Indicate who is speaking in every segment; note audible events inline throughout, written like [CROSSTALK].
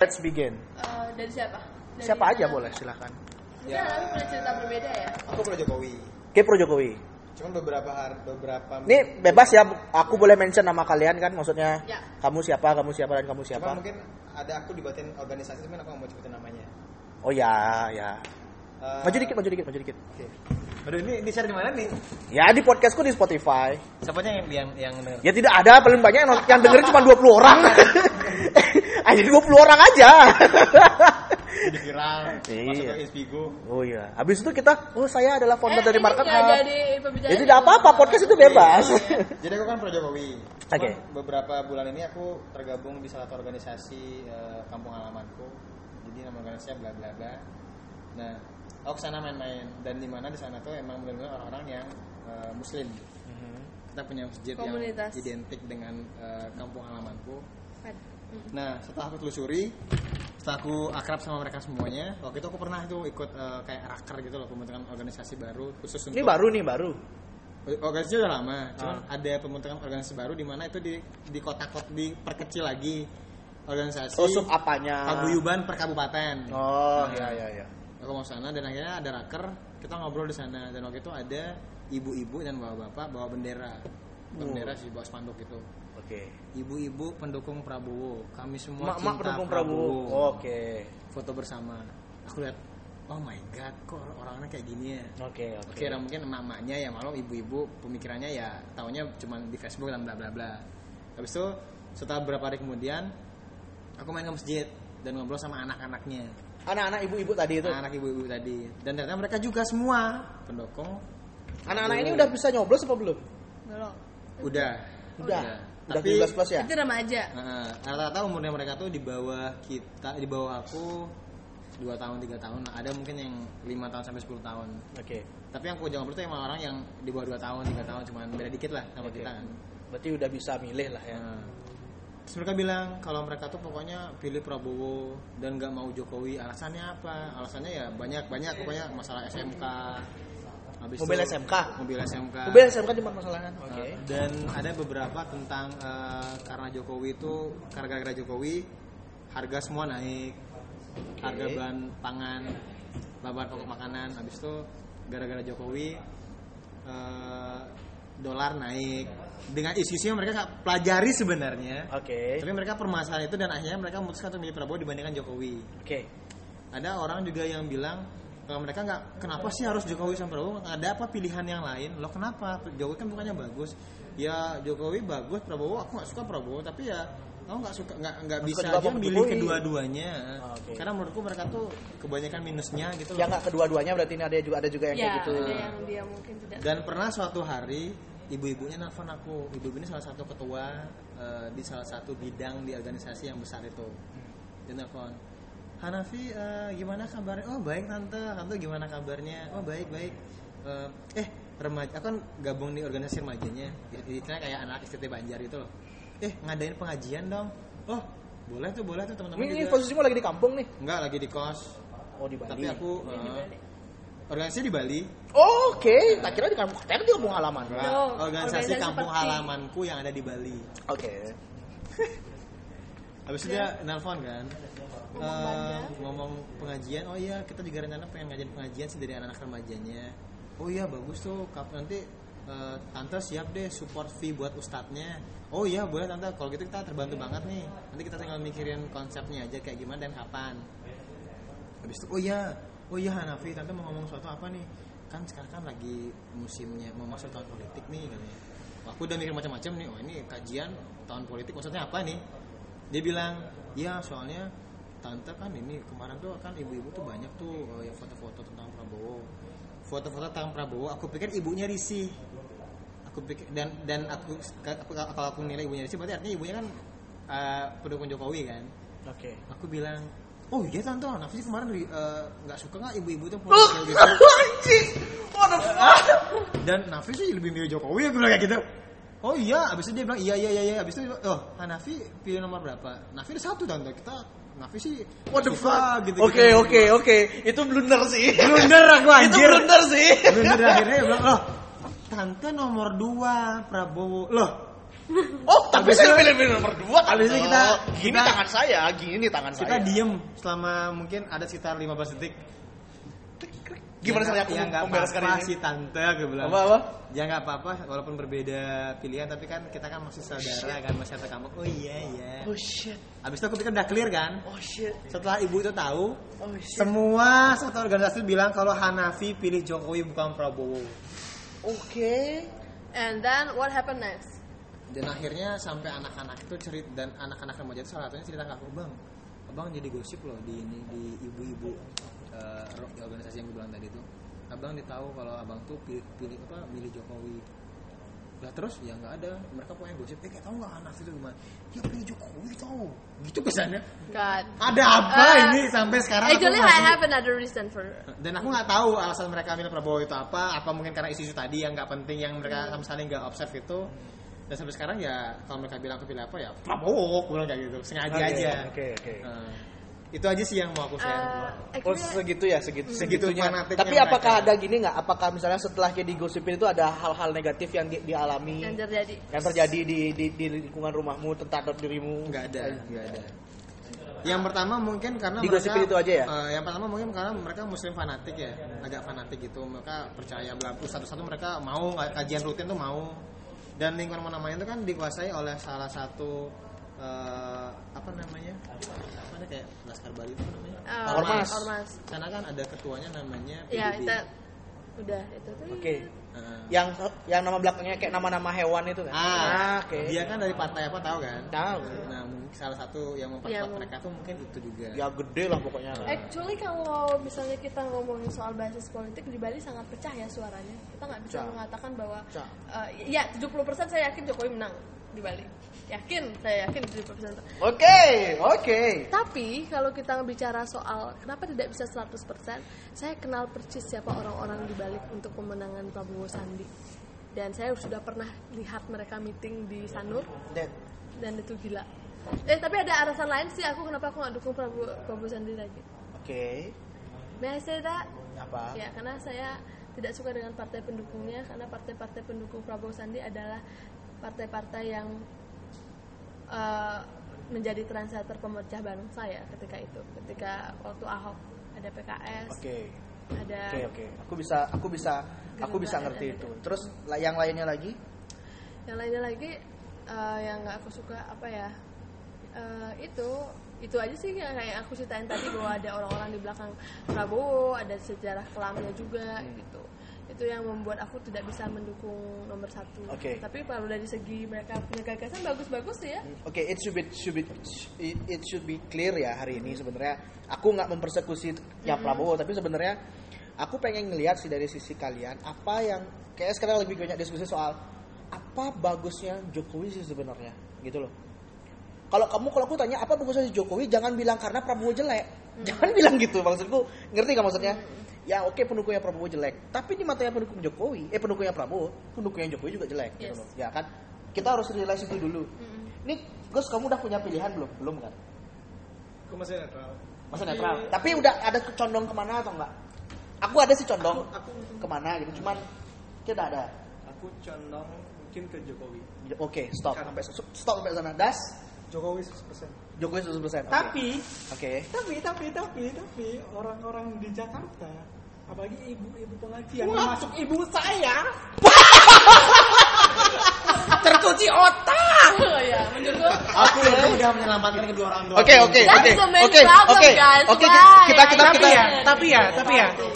Speaker 1: Let's begin.
Speaker 2: Eh, dari siapa? Dari
Speaker 1: Siapa aja
Speaker 2: mana?
Speaker 1: boleh silahkan.
Speaker 2: Kita lalu punya cerita berbeda ya.
Speaker 3: Aku pro Jokowi.
Speaker 1: Oke pro Jokowi.
Speaker 3: Cuman beberapa har beberapa
Speaker 1: Ini bebas ya. Aku boleh mention nama kalian kan maksudnya.
Speaker 2: Ya.
Speaker 1: Kamu siapa, kamu siapa dan kamu siapa.
Speaker 3: Cuman mungkin ada aku dibatin organisasi cuman aku nggak mau sebutin namanya.
Speaker 1: Oh ya, ya.
Speaker 3: Eh,
Speaker 1: Maju dikit, maju dikit, maju dikit.
Speaker 3: Oke. Aduh ini di share di mana nih?
Speaker 1: Ya di podcastku di Spotify.
Speaker 3: Siapanya yang yang yang denger?
Speaker 1: Ya tidak ada paling banyak yang, yang dengerin cuma 20 orang. [LAUGHS] Aja 20 orang aja. [LAUGHS]
Speaker 3: Jadi viral.
Speaker 1: Iya.
Speaker 3: Masuk ke Inspigo.
Speaker 1: oh iya. Habis itu kita, oh saya adalah founder
Speaker 2: Eh,
Speaker 1: dari
Speaker 2: ini
Speaker 1: market
Speaker 2: nggak
Speaker 1: Hub.
Speaker 2: jadi pembicaraan
Speaker 1: Ya tidak apa-apa, podcast itu bebas.
Speaker 3: Jadi aku kan pro Jokowi. Cuman
Speaker 1: Oke.
Speaker 3: Beberapa bulan ini aku tergabung di salah satu organisasi eh, kampung halamanku. Jadi nama organisasinya bla bla bla. Nah, aku kesana main-main dan di mana di sana tuh emang benar-benar orang-orang yang eh, muslim. Kita punya masjid
Speaker 2: Komunitas.
Speaker 3: yang identik dengan eh, kampung halamanku.
Speaker 2: Hmm.
Speaker 3: Nah, setelah aku telusuri, setelah aku akrab sama mereka semuanya, waktu itu aku pernah tuh ikut eh, kayak raker gitu loh pembentukan organisasi baru khusus untuk
Speaker 1: Ini baru Ah. nih, baru.
Speaker 3: organisasi udah lama, cuman ada pembentukan organisasi baru di mana itu di di kota-kota diperkecil lagi organisasi
Speaker 1: Oh, sub apanya?
Speaker 3: paguyuban per kabupaten.
Speaker 1: Oh, iya, iya, iya.
Speaker 3: Aku mau sana dan akhirnya ada raker, kita ngobrol di sana dan waktu itu ada ibu-ibu dan bapak-bapak bawa bendera. Bawa Bendera sih bawa spanduk gitu.
Speaker 1: Oke.
Speaker 3: Ibu-ibu pendukung Prabowo, kami semua
Speaker 1: Mak-mak
Speaker 3: cinta
Speaker 1: pendukung Prabowo. Oke.
Speaker 3: Foto bersama. Aku lihat, oh my god, kok orang-orangnya kayak gini ya.
Speaker 1: Oke,
Speaker 3: Oke, orang mungkin mamanya ya malam ibu-ibu pemikirannya ya taunya cuma di Facebook dan bla bla bla. Habis itu setelah beberapa hari kemudian aku main ke masjid dan ngobrol sama anak-anaknya,
Speaker 1: Anak-anak ibu-ibu tadi itu.
Speaker 3: anak ibu-ibu tadi. Dan ternyata mereka juga semua pendukung
Speaker 1: Anak-anak ini udah bisa nyoblos apa belum?
Speaker 2: Belum.
Speaker 3: udah.
Speaker 1: Udah. Udah
Speaker 3: Oh, iya. Tapi
Speaker 1: 17 plus ya?
Speaker 2: Itu remaja.
Speaker 3: eh, rata-rata umurnya mereka tuh di bawah kita, di bawah aku dua tahun tiga tahun. Nah, ada mungkin yang lima tahun sampai 10 tahun.
Speaker 1: Oke.
Speaker 3: Tapi yang aku jangan percaya emang orang yang di bawah dua tahun tiga tahun cuman beda dikit lah sama
Speaker 1: Oke.
Speaker 3: kita kan.
Speaker 1: Berarti udah bisa milih lah ya.
Speaker 3: Nah, Terus mereka bilang kalau mereka tuh pokoknya pilih Prabowo dan nggak mau Jokowi. Alasannya apa? Alasannya ya banyak banyak pokoknya masalah SMK. Habis
Speaker 1: Mobil
Speaker 3: itu-
Speaker 1: SMK?
Speaker 3: Mobil SMK.
Speaker 1: Mobil SMK cuma permasalahan.
Speaker 3: Nah,
Speaker 1: Oke.
Speaker 3: Dan ada beberapa tentang eh, karena Jokowi itu karena gara-gara Jokowi harga semua naik. Harga bahan pangan, bahan pokok makanan, habis itu gara-gara Jokowi eh, dolar naik. Dengan isu-isu yang mereka nggak pelajari sebenarnya.
Speaker 1: Oke.
Speaker 3: Tapi mereka permasalahan itu dan akhirnya mereka memutuskan untuk milih Prabowo dibandingkan Jokowi.
Speaker 1: Oke.
Speaker 3: Ada orang juga yang bilang kalau mereka nggak kenapa sih harus Jokowi sama Prabowo? Ada apa pilihan yang lain? Loh kenapa? Jokowi kan bukannya bagus. Ya Jokowi bagus, Prabowo aku nggak suka Prabowo, tapi ya kamu nggak suka nggak nggak
Speaker 1: Harus
Speaker 3: bisa
Speaker 1: kedua
Speaker 3: aja
Speaker 1: sama
Speaker 3: milih
Speaker 1: Jokowi.
Speaker 3: kedua-duanya.
Speaker 1: Ah, oke.
Speaker 3: Karena menurutku mereka tuh kebanyakan minusnya gitu
Speaker 1: Yang
Speaker 3: loh.
Speaker 1: Ya nggak kedua-duanya berarti ini ada juga ada juga yang
Speaker 2: ya,
Speaker 1: kayak gitu.
Speaker 2: ada yang dia mungkin tidak.
Speaker 3: Dan pernah suatu hari ibu-ibunya nelfon aku. Ibu-ibu ini salah satu ketua eh, di salah satu bidang di organisasi yang besar itu.
Speaker 1: Hmm.
Speaker 3: Dia nelfon. Hanafi eh, gimana kabarnya? Oh baik tante. Tante gimana kabarnya? Oh baik baik. Eh, eh remaja, aku kan gabung di organisasi remajanya. Istilahnya kayak anak STT Banjar gitu loh. Eh ngadain pengajian dong. Oh boleh tuh boleh tuh
Speaker 1: Ini,
Speaker 3: teman-teman
Speaker 1: ini
Speaker 3: juga.
Speaker 1: posisimu lagi di kampung nih.
Speaker 3: Enggak lagi di kos.
Speaker 1: Oh di Bali.
Speaker 3: Tapi aku
Speaker 2: Ini
Speaker 3: eh,
Speaker 2: dibalik.
Speaker 3: organisasi di Bali.
Speaker 1: Oh, Oke,
Speaker 3: Nah.
Speaker 1: tak kira di kampung. kan Ternyata di kampung halaman.
Speaker 3: Enggak,
Speaker 2: No,
Speaker 3: organisasi,
Speaker 2: organisasi
Speaker 3: kampung
Speaker 2: seperti-
Speaker 3: halamanku yang ada di Bali.
Speaker 1: Oke.
Speaker 3: Habis
Speaker 2: Iya.
Speaker 3: itu dia nelpon kan. Eh, ngomong pengajian, oh iya kita juga rencana pengen ngajarin pengajian sih dari anak-anak remajanya. Oh iya bagus tuh, Kap- nanti eh, tante siap deh support fee buat ustadznya. Oh iya boleh tante, kalau gitu kita
Speaker 2: Iya.
Speaker 3: terbantu banget nih. Nanti kita tinggal mikirin konsepnya aja kayak gimana dan kapan. Habis itu, oh iya, oh iya Hanafi, tante mau ngomong suatu apa nih? Kan sekarang kan lagi musimnya, mau masuk tahun politik nih katanya. Wah, Aku udah mikir macam-macam nih, oh ini kajian tahun politik maksudnya apa nih? Dia bilang, ya soalnya tante kan ini kemarin tuh kan ibu-ibu tuh banyak tuh eh, yang foto-foto tentang Prabowo. Foto-foto tentang Prabowo, aku pikir ibunya risih. Aku pikir dan dan aku aku- kalau aku nilai ibunya risih berarti artinya ibunya kan eh, pendukung Jokowi kan
Speaker 1: Oke.
Speaker 3: aku bilang oh iya tante Nafsi kemarin ri- eh, nggak suka nggak ibu-ibu itu
Speaker 1: Oh,
Speaker 3: politik gitu
Speaker 1: [LAUGHS] Anjing. What the fuck?
Speaker 3: dan Nafsi sih lebih milih Jokowi aku bilang kayak gitu oh iya abis itu dia bilang iya iya iya iya abis itu dia bilang, oh Hanafi pilih nomor berapa Nafi ada satu tante kita Nafi sih
Speaker 1: What the
Speaker 3: suka,
Speaker 1: fuck?
Speaker 3: gitu
Speaker 1: Oke, oke, oke. Itu blunder sih.
Speaker 3: blunder aku
Speaker 1: Itu
Speaker 3: anjir
Speaker 1: blunder sih. "Oh,
Speaker 3: blunder akhirnya dia bilang loh tante nomor dua Prabowo loh
Speaker 1: Oh, tapi saya pilih pilih nomor dua kan.
Speaker 3: Habis itu kita-
Speaker 1: gini
Speaker 3: kita-
Speaker 1: tangan saya, gini tangan
Speaker 3: kita
Speaker 1: saya.
Speaker 3: diem selama mungkin ada sekitar 15 detik
Speaker 1: Gimana caranya aku
Speaker 3: ya nggak
Speaker 1: membereskan
Speaker 3: apa-apa
Speaker 1: ini?
Speaker 3: sih tante gue bilang
Speaker 1: Apa apa?
Speaker 3: ya nggak apa-apa walaupun berbeda pilihan tapi kan kita kan masih saudara kan masih satu kampung oh iya iya
Speaker 1: Oh shit.
Speaker 3: abis itu aku pikir udah clear kan
Speaker 1: Oh shit.
Speaker 3: setelah ibu itu tahu
Speaker 1: Oh shit.
Speaker 3: semua satu organisasi bilang kalau Hanafi pilih Jokowi bukan Prabowo
Speaker 1: Oke.
Speaker 2: And then what happened next?
Speaker 3: dan akhirnya sampai anak-anak itu cerita dan anak-anak remaja itu salah satunya cerita ke aku bang abang jadi gosip loh di ini di ibu-ibu eh, ro- di organisasi yang gue bilang tadi itu abang ditahu kalau abang tuh pilih, pilih apa milih Jokowi lah terus ya nggak ada mereka punya gosip eh kayak tau nggak anak itu gimana ya pilih Jokowi tau gitu kesannya
Speaker 2: God.
Speaker 3: ada apa
Speaker 2: Eh,
Speaker 3: ini sampai sekarang aku
Speaker 2: Actually, I
Speaker 3: masih-
Speaker 2: have another reason for
Speaker 3: dan aku nggak tahu alasan mereka milih Prabowo itu apa apa mungkin karena isu-isu tadi yang nggak penting yang mereka sama sekali nggak observe itu dan sampai sekarang ya kalau mereka bilang aku pilih apa ya Prabowo aku bilang kayak gitu sengaja aja
Speaker 1: Oh, iya, Oke, oke.
Speaker 3: Nah, itu aja sih yang mau aku share
Speaker 2: Uh,
Speaker 1: Oh
Speaker 2: actually,
Speaker 1: segitu ya segitu
Speaker 3: Hmm. Segitu
Speaker 1: segitunya.
Speaker 3: fanatiknya
Speaker 1: Tapi
Speaker 3: mereka.
Speaker 1: apakah ada gini nggak? Apakah misalnya setelah kayak digosipin itu ada hal-hal negatif yang di- dialami
Speaker 2: yang terjadi.
Speaker 1: yang terjadi di, di, di lingkungan rumahmu tentang dirimu?
Speaker 3: nggak ada nggak ada Iya, yang pertama mungkin karena
Speaker 1: Digosipin
Speaker 3: mereka
Speaker 1: itu aja ya?
Speaker 3: eh, yang pertama mungkin karena mereka muslim fanatik ya agak fanatik gitu mereka percaya bla satu-satu mereka mau kajian rutin tuh mau dan lingkungan namanya itu kan dikuasai oleh salah satu eh, apa namanya apa namanya kayak laskar Bali itu apa namanya
Speaker 2: Uh,
Speaker 1: Ormas.
Speaker 2: Ormas.
Speaker 3: karena kan ada ketuanya namanya
Speaker 2: Ya,
Speaker 3: PBB.
Speaker 2: itu udah itu. tuh.
Speaker 1: Oke.
Speaker 3: Heeh.
Speaker 1: Yang yang nama belakangnya kayak nama-nama hewan itu kan?
Speaker 3: ah
Speaker 1: oke.
Speaker 3: dia kan dari partai apa tahu kan
Speaker 1: Tahu.
Speaker 3: nah mungkin salah satu yang
Speaker 2: Iya,
Speaker 3: memperkuat
Speaker 2: mungkin.
Speaker 3: mereka tuh mungkin itu juga
Speaker 1: Ya gede lah pokoknya.
Speaker 2: Actually kalau misalnya kita ngomongin soal basis politik di Bali sangat pecah ya suaranya. Kita nggak bisa
Speaker 1: Pecah.
Speaker 2: mengatakan bahwa
Speaker 1: Pecah.
Speaker 2: eh, ya 70% saya yakin Jokowi menang di Bali. Yakin, saya yakin 70%.
Speaker 1: Oke, oke.
Speaker 2: Tapi kalau kita bicara soal kenapa tidak bisa 100%, saya kenal persis siapa orang-orang di balik untuk pemenangan Prabowo Sandi. Dan saya sudah pernah lihat mereka meeting di Sanur
Speaker 1: Dan-
Speaker 2: dan itu gila. Eh tapi ada alasan lain sih aku kenapa aku nggak dukung Prabowo, Prabowo Sandi lagi.
Speaker 1: Oke.
Speaker 2: May I say that?
Speaker 1: Apa?
Speaker 2: Ya, karena saya tidak suka dengan partai pendukungnya karena partai-partai pendukung Prabowo Sandi adalah partai-partai yang eh, menjadi translator pemecah bangsa ya ketika itu. Ketika waktu Ahok ada PKS,
Speaker 1: Oke.
Speaker 2: ada
Speaker 1: Oke, oke. Aku bisa aku bisa aku bisa
Speaker 2: Gerindra,
Speaker 1: ngerti
Speaker 2: ada-
Speaker 1: itu. Terus la- yang lainnya lagi?
Speaker 2: yang lainnya lagi eh, yang nggak aku suka apa ya? Eh, itu itu aja sih yang kayak aku ceritain tadi bahwa ada orang-orang di belakang Prabowo, ada sejarah kelamnya juga
Speaker 4: Hmm.
Speaker 2: gitu. Itu yang membuat aku tidak bisa mendukung nomor satu.
Speaker 1: Oke.
Speaker 2: Tapi kalau dari segi mereka punya gagasan bagus-bagus sih ya.
Speaker 1: Oke, it should be should be it, it should be clear ya hari ini sebenarnya. Aku nggak mempersekusi
Speaker 2: Mm-hmm.
Speaker 1: yang Prabowo, tapi sebenarnya aku pengen ngelihat sih dari sisi kalian apa yang kayak sekarang lebih banyak diskusi soal apa bagusnya Jokowi sih sebenarnya, gitu loh. Kalau kamu kalau aku tanya apa bagusnya si Jokowi, jangan bilang karena Prabowo jelek.
Speaker 2: Mm-hmm.
Speaker 1: Jangan bilang gitu maksudku. Ngerti nggak maksudnya? Ya oke pendukungnya Prabowo jelek, tapi di matanya pendukung Jokowi, eh pendukungnya Prabowo, pendukungnya Jokowi juga jelek, gitu
Speaker 2: Yes.
Speaker 1: loh. Ya kan? Kita harus nilai situ dulu. Ini Gus kamu udah punya pilihan belum? Belum kan?
Speaker 3: aku masih netral
Speaker 1: Masa netral. Tapi udah ada condong kemana atau enggak? Aku ada sih condong kemana gitu. Cuman kita ada.
Speaker 4: aku condong mungkin ke Jokowi
Speaker 1: Oke, stop sampai stop sampai sana. Das
Speaker 4: Jokowi 100%
Speaker 1: Jokowi 100%. Oke.
Speaker 4: tapi
Speaker 1: oke.
Speaker 4: tapi tapi tapi tapi orang-orang di Jakarta apalagi ibu-ibu pengajian
Speaker 1: Wah.
Speaker 4: masuk ibu saya
Speaker 1: Tercuci otak.
Speaker 4: Ah!
Speaker 2: [LAUGHS] Oh ya, menurut
Speaker 3: aku itu udah menyelamatkan kedua orang tua Iya,
Speaker 1: Oke, oke,
Speaker 2: That's
Speaker 1: oke.
Speaker 2: the main
Speaker 1: Oke,
Speaker 2: problem,
Speaker 1: oke.
Speaker 2: guys.
Speaker 1: Oke,
Speaker 2: Why?
Speaker 1: kita kita
Speaker 2: Tapi
Speaker 1: kita
Speaker 2: ya,
Speaker 4: tapi ya tapi ya
Speaker 1: Oke,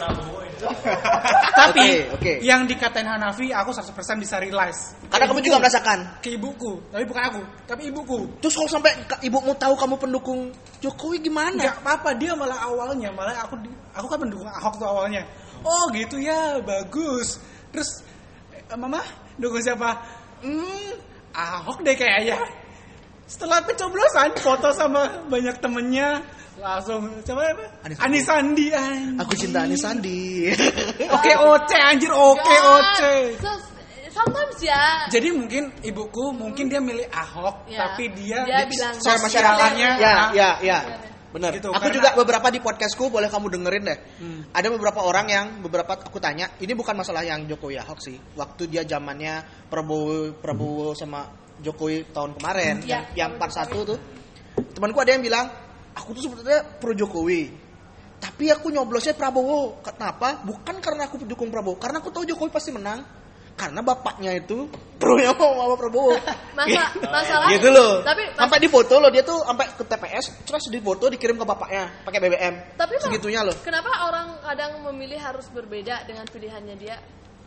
Speaker 4: tapi
Speaker 1: oke.
Speaker 4: yang dikatain Hanafi aku 100% bisa realize
Speaker 1: Karena kamu juga merasakan.
Speaker 4: ke ibuku tapi bukan aku tapi ibuku
Speaker 1: Terus kalau sampai ka- ibumu tahu kamu pendukung Jokowi gimana?
Speaker 4: nggak apa-apa dia malah awalnya malah aku di- aku kan mendukung Ahok tuh awalnya oh gitu ya bagus terus eh, mama dukung siapa hmm Ahok deh kayaknya setelah pencoblosan foto sama banyak temennya langsung siapa apa
Speaker 1: Anies Sandi.
Speaker 4: Anis Sandi anjing.
Speaker 1: Aku cinta Anies Sandi. [LAUGHS]
Speaker 4: oke oce anjir oke
Speaker 2: God.
Speaker 4: oce
Speaker 2: So, sometimes ya.
Speaker 4: jadi mungkin ibuku mungkin dia milih Ahok
Speaker 2: Ya.
Speaker 4: tapi dia,
Speaker 2: Dia
Speaker 4: di
Speaker 2: bilang-
Speaker 1: Saya masyarakatnya.
Speaker 4: sosialnya-
Speaker 1: Ya, ya, ya. Benar.
Speaker 4: Iya, Gitu,
Speaker 1: aku
Speaker 4: karena-
Speaker 1: juga beberapa di podcastku boleh kamu dengerin deh.
Speaker 4: Hmm.
Speaker 1: Ada beberapa orang yang beberapa aku tanya, ini bukan masalah yang Jokowi Ahok sih. Waktu dia zamannya Prabowo Prabowo sama Jokowi tahun kemarin
Speaker 2: Iya.
Speaker 1: yang, yang part satu tuh temanku ada yang bilang aku tuh sebenarnya pro Jokowi tapi aku nyoblosnya Prabowo kenapa bukan karena aku dukung Prabowo karena aku tahu Jokowi pasti menang karena bapaknya itu pro yang mau sama Prabowo
Speaker 2: [LAUGHS] Masa- masalah-
Speaker 1: gitu loh
Speaker 2: tapi mas-
Speaker 1: sampai di foto loh dia tuh sampai ke TPS terus di foto dikirim ke bapaknya pakai BBM
Speaker 2: Tapi eh, kalau-
Speaker 1: segitunya loh
Speaker 2: Kenapa orang kadang memilih harus berbeda dengan pilihannya dia?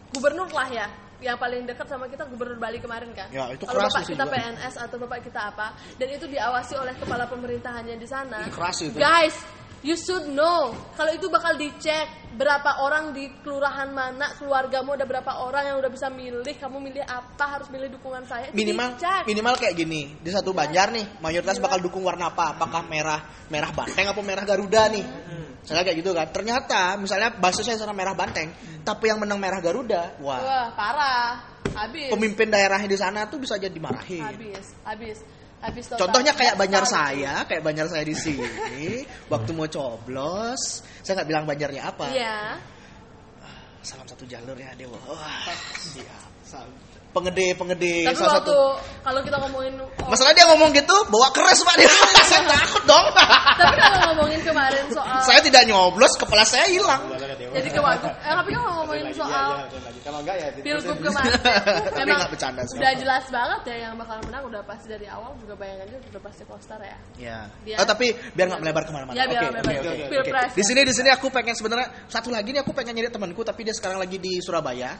Speaker 2: Gubernur lah ya, yang paling dekat sama kita gubernur Bali kemarin kan.
Speaker 1: Ya, itu
Speaker 2: Kalau
Speaker 1: keras
Speaker 2: bapak
Speaker 1: sih
Speaker 2: kita
Speaker 1: juga.
Speaker 2: PNS atau bapak kita apa, dan itu diawasi oleh kepala pemerintahannya di sana.
Speaker 1: Ih, keras itu.
Speaker 2: Guys, you should know. Kalau itu bakal dicek berapa orang di kelurahan mana, keluargamu ada berapa orang yang udah bisa milih, kamu milih apa, harus milih dukungan saya. Itu
Speaker 1: minimal
Speaker 2: dicek.
Speaker 1: minimal kayak gini di satu
Speaker 2: Iya.
Speaker 1: banjar nih mayoritas bakal dukung warna apa apakah merah merah banteng apa merah garuda nih
Speaker 2: Hmm.
Speaker 1: misalnya kayak gitu kan ternyata misalnya basisnya sana merah banteng tapi yang menang merah garuda wah
Speaker 2: Hmm. Wah, parah. Habis.
Speaker 1: pemimpin daerahnya di sana tuh bisa jadi marahin
Speaker 2: habis habis habis total.
Speaker 1: contohnya kayak banjar
Speaker 2: Total.
Speaker 1: saya kayak banjar saya di sini waktu mau coblos saya nggak bilang banjarnya apa
Speaker 2: iya
Speaker 1: salam satu jalur ya dewa wah siap Salam. pengede pengede
Speaker 2: tapi
Speaker 1: salah
Speaker 2: waktu
Speaker 1: satu
Speaker 2: kalau kita
Speaker 1: [LAUGHS]
Speaker 2: ngomongin oh,
Speaker 1: masalah dia ngomong gitu bawa keras pak dia saya takut
Speaker 2: [LAUGHS]
Speaker 1: dong
Speaker 2: tapi kalau ngomongin kemarin soal
Speaker 1: saya tidak nyoblos kepala saya hilang
Speaker 2: jadi ke Wagub eh tapi kan ngomongin
Speaker 3: iya,
Speaker 2: soal
Speaker 5: kalau enggak ya
Speaker 2: pilgub kemarin
Speaker 1: Tapi
Speaker 2: memang
Speaker 1: nggak bercanda sih.
Speaker 2: udah jelas banget ya yang bakal menang udah pasti dari awal juga bayangannya udah pasti poster ya
Speaker 1: Ya.
Speaker 2: Biar-
Speaker 1: Oh, tapi biar nggak melebar kemana-mana.
Speaker 2: Ya,
Speaker 1: Oke,
Speaker 2: biar nggak
Speaker 1: oke,
Speaker 2: melebar.
Speaker 1: oke, oke.
Speaker 2: Pilpres. ya.
Speaker 1: Di sini, di sini aku pengen sebenarnya satu lagi nih aku pengen nyari temanku, tapi dia sekarang lagi di Surabaya.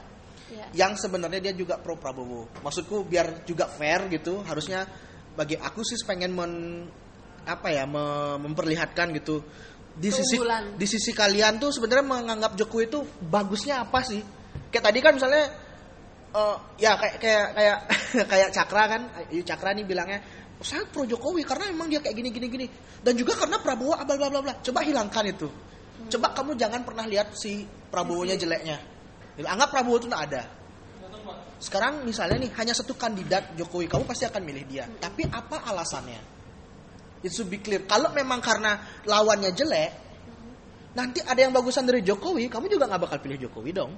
Speaker 2: Iya.
Speaker 1: Yang sebenarnya dia juga pro Prabowo. Maksudku biar juga fair gitu, harusnya bagi aku sih pengen men- apa ya me- memperlihatkan gitu di sisi
Speaker 2: Keunggulan.
Speaker 1: di sisi kalian tuh sebenarnya menganggap Jokowi itu bagusnya apa sih? Kayak tadi kan misalnya Eh, ya kayak kayak kayak [LAUGHS] kayak Cakra kan, Ayu Cakra nih bilangnya saya pro Jokowi karena emang dia kayak gini gini gini dan juga karena Prabowo abal bla bla bla. Coba hilangkan itu. Coba kamu jangan pernah lihat si Prabowonya jeleknya. Gitu, Anggap Prabowo itu nggak ada. Sekarang misalnya nih hanya satu kandidat Jokowi, kamu pasti akan milih dia. Tapi apa alasannya? It should be clear. Kalau memang karena lawannya jelek, nanti ada yang bagusan dari Jokowi, kamu juga nggak bakal pilih Jokowi dong.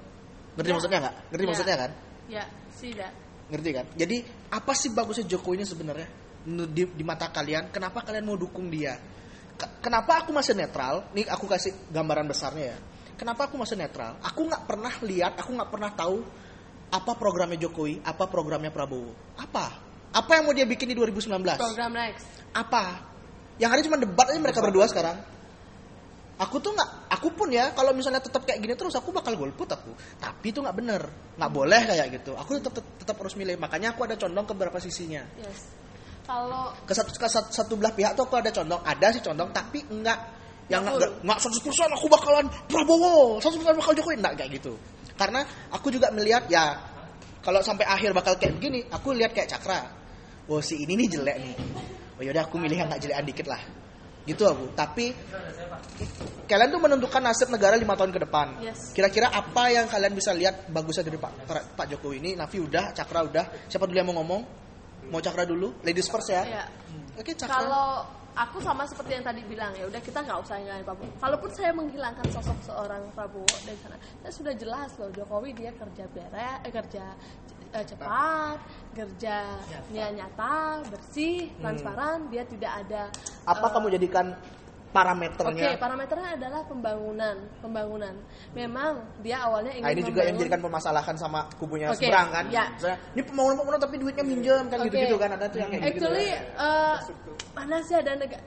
Speaker 1: Ngerti
Speaker 2: Ya.
Speaker 1: maksudnya nggak? Ngerti
Speaker 2: Ya.
Speaker 1: maksudnya kan?
Speaker 2: ya tidak
Speaker 1: ngerti kan jadi apa sih bagusnya Jokowi ini sebenarnya Menurut di, di mata kalian kenapa kalian mau dukung dia Ke- kenapa aku masih netral nih aku kasih gambaran besarnya ya kenapa aku masih netral aku nggak pernah lihat aku nggak pernah tahu apa programnya Jokowi apa programnya Prabowo apa apa yang mau dia bikin di 2019
Speaker 2: program next
Speaker 1: apa yang ada cuma debat aja mereka berdua sekarang aku tuh nggak aku pun ya kalau misalnya tetap kayak gini terus aku bakal golput aku tapi itu nggak bener nggak boleh kayak gitu aku tetap tetap harus milih makanya aku ada condong ke beberapa sisinya
Speaker 2: yes kalau
Speaker 1: ke satu ke satu, satu belah pihak tuh aku ada condong ada sih condong tapi enggak yang
Speaker 2: Betul.
Speaker 1: enggak enggak 100% aku bakalan Prabowo 100% bakal Jokowi enggak kayak gitu karena aku juga melihat ya kalau sampai akhir bakal kayak begini aku lihat kayak Cakra wah si ini nih jelek nih oh yaudah aku milih yang enggak jelekan dikit lah gitu aku tapi kalian tuh menentukan nasib negara lima tahun ke depan
Speaker 2: Yes.
Speaker 1: kira-kira apa yang kalian bisa lihat bagusnya dari Pak Pak Jokowi ini Nafi udah Cakra udah siapa dulu yang mau ngomong mau Cakra dulu ladies first ya
Speaker 2: ya
Speaker 1: Oke, cakra.
Speaker 2: Kalau aku sama seperti yang tadi bilang ya, udah kita nggak usah ngelain Prabowo. Kalaupun saya menghilangkan sosok seorang Prabowo dari sana, saya sudah jelas loh Jokowi dia kerja beres, eh, kerja eh, cepat, kerja ya nyata. bersih, transparan. Dia tidak ada.
Speaker 1: apa
Speaker 2: eh,
Speaker 1: kamu jadikan
Speaker 2: Oke,
Speaker 1: parameternya?
Speaker 2: parameternya adalah pembangunan, pembangunan. Memang dia awalnya ingin
Speaker 1: nah, ini juga yang
Speaker 2: membangun-
Speaker 1: menjadikan permasalahan sama kubunya
Speaker 2: Oke,
Speaker 1: seberang kan?
Speaker 2: ya.
Speaker 1: Misalnya, ini pembangunan-pembangunan tapi duitnya minjem kan
Speaker 2: Oke.
Speaker 1: gitu-gitu kan ada tuh yang kayak gitu.
Speaker 2: Actually, eh, mana sih ada negara?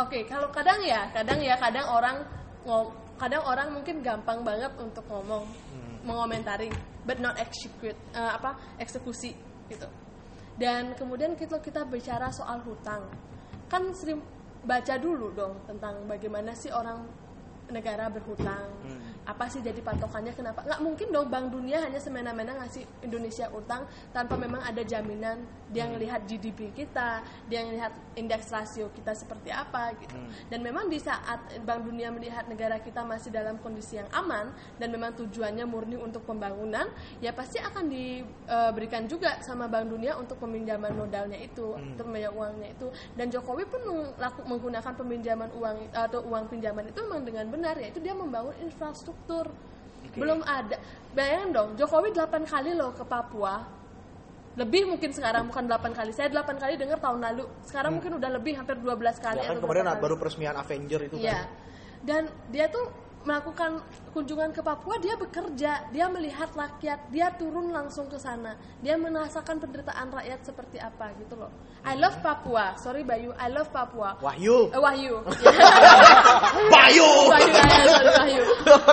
Speaker 2: Oke, kalau kadang ya, kadang ya, kadang orang ngom- kadang orang mungkin gampang banget untuk ngomong,
Speaker 1: Hmm.
Speaker 2: mengomentari, but not execute, eh, apa eksekusi gitu. Dan kemudian kita kita bicara soal hutang, kan sering baca dulu dong tentang bagaimana sih orang negara berhutang, apa sih jadi patokannya kenapa? Nggak mungkin dong Bank Dunia hanya semena-mena ngasih Indonesia utang tanpa memang ada jaminan dia ngelihat GDP kita, dia ngelihat indeks rasio kita seperti apa gitu. Dan memang di saat Bank Dunia melihat negara kita masih dalam kondisi yang aman dan memang tujuannya murni untuk pembangunan, ya pasti akan diberikan juga sama Bank Dunia untuk peminjaman modalnya itu,
Speaker 1: Hmm.
Speaker 2: untuk peminjam uangnya itu. Dan Jokowi pun melaku- menggunakan peminjaman uang atau uang pinjaman itu memang dengan benar yaitu dia membangun infrastruktur belum ada. Bayangin dong, Jokowi 8 kali loh ke Papua. lebih mungkin sekarang bukan 8 kali saya 8 kali dengar tahun lalu sekarang mungkin udah lebih hampir 12 kali
Speaker 1: Hmm. ya kan
Speaker 2: atau
Speaker 1: kemarin
Speaker 2: berapa kali.
Speaker 1: baru peresmian Avenger itu
Speaker 2: Iya.
Speaker 1: kan
Speaker 2: Dan dia tuh melakukan kunjungan ke Papua, dia bekerja, dia melihat rakyat, dia turun langsung ke sana. Dia merasakan penderitaan rakyat seperti apa gitu loh. I love Papua. Sorry Bayu, I love Papua.
Speaker 1: Wahyu
Speaker 2: Eh, Wahyu. Oh, iya.
Speaker 1: Bayu
Speaker 2: Wahyu,
Speaker 1: [LAUGHS]
Speaker 2: ya, sorry, Wahyu.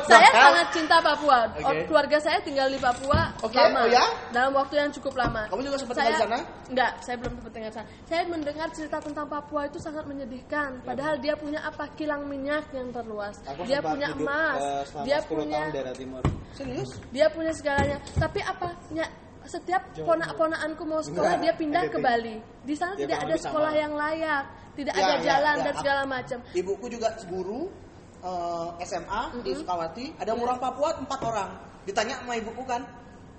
Speaker 2: Saya sangat cinta Papua.
Speaker 1: Nah, Oke.
Speaker 2: Oh, Keluarga saya tinggal di Papua
Speaker 1: Oke, oh
Speaker 2: lama.
Speaker 1: ya?
Speaker 2: Dalam waktu yang cukup lama.
Speaker 1: Kamu juga sempat
Speaker 2: Saya-
Speaker 1: tinggal di sana?
Speaker 2: Enggak, saya belum sempat tinggal di sana. Saya mendengar cerita tentang Papua itu sangat menyedihkan. Padahal dia punya apa? Kilang minyak yang terluas.
Speaker 1: Iya. Aku
Speaker 2: dia
Speaker 1: sempat
Speaker 2: punya
Speaker 1: hidup,
Speaker 2: emas.
Speaker 1: eh, selama
Speaker 2: dia
Speaker 1: 10
Speaker 2: punya
Speaker 3: tahun daerah timur
Speaker 1: serius
Speaker 2: dia punya segalanya. Tapi apa? Nya- setiap ponak-ponaanku mau sekolah dia
Speaker 3: Enggak,
Speaker 2: pindah ke
Speaker 3: editing.
Speaker 2: Bali. Di sana
Speaker 3: Dia
Speaker 2: tidak ada
Speaker 3: kurang lebih sama.
Speaker 2: sekolah yang layak, tidak
Speaker 1: Ya,
Speaker 2: ada
Speaker 1: ya,
Speaker 2: jalan
Speaker 1: ya.
Speaker 2: dan segala macam.
Speaker 1: ibuku juga guru eh, SMA di Sukawati ada
Speaker 2: Iya.
Speaker 1: orang Papua empat orang ditanya sama ibuku kan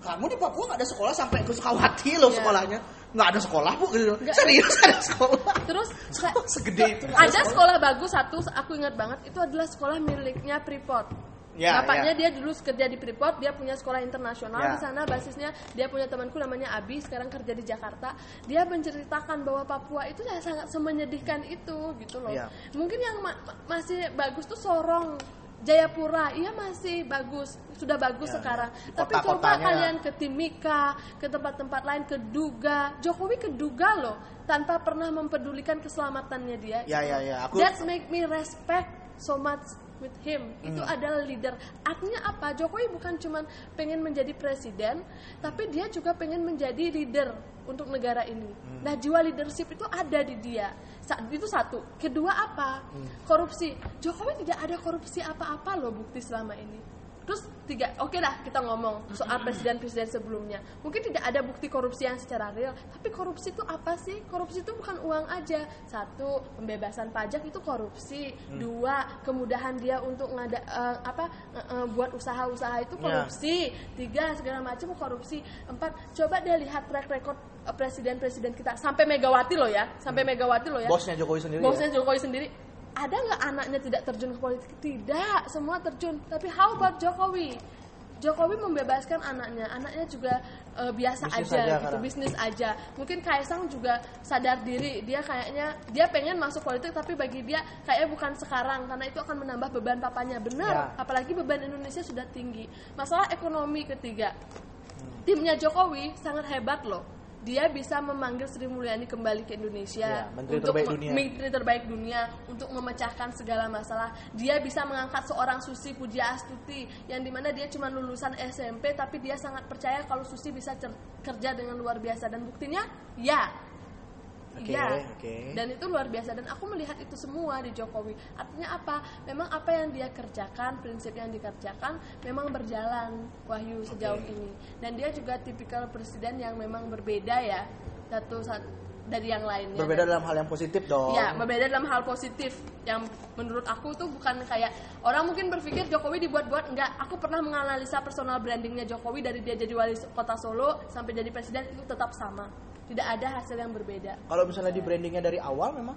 Speaker 1: kamu di Papua nggak ada sekolah sampai ke Sukawati loh
Speaker 2: Iya.
Speaker 1: sekolahnya nggak ada sekolah bu gitu.
Speaker 2: Nggak.
Speaker 1: serius ada sekolah
Speaker 2: Terus
Speaker 1: [LAUGHS]
Speaker 2: saya-
Speaker 1: segede itu nggak
Speaker 2: ada sekolah bagus satu aku ingat banget itu adalah sekolah miliknya Freeport
Speaker 1: Ya,
Speaker 2: Bapaknya dia dulu kerja di Freeport, dia punya sekolah internasional
Speaker 1: Ya.
Speaker 2: di sana basisnya. Dia punya temanku namanya Abi, sekarang kerja di Jakarta. Dia menceritakan bahwa Papua itu ya sangat semenyedihkan itu gitu loh.
Speaker 1: Ya.
Speaker 2: Mungkin yang ma- ma- masih bagus tuh Sorong, Jayapura, iya masih bagus, sudah bagus
Speaker 1: Ya,
Speaker 2: sekarang.
Speaker 1: di
Speaker 2: Tapi coba
Speaker 1: kota-kotanya.
Speaker 2: kalian ke Timika, ke tempat-tempat lain, ke Duga. Jokowi ke Duga loh, tanpa pernah mempedulikan keselamatannya dia.
Speaker 1: ya ya ya aku
Speaker 2: That's make me respect so much with him. Itu adalah leader. Artinya apa? Jokowi bukan cuman pengen menjadi presiden, tapi dia juga pengen menjadi leader untuk negara ini. Nah, jiwa leadership itu ada di dia. Sa- Itu satu. Kedua apa? Korupsi. Jokowi tidak ada korupsi apa-apa loh bukti selama ini. Terus tiga, oke lah kita ngomong soal presiden-presiden sebelumnya. Mungkin tidak ada bukti korupsi yang secara real, tapi korupsi itu apa sih? Korupsi itu bukan uang aja. Satu, pembebasan pajak itu korupsi. Dua, kemudahan dia untuk ngada eh, apa eh, eh, buat usaha-usaha itu korupsi. Tiga, segala macam korupsi. Empat, coba deh lihat track record eh, presiden-presiden kita sampai Megawati loh ya, sampai Megawati loh ya
Speaker 1: bosnya Jokowi sendiri
Speaker 2: bosnya
Speaker 1: ya?
Speaker 2: Jokowi sendiri ada nggak anaknya tidak terjun ke politik tidak semua terjun tapi how about Jokowi Jokowi membebaskan anaknya anaknya juga eh, biasa
Speaker 1: Bisnis
Speaker 2: aja,
Speaker 1: aja
Speaker 2: gitu
Speaker 1: sekarang.
Speaker 2: bisnis aja mungkin Kaisang juga sadar diri dia kayaknya dia pengen masuk politik tapi bagi dia kayaknya bukan sekarang karena itu akan menambah beban papanya benar
Speaker 1: Ya.
Speaker 2: apalagi beban Indonesia sudah tinggi masalah ekonomi ketiga timnya Jokowi sangat hebat loh. Dia bisa memanggil Sri Mulyani kembali ke
Speaker 1: Iya,
Speaker 2: Indonesia
Speaker 1: menteri
Speaker 2: untuk
Speaker 1: terbaik
Speaker 2: me-
Speaker 1: dunia.
Speaker 2: menteri terbaik dunia untuk memecahkan segala masalah. Dia bisa mengangkat seorang Susi Puja Astuti yang dimana dia cuma lulusan SMP tapi dia sangat percaya kalau Susi bisa cer- kerja dengan luar biasa dan buktinya ya
Speaker 1: Oke,
Speaker 2: Iya.
Speaker 1: oke.
Speaker 2: Dan itu luar biasa dan aku melihat itu semua di Jokowi. Artinya apa? Memang apa yang dia kerjakan, prinsip yang dikerjakan memang berjalan Wahyu sejauh ini. Dan dia juga tipikal presiden yang memang berbeda ya satu sat- dari yang lainnya.
Speaker 1: berbeda dalam hal yang positif dong
Speaker 2: Ya, berbeda dalam hal positif yang menurut aku tuh bukan kayak orang mungkin berpikir Jokowi dibuat-buat enggak. Aku pernah menganalisa personal brandingnya Jokowi dari dia jadi wali kota Solo sampai jadi presiden itu tetap sama. Tidak ada hasil yang berbeda.
Speaker 1: kalau misalnya di brandingnya dari awal memang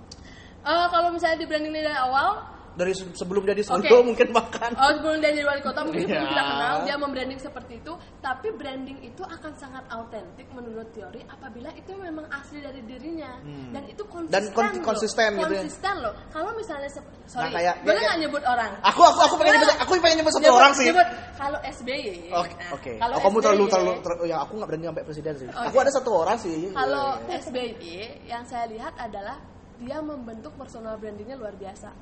Speaker 2: Eh, kalau misalnya di branding dari awal,
Speaker 1: dari se- sebelum dia di Solo
Speaker 2: Oke.
Speaker 1: mungkin bahkan
Speaker 2: oh, sebelum dia jadi wali kota mungkin sebelum
Speaker 1: Iya.
Speaker 2: kita kenal dia membranding seperti itu, tapi branding itu akan sangat autentik menurut teori apabila itu memang asli dari dirinya dan itu konsisten
Speaker 1: Hmm. Dan kon-
Speaker 2: loh.
Speaker 1: konsisten gitu ya.
Speaker 2: konsisten loh. Kalau misalnya sep-
Speaker 1: Nah,
Speaker 2: sorry,
Speaker 1: kayak-
Speaker 2: boleh
Speaker 1: kayak-
Speaker 2: nggak nyebut orang?
Speaker 1: aku aku aku pengen nyebut aku pengen nyebut satu orang sih
Speaker 2: Nyebut kalau SBY.
Speaker 1: Oke,
Speaker 2: Nah,
Speaker 1: oke.
Speaker 2: kalau
Speaker 1: Oh, kamu terlalu
Speaker 2: SBY
Speaker 1: terlalu ter- ya aku nggak berani sampai presiden sih.
Speaker 2: Oke.
Speaker 1: Aku ada satu orang sih.
Speaker 2: Kalau
Speaker 1: Iya, iya.
Speaker 2: SBY yang saya lihat adalah dia membentuk personal brandingnya luar biasa.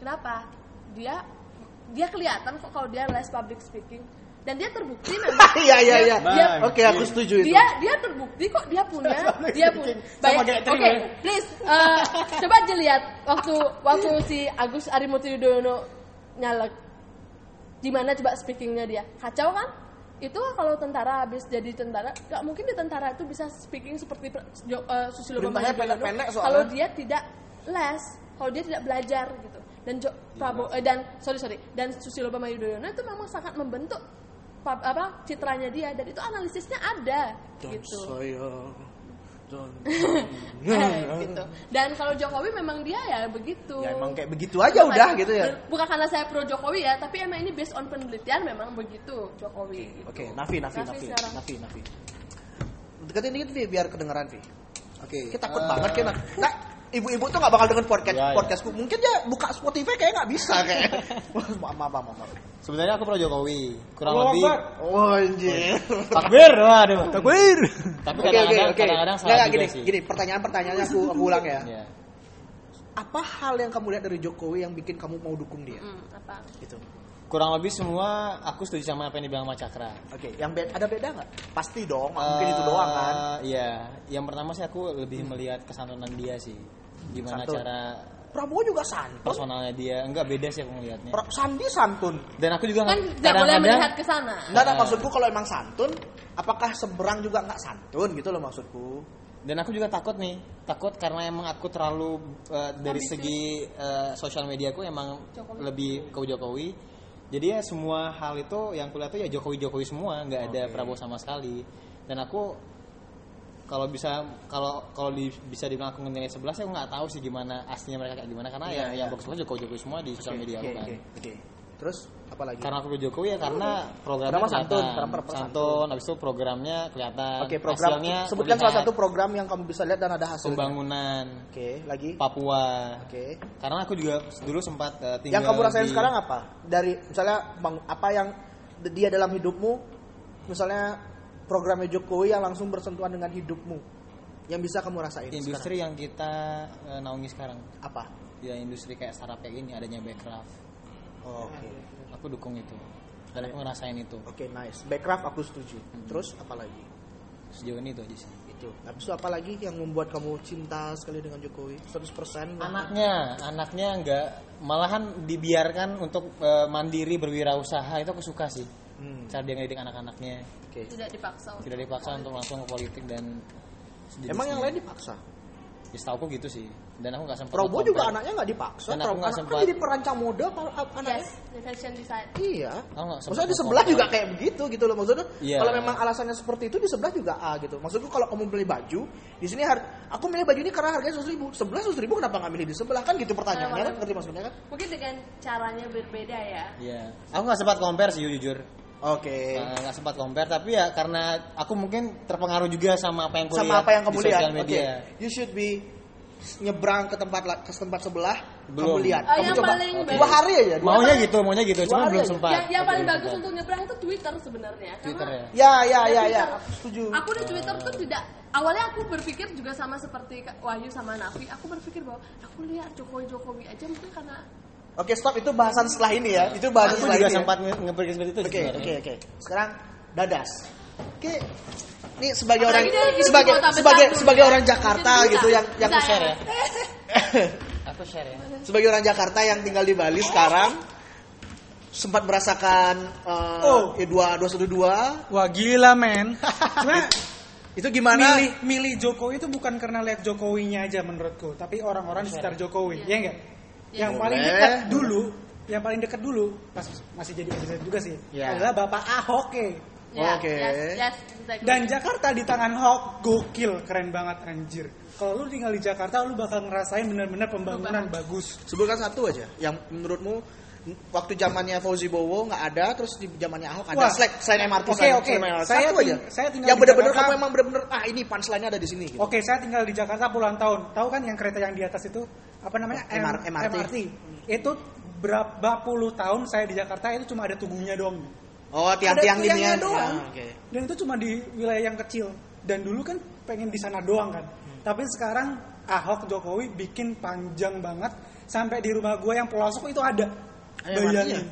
Speaker 2: Kenapa? Dia dia kelihatan kok kalau dia les public speaking dan dia terbukti memang.
Speaker 1: [LAUGHS] Iya iya iya.
Speaker 2: Dia,
Speaker 3: Bang.
Speaker 1: Oke, aku setuju itu.
Speaker 2: dia dia terbukti kok dia punya dia punya.
Speaker 1: [LAUGHS] Sama
Speaker 2: Baik,
Speaker 1: kayak ya.
Speaker 2: Oke,
Speaker 1: Tri,
Speaker 2: please eh, coba aja lihat waktu waktu si Agus Arimurti Yudhoyono nyalek gimana coba speakingnya dia kacau kan itu kalau tentara habis jadi tentara nggak mungkin di tentara itu bisa speaking seperti Pre- Jo- eh, Susilo Bambang
Speaker 1: Perintahnya
Speaker 2: Yudhoyono
Speaker 1: pendek-pendek soalnya.
Speaker 2: kalau dia tidak les kalau dia tidak belajar gitu dan Jo-
Speaker 1: Iya,
Speaker 2: Prabowo eh, dan sorry sorry dan Susilo Bambang Yudhoyono itu memang sangat membentuk pa- apa citranya dia dan itu analisisnya ada
Speaker 1: Dan
Speaker 2: gitu
Speaker 1: saya dan
Speaker 2: [LAUGHS] gitu dan kalau Jokowi memang dia ya begitu
Speaker 1: ya emang kayak begitu aja udah gitu ya.
Speaker 2: bukan karena saya pro Jokowi ya tapi emang ini based on penelitian memang begitu Jokowi gitu.
Speaker 1: Oke, Nafi, Nafi,
Speaker 2: Nafi
Speaker 1: Nafi,
Speaker 2: sekarang.
Speaker 1: Nafi, Nafi. Deketin dikit Vi, biar kedengeran Vi.
Speaker 3: Oke.
Speaker 1: Kita takut
Speaker 3: eh,
Speaker 1: banget kena. Nah, ibu-ibu tuh nggak bakal denger podcast
Speaker 3: Iya, iya.
Speaker 1: podcastku. Mungkin dia buka Spotify kayak nggak bisa
Speaker 3: [LAUGHS]
Speaker 1: kayak. maaf, maaf, maaf, maaf.
Speaker 3: Sebenarnya aku pro Jokowi, kurang
Speaker 4: Allahu
Speaker 3: lebih.
Speaker 4: Akbar.
Speaker 1: Oh, anjir.
Speaker 3: [LAUGHS] Takbir, waduh.
Speaker 4: Ya.
Speaker 3: Takbir. Tapi
Speaker 1: Oke, oke,
Speaker 3: kadang-kadang
Speaker 1: oke. Nggak,
Speaker 3: kadang-kadang salah
Speaker 1: nggak,
Speaker 3: juga
Speaker 1: gini,
Speaker 3: sih.
Speaker 1: gini, pertanyaan-pertanyaannya aku, aku ulang ya.
Speaker 3: Iya.
Speaker 1: Apa hal yang kamu lihat dari Jokowi yang bikin kamu mau dukung dia?
Speaker 2: Hmm, apa?
Speaker 1: Gitu.
Speaker 3: Kurang lebih semua aku setuju sama apa yang dibilang sama Cakra.
Speaker 1: Oke, yang be- ada beda nggak? Pasti dong, nggak mungkin itu doang kan. Hmm.
Speaker 3: Eh, Iya, yang pertama sih aku lebih melihat kesantunan dia sih. Gimana
Speaker 1: Santun.
Speaker 3: cara
Speaker 1: Prabowo juga santun.
Speaker 3: personalnya dia, enggak beda sih aku melihatnya.
Speaker 1: Oh. Pro- Sandi santun.
Speaker 3: Dan aku juga
Speaker 2: Kan
Speaker 3: nggak-
Speaker 2: tidak boleh melihat ke sana.
Speaker 1: Nggak
Speaker 3: Eh.
Speaker 1: ada maksudku kalau emang santun, apakah seberang juga nggak santun gitu loh maksudku.
Speaker 3: dan aku juga takut nih, takut karena emang aku terlalu eh, dari
Speaker 2: Ambisi.
Speaker 3: segi eh, sosial media aku emang
Speaker 2: Jokowi.
Speaker 3: lebih ke Jokowi. Jadi ya semua hal itu yang kulihat tuh ya Jokowi-Jokowi semua, nggak ada
Speaker 1: Oke.
Speaker 3: Prabowo sama sekali. Dan aku kalau bisa kalau kalau di- bisa dibilang aku nilai 11 ya aku nggak tahu sih gimana aslinya mereka kayak gimana karena
Speaker 1: Iya,
Speaker 3: ya
Speaker 1: iya.
Speaker 3: yang bagus banget Jokowi-Jokowi semua di sosial media
Speaker 1: Oke,
Speaker 3: aku kan.
Speaker 1: oke, oke. Terus apa lagi?
Speaker 3: Karena aku pro Jokowi ya karena programnya
Speaker 1: Pertama santun,
Speaker 3: kelihatan.
Speaker 1: pertama- pertama
Speaker 3: santun, habis itu programnya kelihatan.
Speaker 1: Oke, program
Speaker 3: Hasilnya
Speaker 1: sebutkan
Speaker 3: terlihat.
Speaker 1: salah satu program yang kamu bisa lihat dan ada hasilnya.
Speaker 3: pembangunan
Speaker 1: Oke, lagi. Oke.
Speaker 3: Papua. Karena aku juga dulu sempat eh, tinggal
Speaker 1: Yang kamu rasain
Speaker 3: di-
Speaker 1: sekarang apa? Dari misalnya bang- apa yang d- dia dalam hidupmu, misalnya programnya Jokowi yang langsung bersentuhan dengan hidupmu, yang bisa kamu rasain
Speaker 3: industri yang kita eh, naungi sekarang.
Speaker 1: sekarang. apa?
Speaker 3: Ya industri kayak startup kayak gini adanya Backcraft.
Speaker 1: Oh, Oke,
Speaker 3: Aku dukung itu. Dan aku ngerasain itu.
Speaker 1: oke nice. Backcraft aku setuju.
Speaker 3: Hmm.
Speaker 1: Terus apa lagi?
Speaker 3: Sejauh ini itu aja sih.
Speaker 1: Itu. Gitu. Habis itu apa lagi yang membuat kamu cinta sekali dengan Jokowi? 100%
Speaker 3: Anaknya, anaknya nggak malahan dibiarkan untuk eh, mandiri berwirausaha itu aku suka sih.
Speaker 1: Hmm,
Speaker 3: Cara dia ngedidik anak-anaknya.
Speaker 1: Oke.
Speaker 2: Tidak dipaksa.
Speaker 3: Tidak dipaksa untuk langsung ke politik dan sejenisnya.
Speaker 1: Emang yang lain dipaksa?
Speaker 3: Ya, setahu aku gitu sih. Dan aku nggak sempat
Speaker 1: Prabowo juga
Speaker 3: nge-compare.
Speaker 1: anaknya nggak dipaksa.
Speaker 3: Dan aku
Speaker 1: Prabowo
Speaker 3: nggak
Speaker 1: anak kan
Speaker 3: sempat-
Speaker 1: jadi perancang mode kalau a- anaknya.
Speaker 2: Yes, the fashion design.
Speaker 1: Iya.
Speaker 3: Aku nggak
Speaker 1: Maksudnya
Speaker 3: sempat
Speaker 1: di
Speaker 3: nge-compare.
Speaker 1: sebelah juga kayak begitu gitu loh maksudnya.
Speaker 3: Iya.
Speaker 1: Kalau memang alasannya seperti itu di sebelah juga A gitu. Maksudku kalau kamu beli baju, di sini har- aku milih baju ini karena harganya 100.000. Sebelah 100.000 kenapa nggak milih di sebelah kan gitu pertanyaannya
Speaker 2: Nah,
Speaker 1: kan ngerti maksudnya kan?
Speaker 2: Mungkin dengan caranya berbeda ya.
Speaker 3: Iya. Aku nggak sempat compare sih jujur.
Speaker 1: Oke.
Speaker 3: Nah, Nggak sempat compare tapi ya karena aku mungkin terpengaruh juga sama apa yang aku
Speaker 1: Sama
Speaker 3: lihat
Speaker 1: apa yang kamu
Speaker 3: di
Speaker 1: lihat?
Speaker 3: sosial
Speaker 1: Oke.
Speaker 3: media.
Speaker 1: You should be nyebrang ke tempat la- ke tempat sebelah
Speaker 3: Belum.
Speaker 1: kamu lihat
Speaker 2: Oh,
Speaker 1: kamu
Speaker 2: yang
Speaker 1: coba
Speaker 2: paling
Speaker 1: Oke.
Speaker 2: baik.
Speaker 1: dua hari aja dua
Speaker 3: Maunya gitu, maunya gitu,
Speaker 1: Dua
Speaker 3: cuma
Speaker 1: hari
Speaker 3: belum
Speaker 1: aja.
Speaker 3: sempat. Gitu.
Speaker 2: yang yang paling
Speaker 3: Belum
Speaker 2: bagus
Speaker 3: sempat.
Speaker 2: untuk nyebrang itu Twitter sebenarnya. Karena
Speaker 3: Twitter
Speaker 1: ya
Speaker 3: ya.
Speaker 1: ya ya ya
Speaker 2: Twitter.
Speaker 1: aku setuju
Speaker 2: Aku di Twitter tuh tidak awalnya aku berpikir juga sama seperti Kak Wahyu sama Nafi. Aku berpikir bahwa aku lihat Jokowi Jokowi aja mungkin karena
Speaker 1: Oke stop itu bahasan setelah ini ya. Itu bahasan
Speaker 3: Aku
Speaker 1: setelah
Speaker 3: juga
Speaker 1: ini. ya.
Speaker 3: sempat nge- nge-predict seperti itu sih
Speaker 1: Oke
Speaker 3: sebenarnya.
Speaker 1: oke oke. Sekarang dadas. Oke. Ini sebagai orang
Speaker 2: Apalagi dia lagi di
Speaker 1: sebagai
Speaker 2: kota besar
Speaker 1: sebagai
Speaker 2: dulu.
Speaker 1: sebagai orang Jakarta
Speaker 2: Mungkin bisa.
Speaker 1: gitu yang yang
Speaker 2: Bisa
Speaker 3: share ya. Aku share ya.
Speaker 1: sebagai orang Jakarta yang tinggal di Bali sekarang sempat merasakan eh,
Speaker 4: Oh.
Speaker 1: ya, dua dua satu dua
Speaker 4: Wah gila men. Cuma
Speaker 1: itu gimana?
Speaker 4: milih milih Jokowi itu bukan karena lihat Jokowinya aja menurutku, tapi
Speaker 2: Iya.
Speaker 4: orang-orang di sekitar Jokowi, ya enggak? Yang
Speaker 1: Boleh.
Speaker 4: paling dekat dulu, yang paling dekat dulu pas masih jadi presiden juga sih,
Speaker 1: Ya.
Speaker 4: adalah Bapak Ahok. ya.
Speaker 2: [LAUGHS] Ya,
Speaker 1: Oke.
Speaker 2: Yes, yes, exactly.
Speaker 4: Dan Jakarta di tangan Ahok gokil, keren banget anjir. Kalau lu tinggal di Jakarta, lu bakal ngerasain bener-bener pembangunan bagus.
Speaker 1: Sebutkan satu aja yang menurutmu waktu zamannya Fauzi Bowo nggak ada terus di zamannya Ahok ada
Speaker 4: Wah.
Speaker 1: selain, selain MRT
Speaker 4: Oke,
Speaker 1: selain-
Speaker 4: oke.
Speaker 1: selain MRT.
Speaker 4: Saya
Speaker 1: satu
Speaker 4: ting-
Speaker 1: aja
Speaker 4: saya tinggal
Speaker 1: yang
Speaker 4: di
Speaker 1: benar-benar
Speaker 4: Jakarta. Oh.
Speaker 1: kamu emang benar-benar ah ini punchline-nya ada di sini gitu.
Speaker 4: Oke, saya tinggal di Jakarta puluhan tahun. Tahu kan yang kereta yang di atas itu apa namanya?
Speaker 1: MR-
Speaker 4: M-
Speaker 1: MRT.
Speaker 4: Itu berapa puluh tahun saya di Jakarta itu cuma ada tubuhnya doang.
Speaker 1: Oh, tiang-tiang
Speaker 4: Ada
Speaker 1: ini
Speaker 4: tiangnya
Speaker 1: ya.
Speaker 4: doang.
Speaker 1: Ah, oke.
Speaker 4: Dan itu cuma di wilayah yang kecil. Dan dulu kan pengen di sana doang kan. Tapi sekarang Ahok Jokowi bikin panjang banget sampai di rumah gue yang pelosok itu ada.
Speaker 1: Ada MRT-nya.
Speaker 4: Bayangin.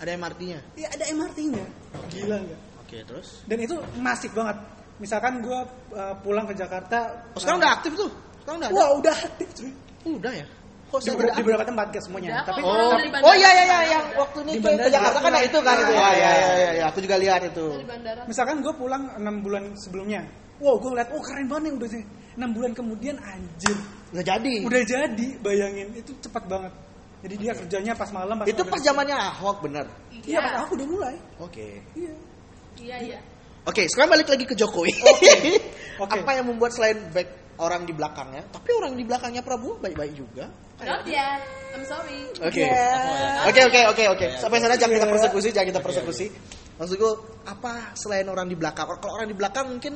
Speaker 1: Ada MRT-nya.
Speaker 4: Iya ada MRT-nya. Gila nggak?
Speaker 1: Oke, terus.
Speaker 4: Dan itu masif banget. Misalkan gue uh, pulang ke Jakarta. eh,
Speaker 1: Oh, sekarang udah aktif tuh. Sekarang udah ada.
Speaker 4: Wah udah aktif cuy.
Speaker 1: Udah ya. Kok
Speaker 4: Di,
Speaker 1: saya
Speaker 4: ber-
Speaker 1: udah
Speaker 4: di
Speaker 1: aktif?
Speaker 4: beberapa tempat guys semuanya.
Speaker 2: Udah,
Speaker 4: Tapi
Speaker 2: kok orang dari bandara
Speaker 1: Oh iya iya
Speaker 2: ke
Speaker 1: iya
Speaker 2: bandara.
Speaker 1: yang waktu ini
Speaker 4: Di
Speaker 1: ke, ke
Speaker 4: bandara
Speaker 1: Jakarta kan
Speaker 4: juga.
Speaker 1: nah, itu kan itu.
Speaker 4: Iya,
Speaker 1: Oh iya
Speaker 4: iya,
Speaker 1: iya iya aku juga lihat itu.
Speaker 2: dari bandara.
Speaker 4: Misalkan gue pulang 6 bulan sebelumnya. Wow gue liat, oh keren banget nih udah sih. 6 bulan kemudian anjir.
Speaker 1: Nggak jadi.
Speaker 4: Udah jadi, bayangin itu cepat banget. Jadi dia kerjanya pas malam. Pas
Speaker 1: Itu
Speaker 4: malam.
Speaker 1: pas zamannya Ahok bener.
Speaker 4: Iya, pas aku udah mulai.
Speaker 1: Oke.
Speaker 4: Iya.
Speaker 2: Iya, iya.
Speaker 1: Oke, sekarang balik lagi ke Jokowi. [LAUGHS]
Speaker 4: Oke.
Speaker 1: Apa yang membuat selain back orang di belakangnya, tapi orang di belakangnya Prabowo baik-baik juga.
Speaker 2: Not yet. I'm sorry.
Speaker 1: Oke.
Speaker 3: Yeah.
Speaker 1: Oke oke oke oke. Sampai sana jangan kita
Speaker 4: Iya.
Speaker 1: persekusi, jangan kita
Speaker 3: Oke,
Speaker 1: persekusi. Maksud gue apa selain orang di belakang? Kalau orang di belakang mungkin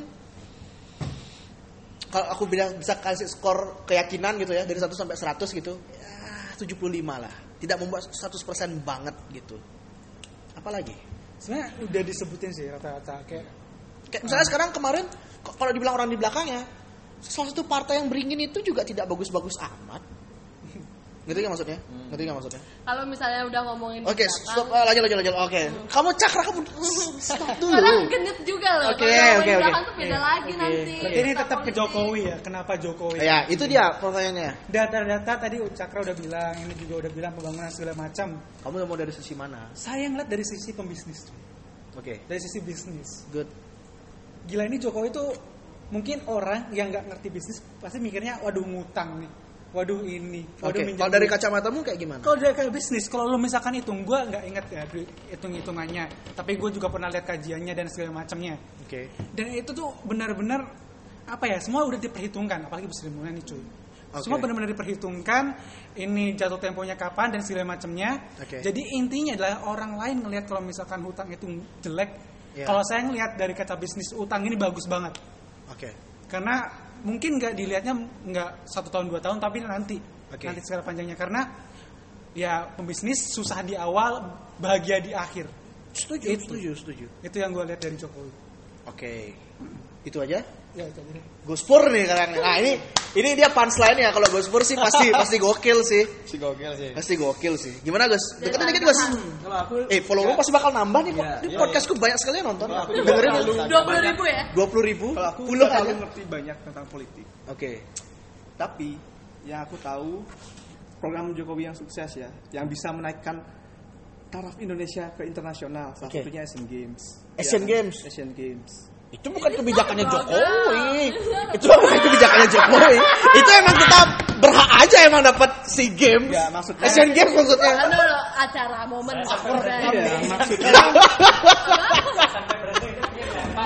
Speaker 1: kalau aku bilang bisa kasih skor keyakinan gitu ya dari 1 sampai 100 gitu ya 75 lah tidak membuat 100% banget gitu apalagi
Speaker 4: sebenarnya udah disebutin sih rata-rata kayak
Speaker 1: kayak misalnya sekarang kemarin k- kalau dibilang orang di belakangnya salah satu partai yang beringin itu juga tidak bagus-bagus amat [LAUGHS] ngerti nggak maksudnya
Speaker 4: Hmm.
Speaker 1: ngerti nggak maksudnya
Speaker 2: Kalau misalnya udah ngomongin di
Speaker 1: oke
Speaker 2: belakang,
Speaker 1: stop eh, lanjut lanjut lanjut oke kamu cakra kamu stop
Speaker 2: Karena
Speaker 1: dulu
Speaker 2: genit juga loh.
Speaker 1: Oke,
Speaker 2: Kalau
Speaker 1: oke,
Speaker 2: ngomongin di
Speaker 1: oke.
Speaker 2: belakang tuh beda lagi
Speaker 1: Oke.
Speaker 2: nanti.
Speaker 4: Berarti ini
Speaker 2: Tentang
Speaker 4: Iya. tetap ke
Speaker 2: politik.
Speaker 4: Jokowi ya kenapa Jokowi
Speaker 1: ya itu dia pertanyaannya
Speaker 4: data-data tadi Cakra udah bilang ini juga udah bilang pembangunan segala macam
Speaker 1: kamu mau dari sisi mana
Speaker 4: saya ngeliat dari sisi pembisnis cuy.
Speaker 1: oke
Speaker 4: dari sisi bisnis
Speaker 1: good
Speaker 4: gila ini Jokowi tuh mungkin orang yang nggak ngerti bisnis pasti mikirnya waduh ngutang nih waduh ini waduh
Speaker 1: oke
Speaker 4: minjem
Speaker 1: kalau dari
Speaker 4: duit."
Speaker 1: kacamatamu kayak gimana
Speaker 4: Kalau dari kayak bisnis, kalau lu misalkan hitung, gue nggak inget ya hitung-hitungannya. Tapi gue juga pernah lihat kajiannya dan segala macamnya.
Speaker 1: Oke.
Speaker 4: Dan itu tuh benar-benar apa ya? Semua udah diperhitungkan, apalagi bisnis lingkungan nih cuy.
Speaker 1: Oke.
Speaker 4: Semua benar-benar diperhitungkan. Ini jatuh temponya kapan dan segala macamnya.
Speaker 1: Oke.
Speaker 4: Jadi intinya adalah orang lain ngelihat kalau misalkan hutang itu jelek.
Speaker 1: Iya.
Speaker 4: Kalau saya ngelihat dari kata bisnis utang ini bagus banget.
Speaker 1: Oke.
Speaker 4: karena mungkin nggak dilihatnya nggak satu tahun dua tahun tapi nanti
Speaker 1: Oke.
Speaker 4: nanti segala panjangnya karena ya pembisnis susah di awal bahagia di akhir
Speaker 1: Setuju,
Speaker 4: Itu.
Speaker 1: setuju, setuju.
Speaker 4: itu yang gue lihat dari Jokowi
Speaker 1: Oke. Itu aja.
Speaker 4: ya itu aja deh.
Speaker 1: Gospur nih sekarang. Nah, ini ini dia punchline ya. Kalau Gospur sih
Speaker 4: [LAUGHS]
Speaker 1: pasti pasti gokil sih.
Speaker 3: si gogel sih
Speaker 1: Pasti gokil sih. Gimana, Gus? Deketin dikit, Gus.
Speaker 3: kalau aku
Speaker 1: Eh, follower pasti bakal nambah nih.
Speaker 3: Iya,
Speaker 1: Ini
Speaker 3: iya,
Speaker 1: podcastku banyak sekali yang nonton.
Speaker 3: Kalau aku juga
Speaker 1: Dengerin Iya.
Speaker 3: terlalu-
Speaker 1: dulu.
Speaker 2: 20 ribu ya?
Speaker 1: 20 ribu,
Speaker 5: Kalau aku
Speaker 1: puluh
Speaker 5: terlalu
Speaker 1: aja.
Speaker 5: ngerti banyak tentang politik.
Speaker 1: Oke.
Speaker 5: Tapi yang aku tahu program Jokowi yang sukses ya, yang bisa menaikkan taraf Indonesia ke internasional. Salah
Speaker 1: Oke.
Speaker 5: satunya Asian Games.
Speaker 1: Asian
Speaker 5: Ya,
Speaker 1: Games?
Speaker 5: Asian Games.
Speaker 1: Itu bukan kebijakannya
Speaker 2: program.
Speaker 1: Jokowi. Itu bukan kebijakannya Jokowi. Itu emang kita berhak aja emang dapat si games.
Speaker 5: Ya, maksudnya-
Speaker 1: Asian Games maksudnya.
Speaker 2: Anu loh, acara momen ya. program.
Speaker 5: Iya, maksudnya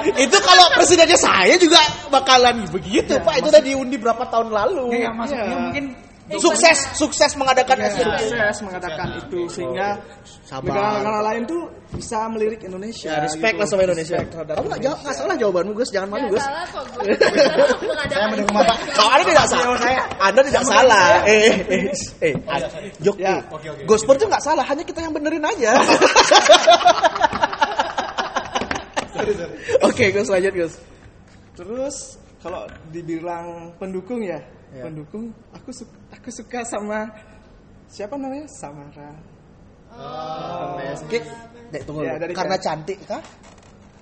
Speaker 1: itu kalau presidennya saya juga bakalan begitu pak itu udah diundi berapa tahun lalu
Speaker 4: Nggak, yang masuk
Speaker 1: Iya.
Speaker 4: ya, mungkin ya.
Speaker 1: sukses sukses mengadakan
Speaker 4: Iya.
Speaker 1: Asian Games
Speaker 5: Kan sukses mengatakan itu sehingga
Speaker 4: Oh.
Speaker 1: Sabar.
Speaker 5: negara-negara lain tuh bisa melirik Indonesia.
Speaker 4: Iya,
Speaker 1: ya respect
Speaker 5: gitu.
Speaker 1: lah sama Indonesia
Speaker 5: Respect terhadap
Speaker 1: kamu nggak jawab nggak
Speaker 5: Indonesia.
Speaker 1: salah jawabanmu Gus jangan malu
Speaker 2: Gak
Speaker 1: Gus
Speaker 2: salah kok
Speaker 1: Iya.
Speaker 2: gue. Saya mendukung bapak.
Speaker 1: kalau anda tidak
Speaker 5: Iya,
Speaker 1: salah anda tidak salah eh eh eh Jok
Speaker 5: Ya,
Speaker 3: oke, oke.
Speaker 1: Gospur tuh nggak salah hanya kita yang benerin aja oke Gus lanjut Gus
Speaker 5: Terus kalau dibilang pendukung ya,
Speaker 1: Ya.
Speaker 5: pendukung aku suka, aku suka sama siapa namanya? Samara.
Speaker 1: Oke, Nek, tunggu
Speaker 5: Ya,
Speaker 1: dulu.
Speaker 5: dari-
Speaker 1: karena cantik kah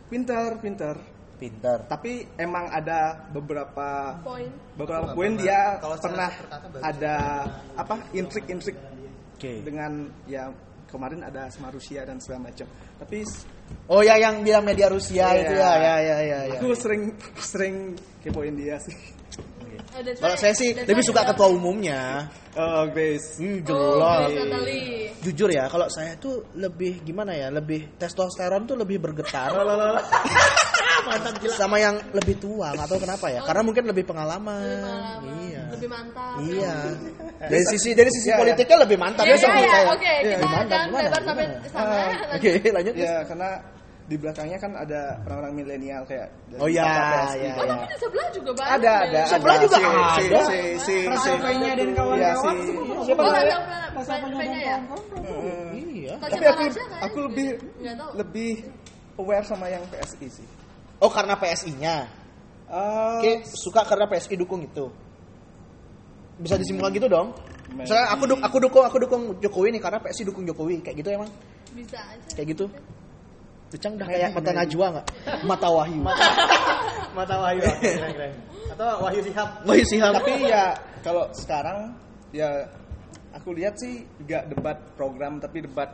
Speaker 5: Pinter, pinter.
Speaker 1: pintar
Speaker 5: Tapi emang ada beberapa
Speaker 2: Poin.
Speaker 5: beberapa
Speaker 3: Kalau
Speaker 5: poin
Speaker 3: sama-
Speaker 5: dia
Speaker 3: kalau secara
Speaker 5: pernah
Speaker 3: perkata baru
Speaker 5: ada apa intrik-intrik
Speaker 1: Oke.
Speaker 5: dengan ya kemarin ada sama Rusia dan segala macam. Tapi s-
Speaker 1: Oh ya yang bilang media Rusia
Speaker 5: Iya.
Speaker 1: itu ya ya ya ya. ya.
Speaker 5: aku sering [LAUGHS] sering kepoin dia sih.
Speaker 2: Eh, that's
Speaker 1: Kalau
Speaker 2: why-
Speaker 1: saya sih
Speaker 2: that's
Speaker 1: lebih
Speaker 2: why
Speaker 1: suka
Speaker 2: kita-
Speaker 1: ketua umumnya.
Speaker 5: Oh, Grace.
Speaker 1: Hmm,
Speaker 2: Oh,
Speaker 1: jelas.
Speaker 2: totally.
Speaker 1: Jujur ya, kalau saya tuh lebih gimana ya, lebih testosteron tuh lebih bergetar.
Speaker 5: Hmm.
Speaker 1: Sama yang lebih tua, nggak tahu kenapa ya. Karena mungkin lebih pengalaman.
Speaker 2: Oh. Lebih pengalaman,
Speaker 1: Iya.
Speaker 2: Lebih mantap. [LAUGHS]
Speaker 1: Iya. Dari sisi dari sisi
Speaker 5: Iya, iya.
Speaker 1: politiknya lebih mantap
Speaker 2: Ya,
Speaker 1: ya sama
Speaker 2: ya, ya.
Speaker 1: saya.
Speaker 2: Oke,
Speaker 1: Iya.
Speaker 2: kita
Speaker 1: Gimana,
Speaker 2: jangan
Speaker 1: gimana,
Speaker 2: lebar sampai
Speaker 1: gimana?
Speaker 2: sana.
Speaker 1: Oke, lanjut. Gus.
Speaker 5: Ya karena di belakangnya kan ada orang-orang milenial kayak dari
Speaker 1: Oh ya,
Speaker 5: startup PSI.
Speaker 1: ya,
Speaker 2: Oh,
Speaker 1: ya.
Speaker 2: tapi di sebelah juga banyak.
Speaker 5: Ada,
Speaker 2: ya.
Speaker 5: ada,
Speaker 1: Sebelah
Speaker 5: ada.
Speaker 1: juga
Speaker 5: Si- si-
Speaker 1: ada.
Speaker 5: Si, si, si,
Speaker 4: Kayaknya dan
Speaker 3: iya,
Speaker 5: ya,
Speaker 4: kawan-kawan
Speaker 5: si,
Speaker 2: Oh,
Speaker 5: siapa
Speaker 2: nggak
Speaker 5: namanya?
Speaker 2: tahu, nggak tahu, P-nya ya?
Speaker 5: Heeh.
Speaker 1: Iya.
Speaker 5: Tapi
Speaker 2: Tanya
Speaker 5: aku,
Speaker 2: Raja kan?
Speaker 5: aku lebih,
Speaker 2: Nggak tahu.
Speaker 5: lebih aware sama yang PSI sih.
Speaker 1: Oh, karena PSI-nya.
Speaker 5: Eh,
Speaker 1: Oke, suka karena PSI dukung itu. Bisa disimpulkan gitu dong. Misalnya aku duk- aku dukung aku dukung Jokowi nih karena PSI dukung Jokowi kayak gitu emang.
Speaker 2: Bisa aja.
Speaker 1: Kayak gitu. Tucang udah kayak mata Najwa nggak? Mata Wahyu.
Speaker 3: mata Wahyu apa? Iya, keren keren atau Wahyu Sihab
Speaker 1: Wahyu Sihab.
Speaker 5: tapi ya kalau sekarang ya aku lihat sih nggak debat program tapi debat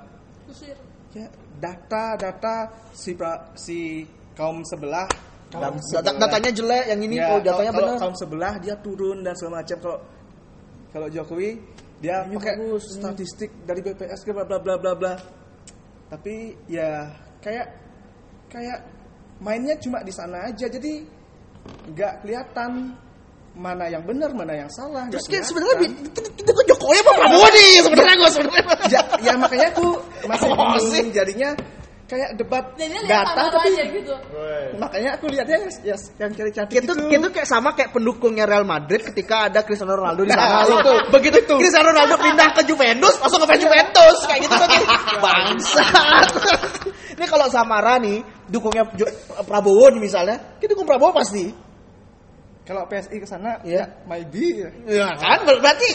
Speaker 2: Kusir.
Speaker 5: ya data-data si pra- si kaum sebelah
Speaker 1: Dat-
Speaker 5: kaum
Speaker 1: dat-
Speaker 5: sebelah.
Speaker 1: datanya jelek, yang ini
Speaker 5: Ya,
Speaker 1: oh datanya
Speaker 5: kalau-
Speaker 1: benar.
Speaker 5: kalau kaum sebelah dia turun dan segala macam kalau kalau Jokowi dia
Speaker 1: Ini
Speaker 5: pakai
Speaker 1: bagus, ini.
Speaker 5: statistik dari BPS ke bla bla bla bla bla tapi ya kayak kayak mainnya cuma di sana aja jadi nggak kelihatan mana yang benar mana yang salah nggak
Speaker 1: Terus kayak
Speaker 5: kelihatan.
Speaker 1: sebenarnya bi- kita kita kan tuh Jokowi apa Prabowo nih sebenarnya gua sebenarnya. [LAUGHS]
Speaker 5: ya, ya makanya aku masih
Speaker 1: Oh,
Speaker 5: bingung
Speaker 1: sih.
Speaker 5: jadinya kayak debat
Speaker 2: Dan dia lihat
Speaker 5: data
Speaker 2: sama
Speaker 5: tapi
Speaker 2: aja gitu.
Speaker 5: makanya aku lihatnya yes, yes, yang gitu. cari cantik
Speaker 1: Itu,
Speaker 5: itu,
Speaker 1: itu kayak gitu. sama kayak pendukungnya Real Madrid ketika ada Cristiano Ronaldo di sana.
Speaker 5: Nah,
Speaker 1: Lo-
Speaker 5: itu.
Speaker 1: [LAUGHS] Begitu Cristiano Ronaldo pindah ke Juventus, langsung ke fans Juventus kayak gitu [LAUGHS] kan. Bangsat. [LAUGHS] Ini kalau Samara nih dukungnya Ju- Prabowo nih misalnya, kita dukung Prabowo pasti.
Speaker 5: kalau PSI ke sana ya
Speaker 1: Iya.
Speaker 5: maybe ya.
Speaker 3: Iya.
Speaker 1: Ya kan Ber- [LAUGHS] berarti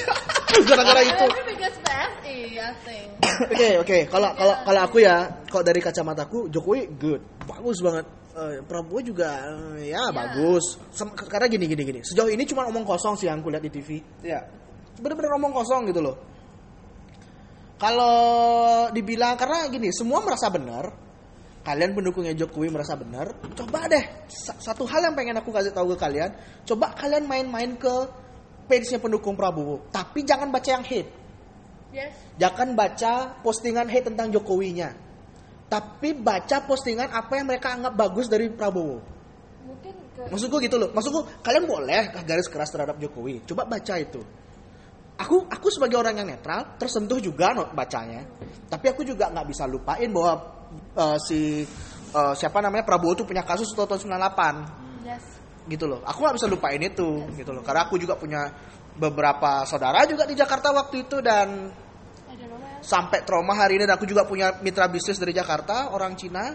Speaker 1: gara-gara itu.
Speaker 2: Maybe because PSI, I think.
Speaker 1: Oke oke kalau kalau kalau aku ya kalau dari kacamataku Jokowi good bagus banget Eh, Prabowo juga eh, ya bagus Sem- karena gini gini gini sejauh ini cuma omong kosong sih yang aku lihat di TV
Speaker 5: ya
Speaker 1: bener-bener omong kosong gitu loh kalau dibilang karena gini semua merasa benar kalian pendukungnya Jokowi merasa benar coba deh sa- satu hal yang pengen aku kasih tahu ke kalian coba kalian main-main ke page-nya pendukung Prabowo tapi jangan baca yang hate
Speaker 2: Yes.
Speaker 1: Jangan baca postingan hate tentang Jokowinya. Tapi baca postingan apa yang mereka anggap bagus dari Prabowo.
Speaker 2: Mungkin ke
Speaker 1: Maksudku gitu loh. Maksudku kalian boleh garis keras terhadap Jokowi. Coba baca itu. Aku aku sebagai orang yang netral tersentuh juga no- bacanya. Tapi aku juga nggak bisa lupain bahwa eh, si eh, siapa namanya Prabowo itu punya kasus tahun 98
Speaker 2: yes.
Speaker 1: gitu loh. Aku nggak bisa lupain itu gitu loh. Karena aku juga punya beberapa saudara juga di Jakarta waktu itu dan
Speaker 2: I don't know man.
Speaker 1: sampai trauma hari ini dan aku juga punya mitra bisnis dari Jakarta orang Cina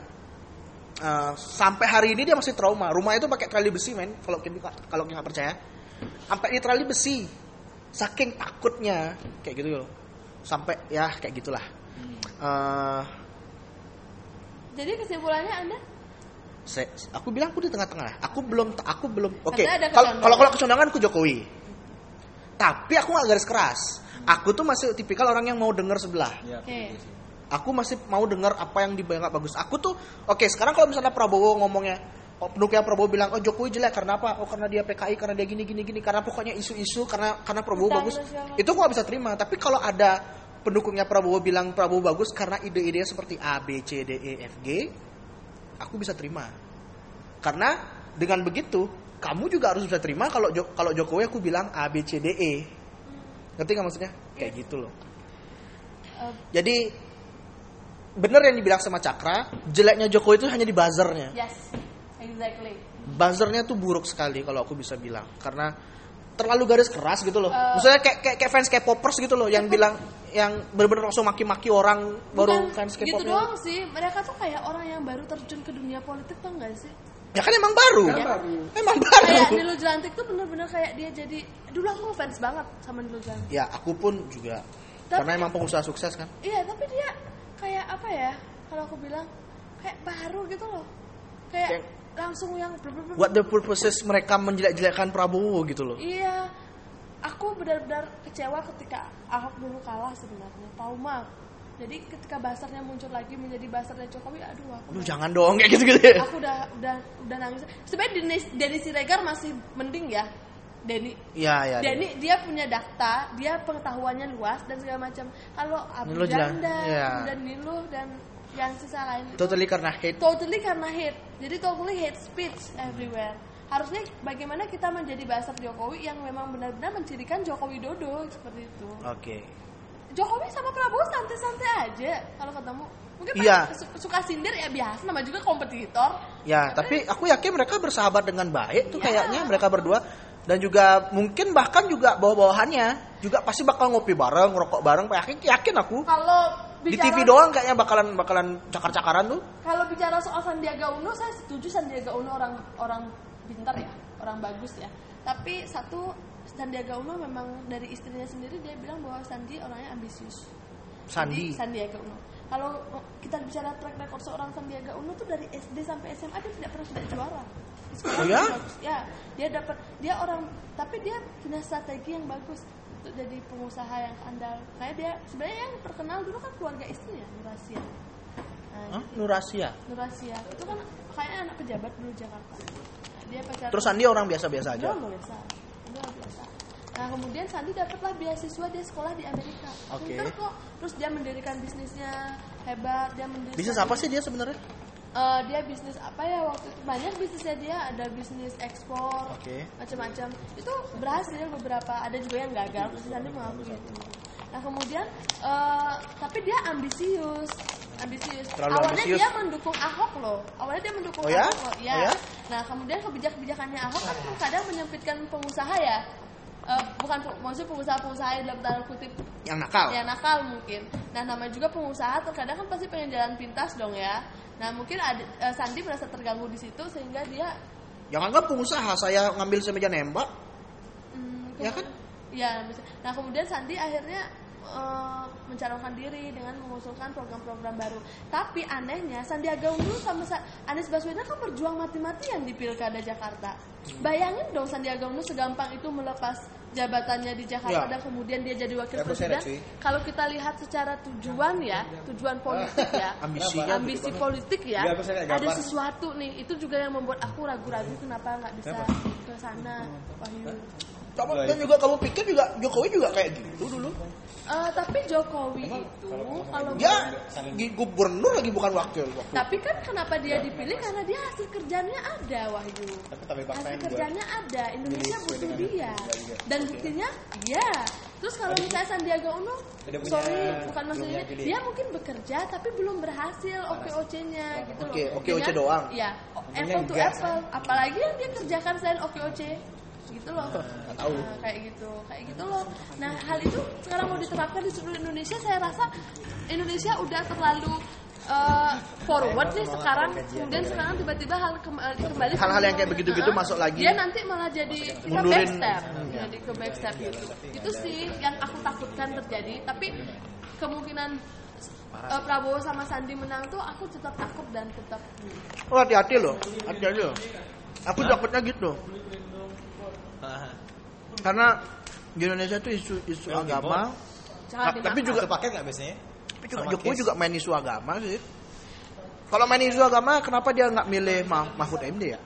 Speaker 1: Eh, sampai hari ini dia masih trauma rumah itu pakai trali besi men kalau kita kalau kita nggak percaya sampai di trali besi saking takutnya kayak gitu loh sampai ya kayak gitulah Eh,
Speaker 2: Jadi kesimpulannya Anda
Speaker 1: saya- aku bilang aku di tengah-tengah lah. aku belum aku belum oke
Speaker 2: Karena ada
Speaker 1: kalau
Speaker 2: kecondongan.
Speaker 1: kalau kalau kecondongan aku Jokowi tapi aku nggak garis keras aku tuh masih tipikal orang yang mau dengar sebelah
Speaker 2: Oke.
Speaker 3: Ya, aku juga sih.
Speaker 1: aku masih mau dengar apa yang dibayangkan bagus. Aku tuh oke sekarang kalau misalnya Prabowo ngomongnya oh, pendukungnya Prabowo bilang oh Jokowi jelek karena apa? Oh karena dia PKI, karena dia gini gini gini, karena pokoknya isu-isu karena karena Prabowo
Speaker 2: Tentang
Speaker 1: bagus.
Speaker 2: sosial.
Speaker 1: Itu gua nggak bisa terima. Tapi kalau ada pendukungnya Prabowo bilang Prabowo bagus karena ide-ide seperti A B C D E F G, aku bisa terima. Karena dengan begitu kamu juga harus bisa terima kalau Jo- kalau Jokowi aku bilang A B C D E. Ngerti nggak maksudnya? Kayak gitu loh.
Speaker 2: Eh,
Speaker 1: Jadi bener yang dibilang sama Cakra, jeleknya Jokowi itu hanya di buzzernya.
Speaker 2: yes. Exactly.
Speaker 1: Buzzernya tuh buruk sekali kalau aku bisa bilang karena terlalu garis keras gitu loh.
Speaker 2: Eh. Iya.
Speaker 1: Misalnya kayak kayak, kayak fans K-popers gitu loh yang bilang yang bener-bener langsung maki-maki orang baru kan
Speaker 2: Bukan
Speaker 1: fans
Speaker 2: gitu
Speaker 1: K-popnya.
Speaker 2: doang sih. Mereka tuh kayak orang yang baru terjun ke dunia politik tuh enggak
Speaker 1: [LAUGHS]
Speaker 2: sih?
Speaker 1: Ya kan emang baru.
Speaker 5: Kan baru.
Speaker 1: Emang baru.
Speaker 2: Iya. kayak Nilu Jelantik tuh bener-bener kayak dia jadi dulu aku fans banget sama Nilu Jelantik
Speaker 1: Ya aku pun juga
Speaker 2: Tapi-
Speaker 1: karena emang pengusaha sukses kan.
Speaker 2: iya tapi dia kayak apa ya kalau aku bilang kayak baru gitu loh kayak
Speaker 1: Kayak-
Speaker 2: langsung yang blub, blub, blub.
Speaker 1: What the purposes mereka menjelek-jelekkan Prabowo gitu loh.
Speaker 2: iya aku benar-benar kecewa ketika Ahok dulu kalah sebenarnya trauma jadi ketika basarnya muncul lagi menjadi basarnya Jokowi aduh aku
Speaker 1: Aduh jangan dong kayak gitu-gitu ya.
Speaker 2: aku udah udah udah nangis sebenarnya Denny, Denny Siregar masih mending ya Denny
Speaker 1: Ya ya. ya.
Speaker 2: Dan ini dia punya data, dia pengetahuannya luas dan segala macam. Kalau Abdul
Speaker 1: Nilu jelas,
Speaker 2: Janda,
Speaker 1: iya.
Speaker 2: dan Nilu dan yang sisa lain itu
Speaker 1: Totally karena hate.
Speaker 2: totally karena hate. Jadi totally hate speech everywhere. Harusnya bagaimana kita menjadi bahasa Jokowi yang memang benar-benar mencirikan Jokowi Dodo seperti itu.
Speaker 1: Oke.
Speaker 2: Jokowi sama Prabowo santai-santai aja kalau ketemu. Mungkin
Speaker 1: Iya.
Speaker 2: paling su- suka sindir ya biasa, nama juga kompetitor.
Speaker 1: Ya, tapi aku yakin mereka bersahabat dengan baik tuh
Speaker 2: Ya.
Speaker 1: kayaknya mereka berdua dan juga mungkin bahkan juga bawa-bawahannya juga pasti bakal ngopi bareng, ngerokok bareng. Yakin yakin aku.
Speaker 2: Kalau
Speaker 1: Di
Speaker 2: bicara
Speaker 1: TV doang kayaknya bakalan bakalan cakar-cakaran tuh.
Speaker 2: Kalau bicara soal Sandiaga Uno, saya setuju Sandiaga Uno orang orang pintar ya, orang bagus ya. Tapi satu Sandiaga Uno memang dari istrinya sendiri dia bilang bahwa Sandi orangnya ambisius.
Speaker 1: Sandi.
Speaker 2: Jadi, Sandiaga Uno. Kalau kita bicara track record seorang Sandiaga Uno tuh dari SD sampai SMA dia tidak pernah tidak juara. Di sekolah
Speaker 1: Oh
Speaker 2: dia
Speaker 1: ya?
Speaker 2: bagus. Ya, dia dapat dia orang tapi dia punya strategi yang bagus untuk jadi pengusaha yang andal. Kayak dia sebenarnya yang terkenal dulu kan keluarga istrinya, Nurasia. Nah,
Speaker 1: Hah? Nurasia.
Speaker 2: Nurasia itu kan kayaknya anak pejabat dulu Jakarta Nah, dia pacar
Speaker 1: Terus Sandi orang biasa-biasa aja.
Speaker 2: Dia orang biasa Dia orang biasa nah kemudian Sandi dapatlah beasiswa dia sekolah di Amerika
Speaker 1: Oke.
Speaker 2: Pinter kok terus dia mendirikan bisnisnya hebat dia mendirikan
Speaker 1: Bisnis apa sih dia sebenarnya?
Speaker 2: Eh, dia bisnis apa ya waktu itu banyak bisnisnya dia ada bisnis ekspor
Speaker 1: Oke.
Speaker 2: macam-macam itu berhasil beberapa ada juga yang gitu. gagal terus Sandi mengakui itu nah kemudian eh, tapi dia ambisius ambisius.
Speaker 1: Terlalu
Speaker 2: Awalnya
Speaker 1: ambisius.
Speaker 2: dia mendukung Ahok loh. Awalnya dia mendukung
Speaker 1: Oh ya?
Speaker 2: Ahok loh. Iya.
Speaker 1: Oh ya?
Speaker 2: Nah, kemudian kebijakan-kebijakannya Ahok kan kadang menyempitkan pengusaha ya. Eh, bukan pe- maksudnya pengusaha-pengusaha yang dalam tanda kutip
Speaker 1: yang nakal
Speaker 2: ya nakal mungkin. Nah, namanya juga pengusaha terkadang kan pasti pengen jalan pintas dong ya. Nah, mungkin ada, eh, Sandi merasa terganggu di situ sehingga dia
Speaker 1: jangan kan pengusaha saya ngambil semeja nembak
Speaker 2: Hmm,
Speaker 1: Ya
Speaker 2: kemudian-
Speaker 1: kan?
Speaker 2: Iya, bisa. Nah, kemudian Sandi akhirnya eh, mencalonkan diri dengan mengusulkan program-program baru. Tapi anehnya Sandiaga Uno sama Sa- Anies Baswedan kan berjuang mati-matian di Pilkada Jakarta.
Speaker 1: Hmm.
Speaker 2: Bayangin dong Sandiaga Uno segampang itu melepas jabatannya di Jakarta
Speaker 1: Ya.
Speaker 2: dan kemudian dia jadi wakil
Speaker 1: Ya, aku
Speaker 2: presiden.
Speaker 1: seret sih. Ah.
Speaker 2: Kalau kita lihat secara tujuan ya, tujuan politik ya,
Speaker 1: [LAUGHS] Ambisinya
Speaker 2: ambisi politik ya,
Speaker 3: Nggak, aku seret
Speaker 2: ada
Speaker 3: gambar.
Speaker 2: sesuatu nih. Itu juga yang membuat aku ragu-ragu kenapa nggak bisa ke sana,
Speaker 1: Hmm.
Speaker 2: Wahyu.
Speaker 1: Kamu- dan juga kamu pikir juga Jokowi juga kayak gitu dulu
Speaker 2: Eh, tapi Jokowi itu kalau
Speaker 1: dia gi- gubernur lagi bukan wakil wakil
Speaker 2: tapi kan kenapa dia dipilih karena dia hasil kerjanya ada Wahyu
Speaker 3: Tapi tapi
Speaker 2: hasil
Speaker 3: faktanya juga.
Speaker 2: kerjanya ada Indonesia butuh dia dan buktinya iya terus kalau misalnya Sandiaga Uno
Speaker 3: Udah punya-
Speaker 2: sorry bukan
Speaker 3: belum
Speaker 2: maksudnya
Speaker 3: yang gede.
Speaker 2: dia mungkin bekerja tapi belum berhasil OKOC-nya gitu loh
Speaker 1: Oke, OKOC
Speaker 2: Dengan-
Speaker 1: doang.
Speaker 2: iya o- apple to apple apalagi yang dia kerjakan selain OKOC gitu loh Nah, kayak gitu kayak gitu loh nah hal itu sekarang mau diterapkan di seluruh Indonesia saya rasa Indonesia udah terlalu eh, forward nih sekarang kemudian sekarang tiba-tiba hal kem- eh, kembali
Speaker 1: Hal-hal yang kayak begitu-gitu
Speaker 2: Heeh.
Speaker 1: masuk lagi.
Speaker 2: dia nanti malah jadi kita
Speaker 1: Mundurin. Iya.
Speaker 2: backstep jadi ke backstep gitu itu sih yang aku takutkan terjadi tapi kemungkinan eh, Prabowo sama Sandi menang tuh aku tetap takut dan tetap
Speaker 1: oh hati-hati loh hati-hati loh aku takutnya gitu
Speaker 3: Ah,
Speaker 1: karena di Indonesia tuh isu isu
Speaker 3: Memang
Speaker 1: agama Ta-
Speaker 2: jangan
Speaker 1: tapi
Speaker 2: dimakan.
Speaker 1: juga
Speaker 3: Satu paket nggak biasanya?
Speaker 1: Tapi juga
Speaker 3: Sama
Speaker 1: Jokowi
Speaker 3: case.
Speaker 1: juga main isu agama sih. Kalau main isu agama, kenapa dia nggak milih Ma- Mahfud MD ya?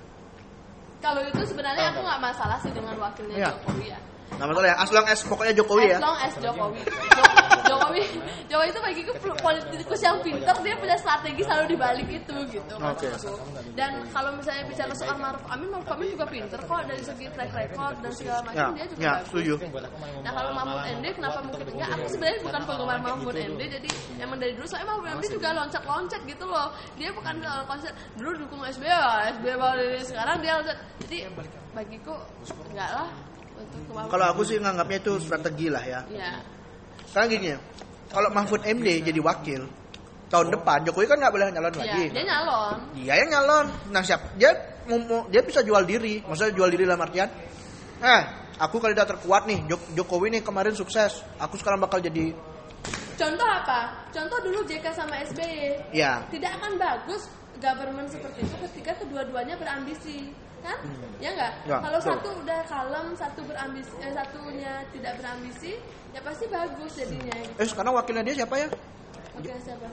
Speaker 2: kalau itu sebenarnya aku nggak masalah sih dengan wakilnya
Speaker 1: Ah. Iya.
Speaker 2: Jokowi ya
Speaker 1: Nah, masalah ya. As long as pokoknya Jokowi ya.
Speaker 2: As long as Jokowi. Jok- Jokowi, Jokowi itu bagiku pol- politikus yang pintar, dia punya strategi selalu dibalik itu gitu maksudku. Dan kalau misalnya bicara soal Maruf Amin, Maruf Amin juga pintar kok dari segi track record dan segala
Speaker 1: Ya,
Speaker 2: macam dia juga
Speaker 1: ya,
Speaker 2: bagus.
Speaker 1: setuju.
Speaker 3: Buat aku malah
Speaker 2: Nah kalau Mahfud MD kenapa mungkin enggak? Aku sebenarnya bukan penggemar Mahfud MD jadi emang dari dulu soalnya Mahfud MD juga loncat-loncat gitu loh. Dia bukan kalau konser dulu dukung SBY, ya, SBY baru dari sekarang dia loncat. Jadi bagiku enggak lah untuk ke Mahfud.
Speaker 1: Kalau aku sih nganggapnya itu strategi lah ya.
Speaker 2: Ya.
Speaker 1: Karena gini, kalau Mahfud MD jadi wakil tahun depan, Jokowi kan nggak boleh nyalon
Speaker 2: Ya,
Speaker 1: lagi.
Speaker 2: dia nyalon.
Speaker 1: Dia yang nyalon. Nah, siap. Dia mau- mau- dia bisa jual diri. Maksudnya jual diri dalam artian, eh, aku kandidat terkuat nih. Jok- Jokowi nih kemarin sukses. Aku sekarang bakal jadi,
Speaker 2: Contoh apa? Contoh dulu JK sama SBY.
Speaker 1: ya,
Speaker 2: Tidak akan bagus government seperti itu ketika kedua-duanya berambisi, kan? Ya enggak?
Speaker 1: Ya,
Speaker 2: Kalau
Speaker 1: betul.
Speaker 2: satu udah kalem, satu berambisi, eh, satunya tidak berambisi, ya pasti bagus jadinya.
Speaker 1: eh sekarang wakilnya dia siapa ya?
Speaker 2: Oke, siapa?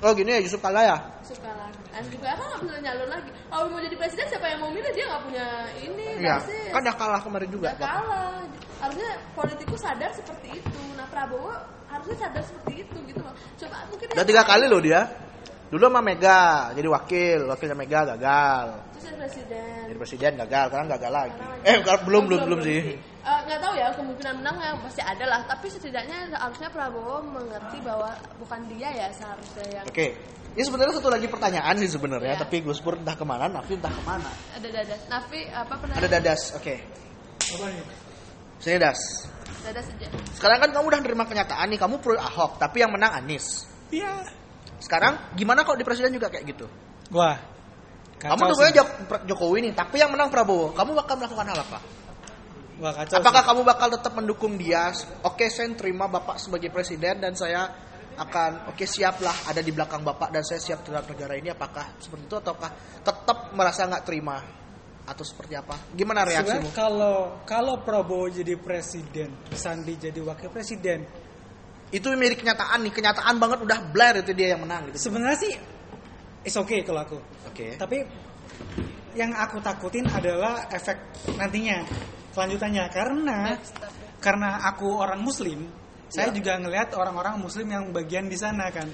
Speaker 1: Oh gini ya Yusuf Kala ya?
Speaker 2: Suka lah. Dan juga kan nggak bisa nyalon lagi. Kalau mau jadi presiden siapa yang mau milih dia nggak punya ini,
Speaker 1: Iya,
Speaker 2: basis.
Speaker 1: kan udah kalah kemarin juga.
Speaker 2: Nggak Iya, kalah. Harusnya politikus sadar seperti itu. Nah Prabowo harusnya sadar seperti itu gitu loh. Coba mungkin
Speaker 1: Udah
Speaker 2: yang
Speaker 1: tiga
Speaker 2: lain.
Speaker 1: kali loh dia. Dulu sama Mega, jadi wakil, wakilnya Mega gagal.
Speaker 2: Terus yang presiden.
Speaker 1: Jadi presiden gagal, sekarang gagal lagi. Eh, bukan- belum belum belum sih.
Speaker 2: Eh, nggak tahu ya kemungkinan menang ya, pasti ada lah. Tapi setidaknya harusnya Prabowo mengerti bahwa bukan dia ya seharusnya yang
Speaker 1: Oke. Ini sebenarnya satu lagi pertanyaan nih sebenarnya,
Speaker 2: Iya.
Speaker 1: tapi Gus Pur entah kemana, Nafi entah kemana.
Speaker 2: ada dadas. Nafi apa pernah
Speaker 1: Ada Dadas, oke. Sini Das.
Speaker 2: dadas aja.
Speaker 1: Sekarang kan kamu udah nerima kenyataan nih, kamu pro Ahok, tapi yang menang Anies.
Speaker 4: Iya.
Speaker 1: Sekarang gimana kalau di presiden juga kayak gitu?
Speaker 4: Wah.
Speaker 1: Kamu
Speaker 4: Kacau
Speaker 1: dukungnya
Speaker 4: sih.
Speaker 1: Jok- Jokowi nih, tapi yang menang Prabowo. Kamu bakal melakukan hal apa?
Speaker 4: Wah, kacau
Speaker 1: Apakah
Speaker 4: sih.
Speaker 1: kamu bakal tetap mendukung dia? Oke, saya terima Bapak sebagai presiden dan saya akan oke siaplah ada di belakang Bapak dan saya siap terhadap negara ini apakah seperti itu ataukah tetap merasa nggak terima atau seperti apa? Gimana
Speaker 4: Sebenarnya
Speaker 1: reaksimu?
Speaker 4: kalau kalau Prabowo jadi presiden, Sandi jadi wakil presiden,
Speaker 1: Itu mirip kenyataan nih, kenyataan banget udah blur itu dia yang menang gitu.
Speaker 4: sebenarnya sih it's okay kalau aku.
Speaker 1: Oke.
Speaker 4: Tapi yang aku takutin adalah efek nantinya kelanjutannya karena karena aku orang muslim, saya
Speaker 1: Iya.
Speaker 4: juga ngelihat orang-orang muslim yang bagian di sana kan.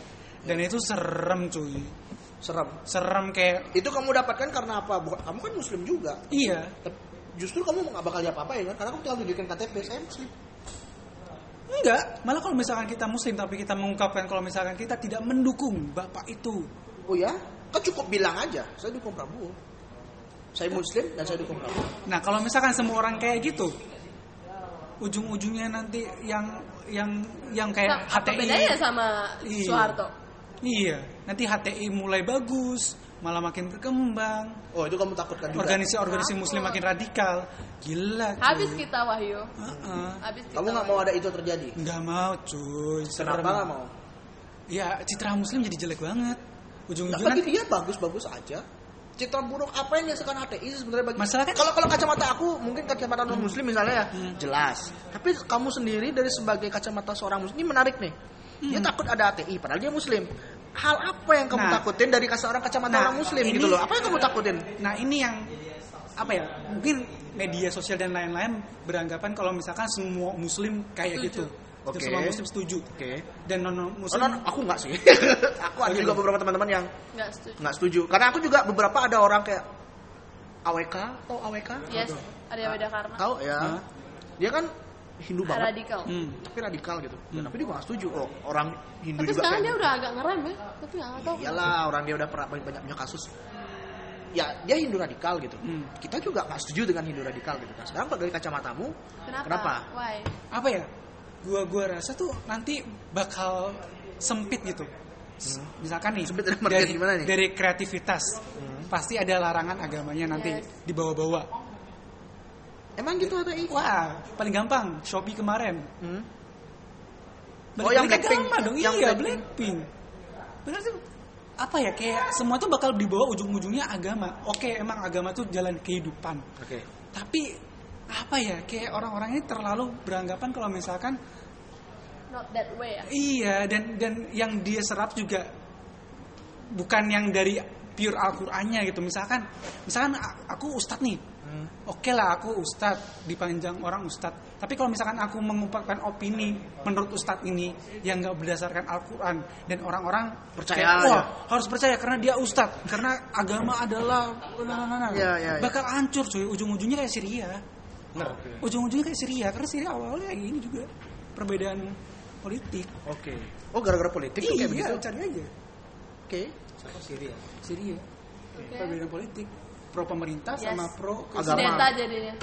Speaker 4: Dan
Speaker 1: Iya.
Speaker 4: itu serem cuy.
Speaker 1: Serem.
Speaker 4: Serem kayak
Speaker 1: Itu kamu dapatkan karena apa? Bukan, kamu kan muslim juga.
Speaker 4: iya,
Speaker 1: Tep- Justru kamu nggak bakal diapa-apain kan? Karena kamu tinggal tunjukin KTP saya muslim.
Speaker 4: Enggak, malah kalau misalkan kita muslim tapi kita mengungkapkan kalau misalkan kita tidak mendukung bapak itu.
Speaker 1: Oh ya? Kan cukup bilang aja, saya dukung Prabowo. Saya muslim dan saya dukung Prabowo.
Speaker 4: Nah, kalau misalkan semua orang kayak gitu, ujung-ujungnya nanti yang yang yang
Speaker 1: Eh,
Speaker 4: kayak
Speaker 2: Sa- Nah, apa
Speaker 4: HTI.
Speaker 2: bedanya sama
Speaker 4: Iya.
Speaker 2: Soeharto?
Speaker 4: Iya, nanti HTI mulai bagus, malah makin berkembang.
Speaker 1: Oh, itu kamu takutkan juga.
Speaker 4: Organisasi-organisasi muslim
Speaker 2: Takut.
Speaker 4: makin radikal. Gila. cuy.
Speaker 2: Habis gitu. kita Wahyu.
Speaker 4: Heeh.
Speaker 2: Habis kita.
Speaker 1: kamu nggak mau ada itu terjadi.
Speaker 4: Nggak mau cuy. Serem.
Speaker 1: Kenapa nggak mau?
Speaker 4: Ya, citra muslim jadi jelek banget.
Speaker 1: Nah,
Speaker 4: Ujung-ujungnya
Speaker 1: bagi
Speaker 4: nanti-
Speaker 1: dia bagus-bagus aja. Citra buruk apa yang dihasilkan HTI sih sebenarnya bagi
Speaker 4: Masalah kan- Hmm.
Speaker 1: kalau kalau kacamata aku mungkin kacamata non muslim misalnya ya jelas tapi kamu sendiri dari sebagai kacamata seorang muslim ini menarik nih dia takut ada HTI padahal dia muslim hal apa yang kamu
Speaker 4: Hmm. Nah.
Speaker 1: takutin dari kasa orang kacamata
Speaker 4: Nah,
Speaker 1: orang muslim
Speaker 4: ini-
Speaker 1: gitu loh apa yang kamu takutin
Speaker 4: Nah, ini yang apa ya? Mungkin media sosial dan lain-lain beranggapan kalau misalkan semua muslim kayak gitu.
Speaker 1: Oke.
Speaker 4: Semua muslim setuju. Dan non
Speaker 1: Oh,
Speaker 4: muslim
Speaker 1: non, aku nggak sih
Speaker 4: [LAUGHS]
Speaker 1: aku ada
Speaker 4: Oh,
Speaker 1: juga
Speaker 4: gitu.
Speaker 1: beberapa teman-teman yang
Speaker 2: Nggak setuju.
Speaker 1: nggak setuju karena aku juga beberapa ada orang kayak AWK oh AWK
Speaker 2: Yes, Arya Beda Karma.
Speaker 1: tahu ya
Speaker 4: Hah?
Speaker 1: dia kan Hindu banget
Speaker 2: Radikal.
Speaker 4: Hmm.
Speaker 1: tapi radikal gitu Dan tapi dia gak setuju oh, orang Hindu
Speaker 2: Tapi
Speaker 1: juga
Speaker 2: sekarang
Speaker 1: kayak
Speaker 2: dia udah agak ngerem ya. Tapi nggak tahu.
Speaker 1: iyalah orang dia udah pernah banyak, banyak punya kasus ya dia Hindu radikal gitu
Speaker 4: Hmm.
Speaker 1: kita juga gak setuju dengan Hindu radikal gitu nah, sekarang kalau dari kacamatamu
Speaker 2: Kenapa?
Speaker 1: kenapa?
Speaker 2: Why?
Speaker 4: apa ya gua gua rasa tuh nanti bakal sempit gitu S- misalkan nih
Speaker 1: Hmm. Sempit dalam artian
Speaker 4: dari,
Speaker 1: gimana nih? Hmm.
Speaker 4: dari kreativitas pasti ada larangan agamanya nanti
Speaker 2: Yes.
Speaker 4: dibawa-bawa
Speaker 1: emang gitu ada i
Speaker 4: wah paling gampang Shopee kemarin
Speaker 1: Hmm?
Speaker 4: balik
Speaker 1: Oh, yang
Speaker 4: balik
Speaker 1: Blackpink.
Speaker 4: agama dong
Speaker 1: Yang
Speaker 4: iya
Speaker 1: Blackpink.
Speaker 4: Blackpink benar tuh apa ya kayak semua tuh bakal dibawa ujung-ujungnya agama oke emang agama tuh jalan kehidupan
Speaker 1: oke
Speaker 4: tapi apa ya kayak orang-orang ini terlalu beranggapan kalau misalkan
Speaker 2: Not that way ya.
Speaker 4: Iya, dan dan yang dia serap juga bukan yang dari pure Al-Qur'annya gitu. Misalkan misalkan a- aku ustad nih.
Speaker 1: Hmm.
Speaker 4: Oke lah aku ustad, dipanjang orang ustad. Tapi kalau misalkan aku mengungkapkan opini menurut ustad ini yang nggak berdasarkan Al-Qur'an dan orang-orang
Speaker 1: Percaya
Speaker 4: kayak,
Speaker 1: aja.
Speaker 4: Wah, harus percaya karena dia ustad, karena agama adalah nah, nah, nah, nah."
Speaker 1: Iya, iya, iya.
Speaker 4: bakal hancur cuy ujung-ujungnya kayak Syria. Ujung-ujungnya kayak Syria karena Syria awalnya kayak gini juga perbedaan politik.
Speaker 1: oke oh gara-gara politik tuh kayak begitu
Speaker 4: Iya,
Speaker 1: oke
Speaker 4: cari aja. Syria.
Speaker 2: Oke.
Speaker 4: Perbedaan politik. Pro pemerintah
Speaker 2: Yes.
Speaker 4: sama pro
Speaker 1: Agama.
Speaker 2: Sedeta jadinya.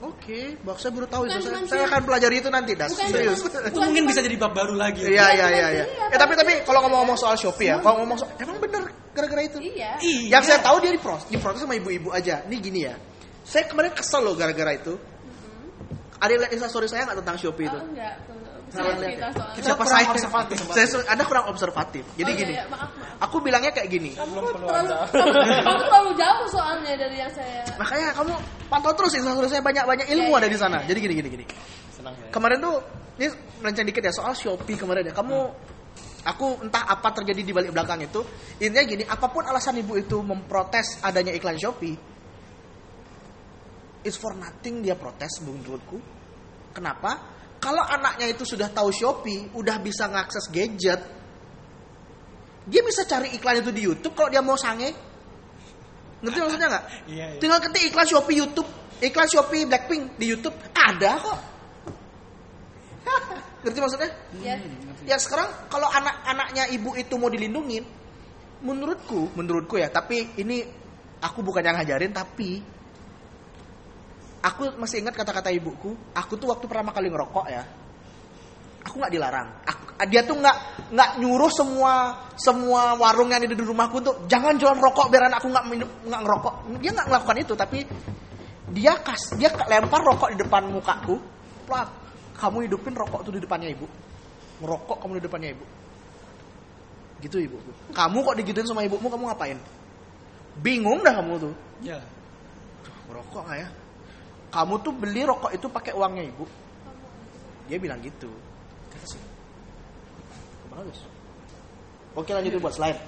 Speaker 1: Oke, Bang, saya baru tahu itu.
Speaker 2: Bukan,
Speaker 1: Saya,
Speaker 2: bukan
Speaker 1: saya
Speaker 2: sih.
Speaker 1: akan pelajari itu nanti, Das.
Speaker 2: Bukan,
Speaker 1: Serius.
Speaker 2: bukan.
Speaker 4: [LAUGHS] Itu mungkin bisa jadi bab baru lagi.
Speaker 1: Iya, iya,
Speaker 2: bukan
Speaker 1: iya,
Speaker 2: sih,
Speaker 1: iya.
Speaker 2: apa
Speaker 1: Eh, tapi
Speaker 2: sih?
Speaker 1: tapi kalau ngomong-ngomong soal Shopee ya, kalau ngomong soal, emang bener gara-gara itu.
Speaker 2: Iya.
Speaker 4: Iya.
Speaker 1: Yang saya tahu dia dipros- diprotes sama ibu-ibu aja. Ini gini ya. Saya kemarin kesel loh gara-gara itu. Ada yang lihat instastory saya nggak tentang Shopee itu?
Speaker 2: Mm-hmm. Oh, enggak. Tunggu.
Speaker 1: Salah
Speaker 2: Saya
Speaker 1: gitu. lihat
Speaker 2: cerita
Speaker 1: ya?
Speaker 2: soalnya.
Speaker 1: Siapa
Speaker 4: kurang
Speaker 1: saya?
Speaker 4: observatif.
Speaker 1: Saya sur- Anda kurang observatif. Jadi
Speaker 2: Oh, iya,
Speaker 1: gini,
Speaker 2: iya, maaf, maaf.
Speaker 1: aku bilangnya kayak gini.
Speaker 2: Kamu terlalu, [LAUGHS] kamu, kamu terlalu jauh soalnya dari yang saya.
Speaker 1: Makanya kamu pantau terus instastory saya banyak-banyak ilmu
Speaker 2: Iya, iya,
Speaker 1: ada di sana. Jadi gini gini gini.
Speaker 3: senang ya
Speaker 1: Kemarin tuh ini melenceng dikit ya soal Shopee kemarin ya. Kamu aku entah apa terjadi di balik belakang itu. Intinya gini, apapun alasan ibu itu memprotes adanya iklan Shopee, it's for nothing dia protes menurutku. Kenapa? Kalau anaknya itu sudah tahu Shopee, udah bisa ngakses gadget, dia bisa cari iklan itu di YouTube kalau dia mau sange.
Speaker 4: [LAUGHS]
Speaker 1: Ngerti maksudnya nggak?
Speaker 4: Iya, iya.
Speaker 1: Tinggal ketik iklan Shopee YouTube, iklan Shopee Blackpink di YouTube ada kok. [LAUGHS] Ngerti maksudnya?
Speaker 2: Ya.
Speaker 1: Ya sekarang kalau anak-anaknya ibu itu mau dilindungin, menurutku, menurutku ya, tapi ini aku bukan yang ngajarin tapi aku masih ingat kata-kata ibuku, aku tuh waktu pertama kali ngerokok ya. Aku nggak dilarang. Aku- dia tuh nggak nggak nyuruh semua semua warung yang ada di rumahku tuh jangan jualan rokok biar anakku nggak minum nggak ngerokok. Dia nggak melakukan itu tapi dia kas dia ke- lempar rokok di depan mukaku. Plak, kamu hidupin rokok tuh di depannya ibu. Ngerokok kamu di depannya ibu. Gitu ibu. Kamu kok digituin sama ibumu kamu ngapain? Bingung dah kamu tuh
Speaker 4: Iya.
Speaker 1: rokok nggak ya? Kamu tuh beli rokok itu pakai uangnya ibu. Dia bilang gitu. Kemana, Gus? Oke lanjutin buat slide.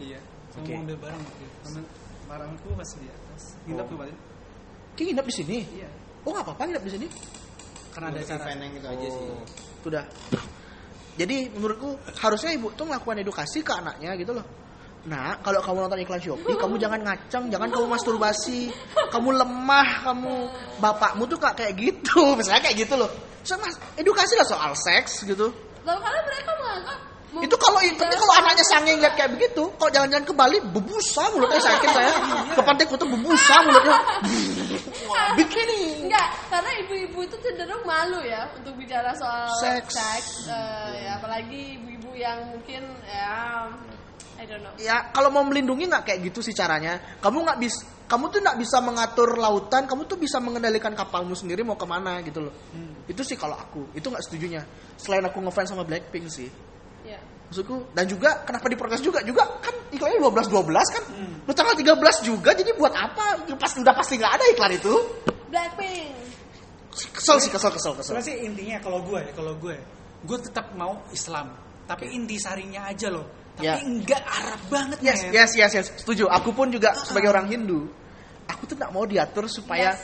Speaker 4: Iya. Sama
Speaker 1: Oke.
Speaker 4: mau ambil barang gitu. Sama barangku masih di atas. Kita
Speaker 1: Oh.
Speaker 4: tuh balik.
Speaker 1: Kita nginep di sini.
Speaker 4: Iya.
Speaker 1: Oh nggak apa-apa nginep di sini.
Speaker 4: Karena ada acara.
Speaker 3: event yang gitu aja sih
Speaker 1: Sudah. Oh, Jadi menurutku harusnya ibu tuh melakukan edukasi ke anaknya gitu loh. Nah, kalau kamu nonton iklan Shopee, kamu jangan ngacang, jangan kamu masturbasi, kamu lemah, kamu bapakmu tuh kayak kayak gitu, [LAUGHS] misalnya kayak gitu loh. sama edukasi lah soal seks gitu
Speaker 2: Lalu karena mereka menganggap
Speaker 1: itu kalau tapi kalau anaknya sange ngeliat kayak begitu kalau jalan-jalan ke Bali bebusa mulutnya sakit saya ke pantai kuta bebusa mulutnya Wah, bikini
Speaker 2: Enggak, karena ibu-ibu itu cenderung malu ya untuk bicara soal
Speaker 1: Seks. Hmm.
Speaker 2: seks, eh, ya, apalagi ibu-ibu yang mungkin ya I don't know.
Speaker 1: ya kalau mau melindungi nggak kayak gitu sih caranya kamu nggak bisa kamu tuh nggak bisa mengatur lautan kamu tuh bisa mengendalikan kapalmu sendiri mau kemana gitu loh itu sih kalau aku itu nggak setujunya selain aku ngefans sama Blackpink sih
Speaker 2: Ya.
Speaker 1: maksudku dan juga kenapa diprotes juga juga kan iklannya 12 12 kan lu tanggal 13 juga jadi buat apa pas udah pasti nggak ada iklan itu
Speaker 2: Blackpink.
Speaker 1: kesel sih kesel kesel kesel
Speaker 4: Sebenarnya sih intinya kalau gue, ya, kalau gue, gue tetap mau Islam, tapi intisarinya aja loh. Tapi
Speaker 1: Ya.
Speaker 4: enggak Arab banget
Speaker 1: yes
Speaker 4: men.
Speaker 1: yes yes yes setuju aku pun juga
Speaker 2: Ah.
Speaker 1: sebagai orang Hindu aku tuh nggak mau diatur supaya
Speaker 2: Yes.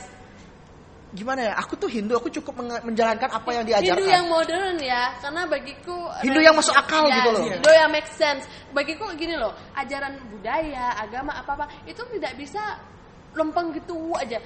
Speaker 1: gimana ya aku tuh Hindu aku cukup menge- menjalankan apa yang diajarkan
Speaker 2: Hindu yang modern ya, karena bagiku
Speaker 1: Hindu yang masuk akal
Speaker 2: Ya,
Speaker 1: gitu loh.
Speaker 2: Hindu yang make sense. Bagiku gini loh, ajaran budaya, agama apa-apa itu tidak bisa lempeng gitu aja.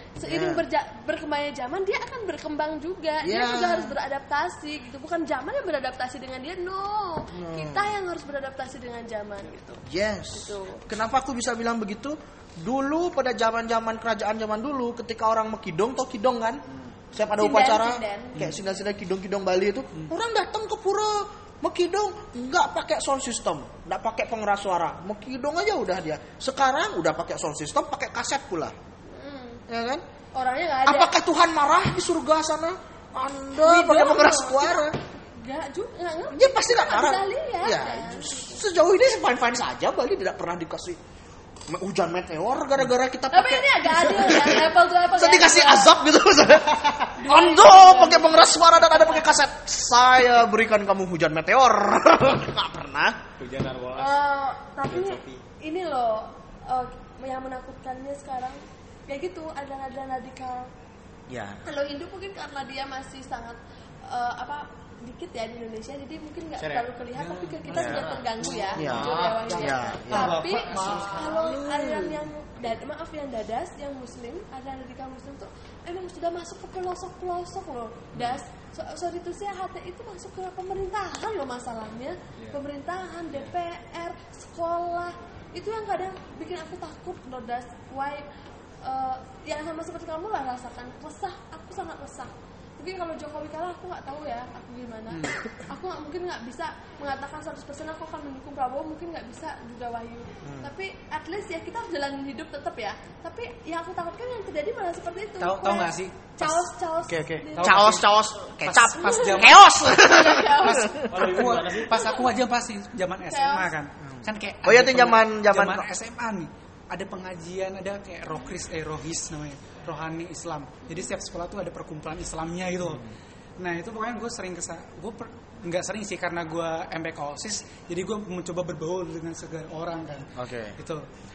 Speaker 1: Ya.
Speaker 2: Seiring berja- berkembangnya zaman, dia akan berkembang juga. Dia
Speaker 1: Ya.
Speaker 2: juga harus beradaptasi gitu. Bukan zaman yang beradaptasi dengan dia, no. Kita yang harus beradaptasi dengan zaman gitu.
Speaker 1: Yes.
Speaker 2: Gitu.
Speaker 1: Kenapa aku bisa bilang begitu? Dulu pada zaman-zaman kerajaan zaman dulu ketika orang mekidong atau kidong kan?
Speaker 2: Hmm.
Speaker 1: Siap ada
Speaker 2: Sinden,
Speaker 1: upacara
Speaker 2: sinden.
Speaker 1: kayak sinden-sinden kidong-kidong Bali itu,
Speaker 2: Hmm.
Speaker 1: orang datang ke pura mekidong nggak pakai sound system, nggak pakai pengeras suara. Mekidong aja udah dia. Sekarang udah pakai sound system, pakai kaset pula.
Speaker 2: Hmm.
Speaker 1: Ya kan?
Speaker 2: Orangnya nggak ada. Oh,
Speaker 1: Apakah Tuhan marah di surga sana? Anda
Speaker 2: Kidong
Speaker 1: pakai pengeras
Speaker 2: loh.
Speaker 1: suara.
Speaker 2: Nggak juga, nggak ngerti.
Speaker 1: Dia pasti nggak
Speaker 2: Nggak
Speaker 1: marah.
Speaker 2: bisa lihat,
Speaker 1: Ya,
Speaker 2: kan?
Speaker 1: sejauh ini sih fine fine saja. Bali tidak pernah dikasih me- hujan meteor gara-gara kita
Speaker 2: Tapi
Speaker 1: pakai
Speaker 2: ini agak adil ya, apple to apple.
Speaker 1: Saya
Speaker 2: ya.
Speaker 1: dikasih azab gitu maksudnya. Ando pakai pengeras suara dan ada pakai kaset. Saya berikan kamu hujan meteor. [LAUGHS] Nggak pernah.
Speaker 3: Hujan narwala.
Speaker 2: Eh, tapi
Speaker 3: Sophie.
Speaker 2: ini loh eh, yang menakutkannya sekarang ya gitu adan-adan radikal
Speaker 1: Ya.
Speaker 2: kalau Hindu mungkin karena dia masih sangat eh, apa dikit ya di Indonesia jadi mungkin nggak
Speaker 3: Syariah.
Speaker 2: terlalu kelihatan tapi ke kita sudah terganggu ya
Speaker 1: Iya.
Speaker 2: Hindu Dewa Hindu.
Speaker 1: Iya, iya.
Speaker 2: tapi
Speaker 3: Bapak masuk
Speaker 2: kalau aliran yang dad- maaf yang dadas yang muslim aliran radikal muslim tuh emang sudah masuk ke pelosok pelosok loh das so, sorry tuh sih HTI itu masuk ke pemerintahan loh masalahnya pemerintahan DPR sekolah itu yang kadang bikin aku takut loh das why eh, yang sama seperti kamu lah rasakan resah aku sangat resah mungkin kalau Jokowi kalah aku nggak tahu ya aku gimana
Speaker 1: Hmm.
Speaker 2: aku nggak mungkin nggak bisa mengatakan 100% aku akan mendukung Prabowo mungkin nggak bisa juga Wahyu
Speaker 1: Hmm.
Speaker 2: tapi at least ya kita harus jalanin hidup tetap ya tapi yang aku takutkan yang terjadi malah seperti itu
Speaker 4: Tahu- tahu nggak sih? Pas-
Speaker 2: caos caos
Speaker 1: Oke oke.
Speaker 2: di-
Speaker 4: Tahu
Speaker 2: [LAUGHS]
Speaker 1: Caos
Speaker 4: pasti.
Speaker 1: caos kecap
Speaker 4: pas zaman-
Speaker 1: chaos.
Speaker 2: Caos.
Speaker 3: Kalau ibu
Speaker 4: Aku-
Speaker 3: gimana sih?
Speaker 4: pas aku aja pasti zaman SMA kan. Kan kayak
Speaker 1: Oh iya, tuh
Speaker 4: ada peng-
Speaker 1: zaman- zaman-
Speaker 4: SMA nih. Ada pengajian, ada kayak rohkris eh rohis namanya, rohani Islam. Jadi setiap sekolah tuh ada perkumpulan Islamnya gitu.
Speaker 3: Hmm.
Speaker 4: loh. Nah, itu pokoknya gue sering kesana gue per- nggak sering sih karena gue MPK OSIS, jadi gue mencoba berbaur dengan segala orang kan.
Speaker 1: Oke.
Speaker 4: Gitu.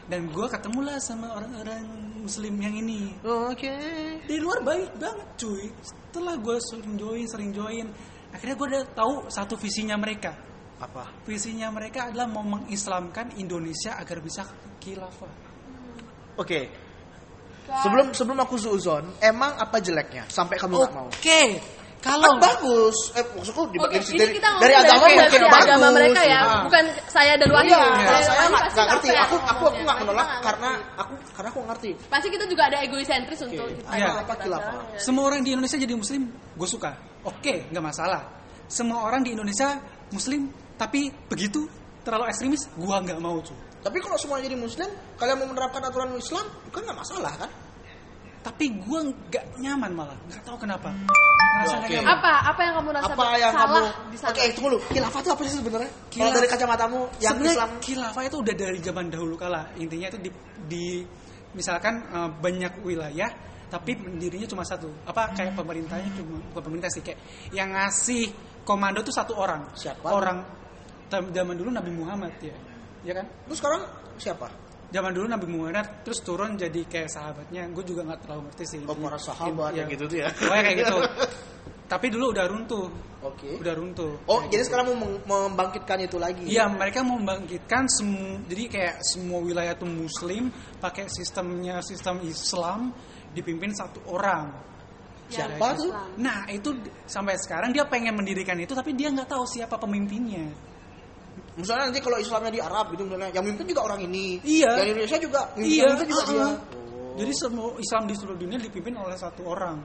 Speaker 4: Dan gue ketemulah sama orang-orang muslim yang ini
Speaker 1: Oke.
Speaker 4: di luar baik banget cuy setelah gue sering join sering join akhirnya gue udah tahu satu visinya mereka
Speaker 1: Apa?
Speaker 4: visinya mereka adalah mau mengislamkan Indonesia agar bisa khilafah
Speaker 1: Oke. Sebelum sebelum aku suuzon, emang apa jeleknya sampai kamu
Speaker 2: Oh.
Speaker 1: nggak mau?
Speaker 4: kalau
Speaker 1: Kan bagus. Eh, maksudku
Speaker 2: Oke,
Speaker 1: dibagi
Speaker 2: ini
Speaker 1: dari,
Speaker 2: kita ngomong
Speaker 1: dari agama mungkin
Speaker 2: versi
Speaker 1: bagus.
Speaker 2: agama mereka ya,
Speaker 1: Nah.
Speaker 2: bukan saya dan Wahyu.
Speaker 1: Iya,
Speaker 2: Saya dan
Speaker 1: saya
Speaker 2: Wahyu
Speaker 1: nggak
Speaker 2: pasti
Speaker 1: nggak ngerti.
Speaker 2: fair
Speaker 1: Aku aku aku
Speaker 2: ngomongnya.
Speaker 1: nggak
Speaker 2: Pasti
Speaker 1: menolak
Speaker 2: nggak
Speaker 1: karena
Speaker 2: ngerti.
Speaker 1: aku karena aku ngerti.
Speaker 2: pasti kita juga ada egosentris untuk kita.
Speaker 1: Ayo,
Speaker 2: kita
Speaker 1: Iya. apa kilafah?
Speaker 2: jalan, ya.
Speaker 4: semua orang di Indonesia jadi muslim gue suka oke nggak masalah semua orang di Indonesia muslim tapi begitu terlalu ekstremis gue nggak mau cuy
Speaker 1: Tapi kalau semua jadi muslim, kalian mau menerapkan aturan Islam, kan nggak masalah kan?
Speaker 4: tapi gue nggak nyaman malah nggak tahu kenapa Ngerasa nggak
Speaker 1: Oke.
Speaker 4: nyaman.
Speaker 2: Apa apa yang kamu rasa
Speaker 1: apa yang
Speaker 2: salah
Speaker 1: kamu
Speaker 2: di sana?
Speaker 1: Oke, tunggu dulu. Khilafah itu apa sih sebenarnya? Kalau
Speaker 4: Khilaf-
Speaker 1: dari kacamatamu yang
Speaker 4: Sebenarnya
Speaker 1: Islam
Speaker 4: khilafah itu udah dari zaman dahulu kala. Intinya itu di, di- misalkan eh, banyak wilayah tapi pendirinya cuma satu. Apa kayak pemerintahnya cuma bukan pemerintah sih kayak yang ngasih komando tuh satu orang.
Speaker 1: Siapa?
Speaker 4: Orang tam- zaman dulu Nabi Muhammad ya. Ya kan?
Speaker 1: Terus sekarang siapa?
Speaker 4: Zaman dulu Nabi Muhammad terus turun jadi kayak sahabatnya. Gue juga nggak terlalu ngerti sih. Iya.
Speaker 1: Oh, para sahabat yang gitu tuh ya.
Speaker 4: Pokoknya kayak gitu. tapi dulu udah runtuh.
Speaker 1: Oke.
Speaker 4: Udah runtuh.
Speaker 1: Oh, jadi
Speaker 4: Kayak gitu.
Speaker 1: sekarang mau meng- membangkitkan itu lagi.
Speaker 4: Iya, mereka membangkitkan semu- jadi kayak semua wilayah itu muslim pakai sistemnya sistem Islam dipimpin satu orang.
Speaker 1: Siapa
Speaker 2: yang
Speaker 1: tuh?
Speaker 2: Islam.
Speaker 4: Nah itu d- sampai sekarang dia pengen mendirikan itu tapi dia nggak tahu siapa pemimpinnya.
Speaker 1: Misalnya nanti kalau Islamnya di Arab gitu misalnya, yang mimpin juga orang ini.
Speaker 4: Iya.
Speaker 1: Yang Indonesia juga. yang
Speaker 4: Iya.
Speaker 1: Mimpin juga
Speaker 4: uh-uh.
Speaker 1: dia.
Speaker 3: Oh.
Speaker 4: Jadi semua Islam di seluruh dunia dipimpin oleh satu orang.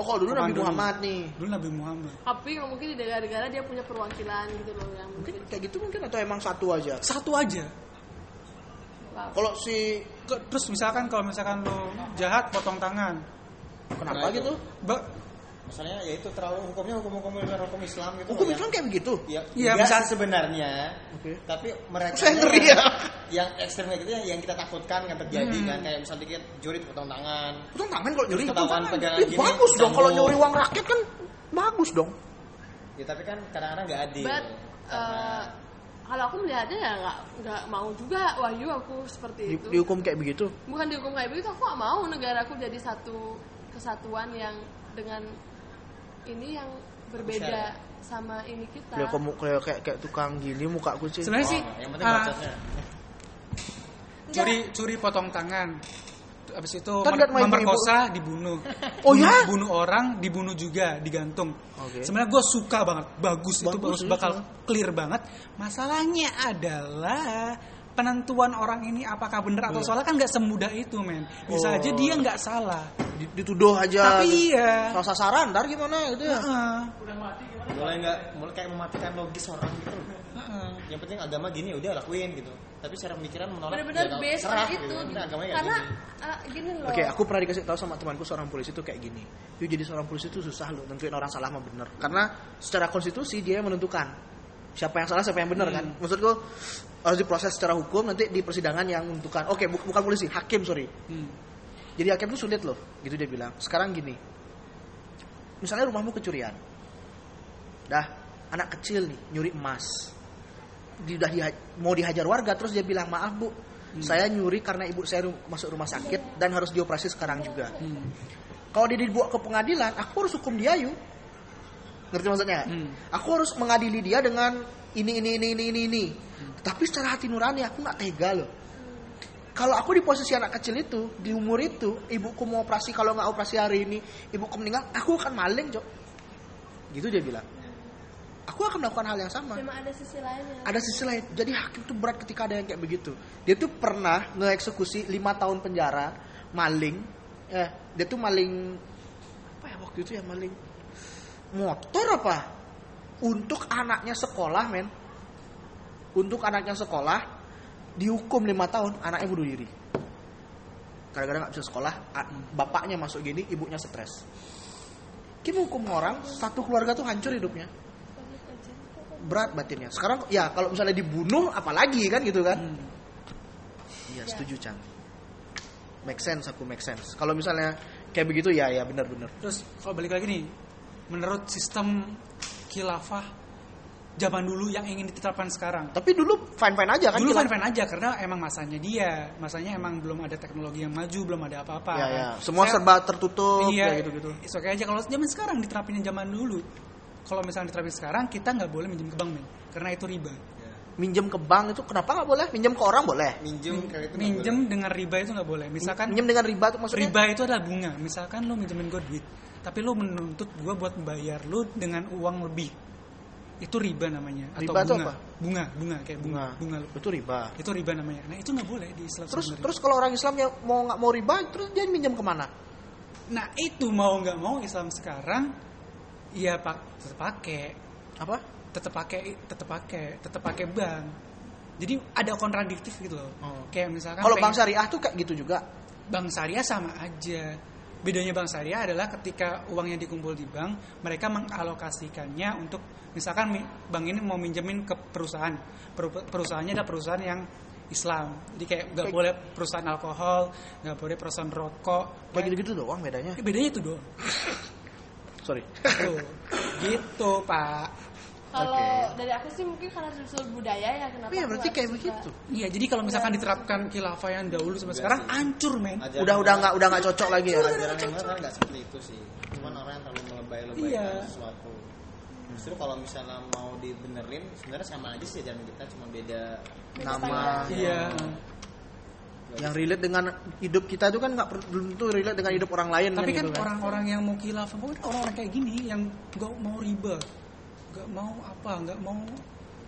Speaker 1: Oh kalau dulu Nabi
Speaker 4: Komando.
Speaker 1: Muhammad nih.
Speaker 4: Dulu Nabi Muhammad.
Speaker 2: tapi mungkin di negara-negara dia punya perwakilan gitu loh yang
Speaker 1: Mungkin
Speaker 2: mungkin
Speaker 1: kayak gitu mungkin atau emang satu aja.
Speaker 4: Satu aja.
Speaker 2: Wah,
Speaker 1: Kalau si
Speaker 4: Ke- Terus misalkan kalau misalkan lo jahat potong tangan.
Speaker 1: kenapa
Speaker 3: Nah, itu.
Speaker 1: gitu?
Speaker 4: Ba-
Speaker 3: Misalnya ya itu terlalu hukumnya hukum-hukum luar hukum Islam gitu.
Speaker 1: Hukum
Speaker 3: ya.
Speaker 1: Islam kayak begitu.
Speaker 3: Ya,
Speaker 4: Iya,
Speaker 3: iya
Speaker 4: misal-
Speaker 3: sebenarnya.
Speaker 1: Oke.
Speaker 3: Tapi mereka
Speaker 1: Saya
Speaker 3: ini
Speaker 1: ngeri
Speaker 3: [LAUGHS] yang-
Speaker 1: ya.
Speaker 3: Yang ekstrem kayak gitu yang, yang kita takutkan kan terjadi
Speaker 4: Hmm.
Speaker 3: kan kayak misalnya dikit juri potong tangan.
Speaker 1: Itu tangan kalau nyuri
Speaker 3: Ketahuan
Speaker 1: tangan.
Speaker 3: pegangan
Speaker 1: Ih,
Speaker 3: gini,
Speaker 1: bagus dong kalau
Speaker 3: sambung.
Speaker 1: nyuri uang rakyat kan bagus dong.
Speaker 3: Ya tapi kan kadang-kadang nggak adil.
Speaker 2: but eh,
Speaker 3: Karena-
Speaker 2: kalau aku melihatnya ya nggak nggak mau juga wahyu aku seperti
Speaker 1: Di,
Speaker 4: Gitu.
Speaker 2: itu
Speaker 1: dihukum kayak begitu.
Speaker 2: bukan dihukum kayak begitu aku nggak mau negaraku jadi satu kesatuan yang dengan ini yang berbeda sama ini kita
Speaker 1: Ya kamu kayak kayak, kayak tukang gini muka aku sih.
Speaker 4: Nah. Sebenarnya sih.
Speaker 3: Oh, yang penting
Speaker 4: ah,
Speaker 3: bacotnya.
Speaker 4: curi curi potong tangan T- habis itu
Speaker 1: Ntar
Speaker 4: mem-
Speaker 1: lihat mah ibu-ibu.
Speaker 4: memperkosa dibunuh
Speaker 1: Oh ya?
Speaker 4: bunuh orang dibunuh juga digantung
Speaker 1: Oke.
Speaker 4: sebenarnya gue suka banget bagus, itu
Speaker 1: Bagus
Speaker 4: bagus
Speaker 1: sih,
Speaker 4: bakal
Speaker 1: iya.
Speaker 4: clear banget masalahnya adalah penentuan orang ini apakah benar atau salah kan nggak semudah itu men
Speaker 1: Iya.
Speaker 4: bisa
Speaker 1: Oh.
Speaker 4: aja dia nggak salah
Speaker 1: Di- Dituduh aja. gitu.
Speaker 4: tapi iya Nah,
Speaker 1: Salah sasaran ntar gimana gitu ya.
Speaker 4: Heeh,
Speaker 3: Mulai nggak mulai kayak mematikan logis orang gitu. loh.
Speaker 4: heeh.
Speaker 3: Yang penting agama gini udah lakuin gitu. Tapi secara pemikiran menolak.
Speaker 2: benar-benar
Speaker 3: ya,
Speaker 2: based on
Speaker 3: serah,
Speaker 1: gitu,
Speaker 2: itu gitu.
Speaker 3: Ini agamanya
Speaker 2: karena
Speaker 3: gini.
Speaker 2: eh, gini loh
Speaker 1: Oke, aku pernah dikasih tahu sama temanku seorang polisi itu kayak gini. Yuk jadi seorang polisi itu susah loh nentuin orang salah sama benar. Karena secara konstitusi dia yang menentukan siapa yang salah siapa yang benar kan. Maksudku harus diproses secara hukum nanti di persidangan yang menentukan. Oke, bu- bukan polisi, hakim sorry.
Speaker 4: Hmm.
Speaker 1: Jadi hakim itu sulit loh, gitu dia bilang. Sekarang gini, misalnya rumahmu kecurian, dah anak kecil nih nyuri emas, Di- udah diha- mau dihajar warga, terus dia bilang maaf bu, saya nyuri karena ibu saya ru- masuk rumah sakit dan harus dioperasi sekarang juga.
Speaker 4: hmm.
Speaker 1: Kalau dia dibawa ke pengadilan, aku harus hukum dia yuk. Ngerti maksudnya? nggak?
Speaker 4: Hmm.
Speaker 1: Aku harus mengadili dia dengan ini ini ini ini ini ini. Tapi secara hati nurani aku nggak tega loh kalau aku di posisi anak kecil itu di umur itu ibuku mau operasi kalau nggak operasi hari ini ibuku meninggal aku akan maling cok gitu dia bilang aku akan melakukan hal yang sama
Speaker 2: memang ada sisi lainnya
Speaker 1: ada sisi lain jadi hakim tuh berat ketika ada yang kayak begitu dia tuh pernah ngeeksekusi lima tahun penjara maling eh dia tuh maling apa ya waktu itu ya maling motor apa untuk anaknya sekolah men untuk anaknya sekolah dihukum lima tahun anaknya bunuh diri gara-gara nggak bisa sekolah a- bapaknya masuk gini ibunya stres kita hukum orang satu keluarga tuh hancur hidupnya berat batinnya. Sekarang ya kalau misalnya dibunuh apalagi kan gitu kan?
Speaker 4: Hmm.
Speaker 1: Iya setuju Chan. Make sense aku make sense. Kalau misalnya kayak begitu ya ya benar-benar.
Speaker 4: Terus kalau balik lagi nih, menurut sistem khilafah zaman dulu yang ingin diterapkan sekarang.
Speaker 1: Tapi dulu fine fine aja kan?
Speaker 4: Dulu
Speaker 1: kita-
Speaker 4: fan-fan aja karena emang masanya dia, masanya emang belum ada teknologi yang maju, belum ada apa-apa.
Speaker 1: Ya ya. Semua
Speaker 4: Saya-
Speaker 1: serba tertutup
Speaker 4: iya,
Speaker 1: ya gitu-gitu.
Speaker 4: It's okay aja kalau zaman sekarang diterapinnya zaman dulu. Kalau misalnya diterapin sekarang, kita nggak boleh minjem ke bank, men. Karena itu riba.
Speaker 1: Minjem ke bank itu kenapa nggak boleh? Minjem ke orang boleh.
Speaker 3: Minjem gitu. kredit itu nggak
Speaker 4: Minjem dengan riba itu nggak boleh. Misalkan
Speaker 1: Minjem dengan riba tuh maksudnya?
Speaker 4: riba itu adalah bunga. Misalkan lo minjemin gue duit, tapi lo menuntut gue buat membayar lo dengan uang lebih. Itu riba namanya.
Speaker 1: Riba
Speaker 4: Atau bunga.
Speaker 1: itu apa?
Speaker 4: Bunga, bunga kayak bunga, bunga. lo.
Speaker 1: Itu riba.
Speaker 4: Itu riba namanya. Nah itu nggak boleh di Islam.
Speaker 1: Terus
Speaker 4: sebenarnya.
Speaker 1: terus kalau orang Islam yang mau nggak mau riba terus dia minjem kemana?
Speaker 4: nah itu mau nggak mau Islam sekarang, ya pak tetap pakai,
Speaker 1: Apa?
Speaker 4: tetap pakai, tetap pakai, tetap pakai bank. Jadi ada kontradiktif gitu loh.
Speaker 1: Oh.
Speaker 4: Kayak misalkan
Speaker 1: Kalau
Speaker 4: pengen-
Speaker 1: bank syariah tuh kayak gitu juga.
Speaker 4: bank syariah sama aja. Bedanya bank syariah adalah ketika uangnya dikumpul di bank, mereka mengalokasikannya untuk misalkan mi- bank ini mau minjemin ke perusahaan. Peru- Perusahaannya adalah perusahaan yang Islam. Jadi kayak nggak
Speaker 1: Baik.
Speaker 4: boleh perusahaan alkohol, nggak boleh perusahaan rokok.
Speaker 1: Kayak gitu-gitu doang bedanya.
Speaker 4: Eh, Bedanya itu doang.
Speaker 1: Sorry.
Speaker 4: Tuh. gitu, Pak.
Speaker 2: kalau
Speaker 1: Oke.
Speaker 2: dari aku sih mungkin karena unsur budaya ya kenapa
Speaker 1: Iya
Speaker 2: aku
Speaker 1: berarti
Speaker 2: nggak
Speaker 1: kayak
Speaker 2: suka.
Speaker 1: begitu.
Speaker 4: Iya, jadi kalau misalkan diterapkan khilafah yang dahulu sama
Speaker 1: Iya
Speaker 4: sekarang, hancur, men.
Speaker 3: Ajaran
Speaker 1: udah
Speaker 3: yang-
Speaker 1: udah nggak udah nggak cocok lagi ya.
Speaker 3: ajaran yang benar kan nggak seperti itu sih cuman orang yang terlalu melebay-lebay
Speaker 4: Iya.
Speaker 3: sesuatu justru kalau misalnya mau Iya. dibenerin sebenarnya sama aja sih ajaran kita cuma beda
Speaker 1: Nama.
Speaker 4: Iya.
Speaker 1: yang relate dengan hidup kita itu kan nggak per- belum tentu relate dengan hidup orang lain
Speaker 4: Tapi kan
Speaker 1: gitu
Speaker 4: orang-orang yang mau kilaf, pokoknya kan orang-orang kayak gini yang gak mau riba, gak mau apa, gak mau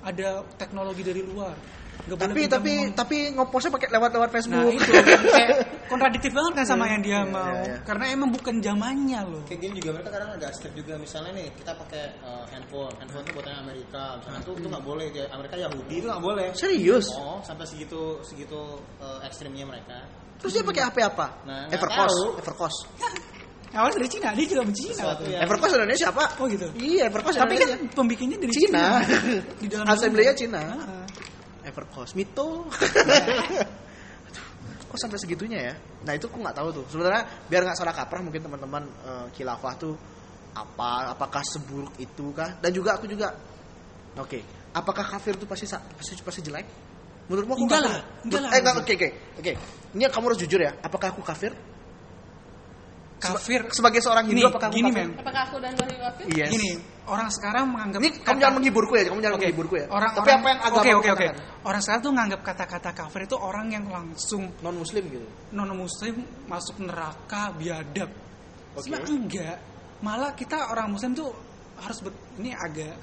Speaker 4: ada teknologi dari luar. Gak boleh
Speaker 1: tapi
Speaker 4: kita
Speaker 1: tapi
Speaker 4: ngomong-
Speaker 1: tapi ngopostnya pakai lewat-lewat
Speaker 4: nah
Speaker 1: Facebook
Speaker 4: itu kayak kontradiktif banget kan sama yang dia
Speaker 1: Iya,
Speaker 4: mau,
Speaker 1: iya, iya.
Speaker 4: karena emang bukan zamannya loh.
Speaker 3: kayak gini juga mereka kadang agak skip juga misalnya nih kita pakai eh, handphone handphone tuh buatan Amerika misalnya itu tuh nggak boleh dia- Amerika Yahudi itu nggak boleh
Speaker 1: [LAUGHS] serius
Speaker 3: oh sampai segitu segitu eh, ekstrimnya mereka
Speaker 1: terus dia pakai HP apa
Speaker 3: Nah, nggak
Speaker 1: Evercost
Speaker 3: tahu.
Speaker 1: Evercost
Speaker 4: Awalnya dari Cina, dia juga Cina.
Speaker 3: sesuatu yang
Speaker 1: Evercost Indonesia apa
Speaker 4: Oh gitu.
Speaker 1: iya Evercost
Speaker 4: Ya. Tapi kan
Speaker 1: Indonesia
Speaker 4: pembikinnya dari
Speaker 1: Cina.
Speaker 4: Cina. Di dalam
Speaker 1: Assembly-nya
Speaker 4: Cina.
Speaker 1: Cina.
Speaker 4: Ah.
Speaker 1: Evercost
Speaker 4: [LAUGHS]
Speaker 1: Mito Aduh, kok sampai segitunya ya nah itu aku nggak tahu tuh sebenarnya biar nggak salah kaprah mungkin teman-teman eh, khilafah tuh apa apakah seburuk itu kah dan juga aku juga oke apakah kafir itu pasti sa- pasti, pasti jelek menurutmu aku
Speaker 4: Enggak
Speaker 1: kafir?
Speaker 4: lah, enggak lah.
Speaker 1: eh enggak oke oke oke ini kamu harus jujur ya apakah aku kafir Seba-
Speaker 4: Kafir.
Speaker 1: sebagai seorang Hindu
Speaker 4: Nih,
Speaker 1: apakah aku
Speaker 4: gini,
Speaker 1: kafir
Speaker 4: men.
Speaker 2: Apakah aku dan Wahyu Afif?
Speaker 1: yes
Speaker 4: Gini, orang sekarang menganggap
Speaker 1: ini kamu
Speaker 4: kata-
Speaker 1: jangan menghiburku ya kamu jangan
Speaker 4: Oke.
Speaker 1: menghiburku ya
Speaker 4: Orang,
Speaker 1: tapi
Speaker 4: orang-
Speaker 1: apa yang agama
Speaker 4: Oke, oke, oke.
Speaker 1: katakan?
Speaker 4: Orang sekarang tuh nganggap kata-kata kafir itu orang yang langsung
Speaker 1: non muslim gitu
Speaker 4: non muslim masuk neraka biadab.
Speaker 1: Oke.
Speaker 4: Sebenarnya enggak. Malah kita orang muslim tuh harus ber- ini agak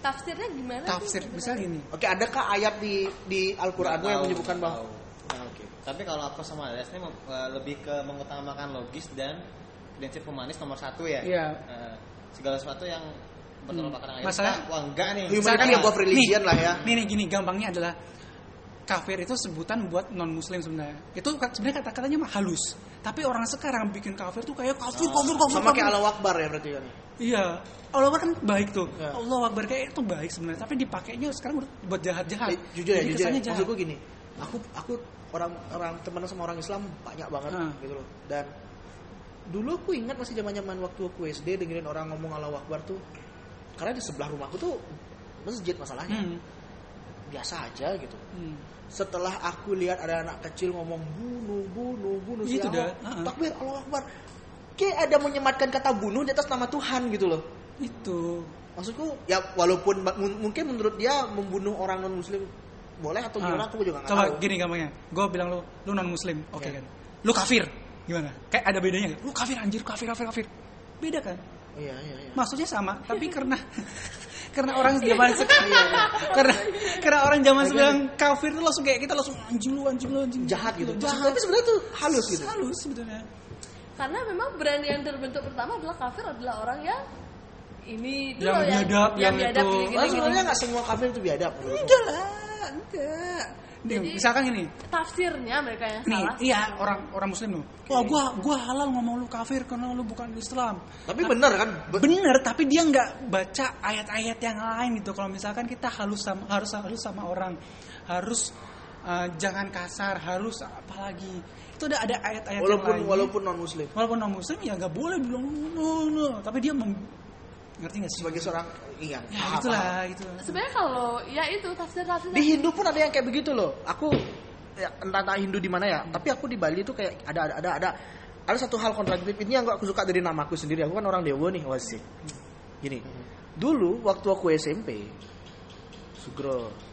Speaker 2: Tafsirnya gimana
Speaker 4: tafsir
Speaker 2: sih?
Speaker 4: bisa gitu. gini.
Speaker 1: Oke, adakah ayat di di Al-Qur'an
Speaker 3: Nggak
Speaker 1: yang
Speaker 3: tahu,
Speaker 1: menyebutkan
Speaker 3: nggak
Speaker 1: bahwa Nah,
Speaker 3: tahu. tapi kalau aku sama Des ini mem- eh, lebih ke mengutamakan logis dan prinsip humanis nomor satu ya
Speaker 4: Iya.
Speaker 3: Eh, segala sesuatu yang bertolak belakang dengan
Speaker 4: Masalah-
Speaker 3: kita, wah enggak nih
Speaker 1: Human- Misalkan kan yang gua religion lah ya.
Speaker 4: Nih, nih gini, gampangnya adalah kafir itu sebutan buat non muslim sebenarnya. Itu ka- sebenarnya kata-katanya mah halus. Tapi orang sekarang bikin kafir tuh kayak kafir, kafir, kafir.
Speaker 1: Ah. sama
Speaker 4: kafir.
Speaker 1: kayak Allah Akbar ya berarti kan?
Speaker 4: Iya. Allah Akbar kan baik tuh.
Speaker 1: Ya.
Speaker 4: Allah Akbar kayak itu baik sebenarnya, tapi dipakainya sekarang udah buat jahat-jahat.
Speaker 1: Eh, jujur ya,
Speaker 4: Jadi
Speaker 1: jujur.
Speaker 4: kesannya
Speaker 1: Ya.
Speaker 4: jahat.
Speaker 1: Maksudku gini, aku aku orang orang teman sama orang Islam banyak banget
Speaker 4: Ah.
Speaker 1: gitu loh. Dan dulu aku ingat masih zaman-zaman waktu aku SD dengerin orang ngomong Allah Akbar tuh karena di sebelah rumahku tuh masjid masalahnya
Speaker 4: Hmm.
Speaker 1: biasa aja gitu.
Speaker 4: Hmm.
Speaker 1: Setelah aku lihat ada anak kecil ngomong bunuh, bunuh, bunuh
Speaker 4: Itu
Speaker 1: siapa?
Speaker 4: dah, ah.
Speaker 1: Takbir Allah Akbar. Kayak ada menyematkan kata bunuh di atas nama Tuhan gitu loh.
Speaker 4: Itu.
Speaker 1: maksudku ya walaupun ma- mun- mungkin menurut dia membunuh orang non muslim boleh atau gimana
Speaker 4: Ah.
Speaker 1: aku juga nggak
Speaker 4: Coba
Speaker 1: tahu
Speaker 4: gini gampangnya. Gue bilang lu, lu non muslim, oke
Speaker 1: Ya.
Speaker 4: kan? Lu kafir, gimana? Kayak ada bedanya nggak? Lu kafir anjir, kafir, kafir, kafir. Beda kan?
Speaker 1: iya iya iya
Speaker 4: maksudnya sama
Speaker 1: [LAUGHS]
Speaker 4: tapi karena karena orang zaman
Speaker 1: Iya,
Speaker 4: sekarang karena karena orang zaman sekarang kafir itu langsung kayak kita langsung anjing lu anjing lu anjing lu."
Speaker 1: jahat gitu
Speaker 4: jahat
Speaker 1: tapi sebenarnya tuh halus gitu
Speaker 4: halus sebetulnya
Speaker 2: Karena memang brand yang terbentuk pertama adalah kafir adalah orang yang ini itu
Speaker 4: Yang
Speaker 2: loh
Speaker 4: biadab, yang
Speaker 2: gini,
Speaker 4: itu. Oh,
Speaker 1: Malah
Speaker 2: gini, gini.
Speaker 1: sebenarnya nggak semua kafir itu biadab menurutku.
Speaker 4: enggak lah enggak Nih,
Speaker 2: Jadi-
Speaker 4: Iya, misalkan ini
Speaker 2: Tafsirnya mereka yang
Speaker 4: nih
Speaker 2: salah.
Speaker 4: iya orang orang muslim Iya. lu wah gua gua halal ngomong lu kafir karena lu bukan Islam
Speaker 1: tapi bener kan Be-
Speaker 4: bener tapi dia nggak baca ayat-ayat yang lain gitu kalau misalkan kita halus sama harus halus sama orang harus uh, jangan kasar harus apalagi itu udah ada ayat-ayat yang
Speaker 1: walaupun
Speaker 4: lain
Speaker 1: walaupun non muslim
Speaker 4: walaupun non muslim ya nggak boleh bilang no no tapi dia meng- ngerti nggak sih
Speaker 1: sebagai seorang iya
Speaker 4: ya
Speaker 1: paham,
Speaker 4: itulah
Speaker 1: paham.
Speaker 4: gitu
Speaker 2: Sebenarnya kalau ya itu tafsir tafsir
Speaker 1: di Hindu pun ada yang kayak begitu loh aku ya, entah entah Hindu di mana ya tapi aku di Bali itu kayak ada ada ada ada ada satu hal kontradiktif ini yang gak aku suka dari namaku sendiri aku kan orang Dewa nih wasi gini dulu waktu aku SMP Sugro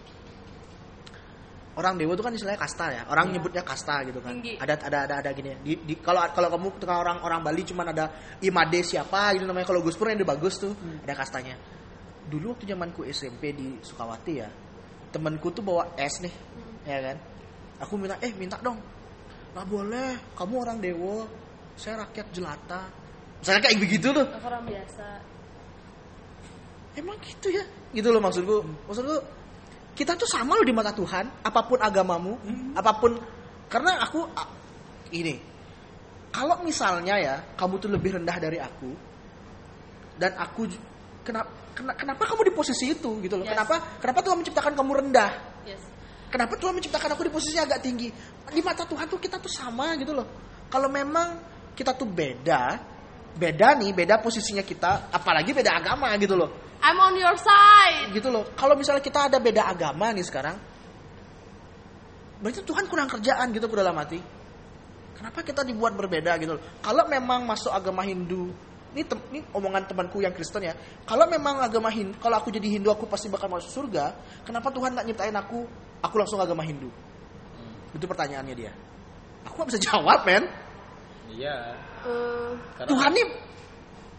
Speaker 1: orang dewa itu kan istilahnya kasta ya orang nyebutnya kasta gitu kan
Speaker 2: Tinggi.
Speaker 1: ada ada ada ada gini ya. di, di- kalau kalau kamu tengah orang orang Bali cuman ada imade siapa gitu namanya kalau Guspur yang udah bagus tuh ada kastanya dulu waktu zamanku SMP di Sukawati ya temanku tuh bawa es nih ya kan aku minta eh minta dong nggak boleh kamu orang dewa saya rakyat jelata misalnya kayak begitu tuh
Speaker 2: orang biasa.
Speaker 1: emang gitu ya gitu loh maksudku maksudku kita tuh sama loh di mata Tuhan apapun agamamu apapun karena aku a- ini kalau misalnya ya kamu tuh lebih rendah dari aku dan aku ju- kenapa kenapa kamu di posisi itu gitu loh
Speaker 2: Yes.
Speaker 1: kenapa kenapa Tuhan menciptakan kamu rendah
Speaker 2: Yes.
Speaker 1: kenapa Tuhan menciptakan aku di posisi agak tinggi di mata Tuhan tuh kita tuh sama gitu loh kalau memang kita tuh beda beda nih beda posisinya kita apalagi beda agama gitu loh
Speaker 2: I'm on your side.
Speaker 1: gitu loh. Kalau misalnya kita ada beda agama nih sekarang, berarti Tuhan kurang kerjaan gitu aku dalam hati. Kenapa kita dibuat berbeda gitu loh. Kalau memang masuk agama Hindu, ini, tem- ini omongan temanku yang Kristen ya. Kalau memang agama Hindu, kalau aku jadi Hindu aku pasti bakal masuk surga. Kenapa Tuhan nggak nyiptain aku, aku langsung agama Hindu? Itu pertanyaannya dia. Aku nggak bisa jawab, men.
Speaker 3: Iya.
Speaker 2: Eh,
Speaker 3: Karena [LAUGHS]
Speaker 1: Tuhan nih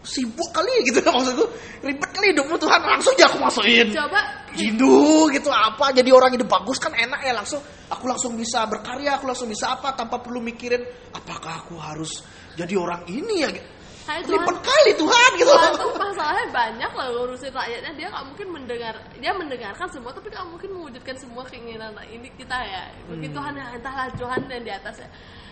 Speaker 1: sibuk kali gitu [LAUGHS] maksudku. Ribet kali hidupmu Tuhan langsung aja aku masukin.
Speaker 2: coba
Speaker 1: Jindu gitu apa jadi orang hidup bagus kan enak ya langsung aku langsung bisa berkarya aku langsung bisa apa tanpa perlu mikirin apakah aku harus jadi orang ini ya
Speaker 2: saya Tuhan
Speaker 1: ribet kali Tuhan gitu
Speaker 2: Tuhan tuh masalahnya banyak lah ngurusin rakyatnya dia nggak mungkin mendengar dia mendengarkan semua tapi nggak mungkin mewujudkan semua keinginan ini kita ya begitu Tuhan yang entahlah Tuhan yang di atas ya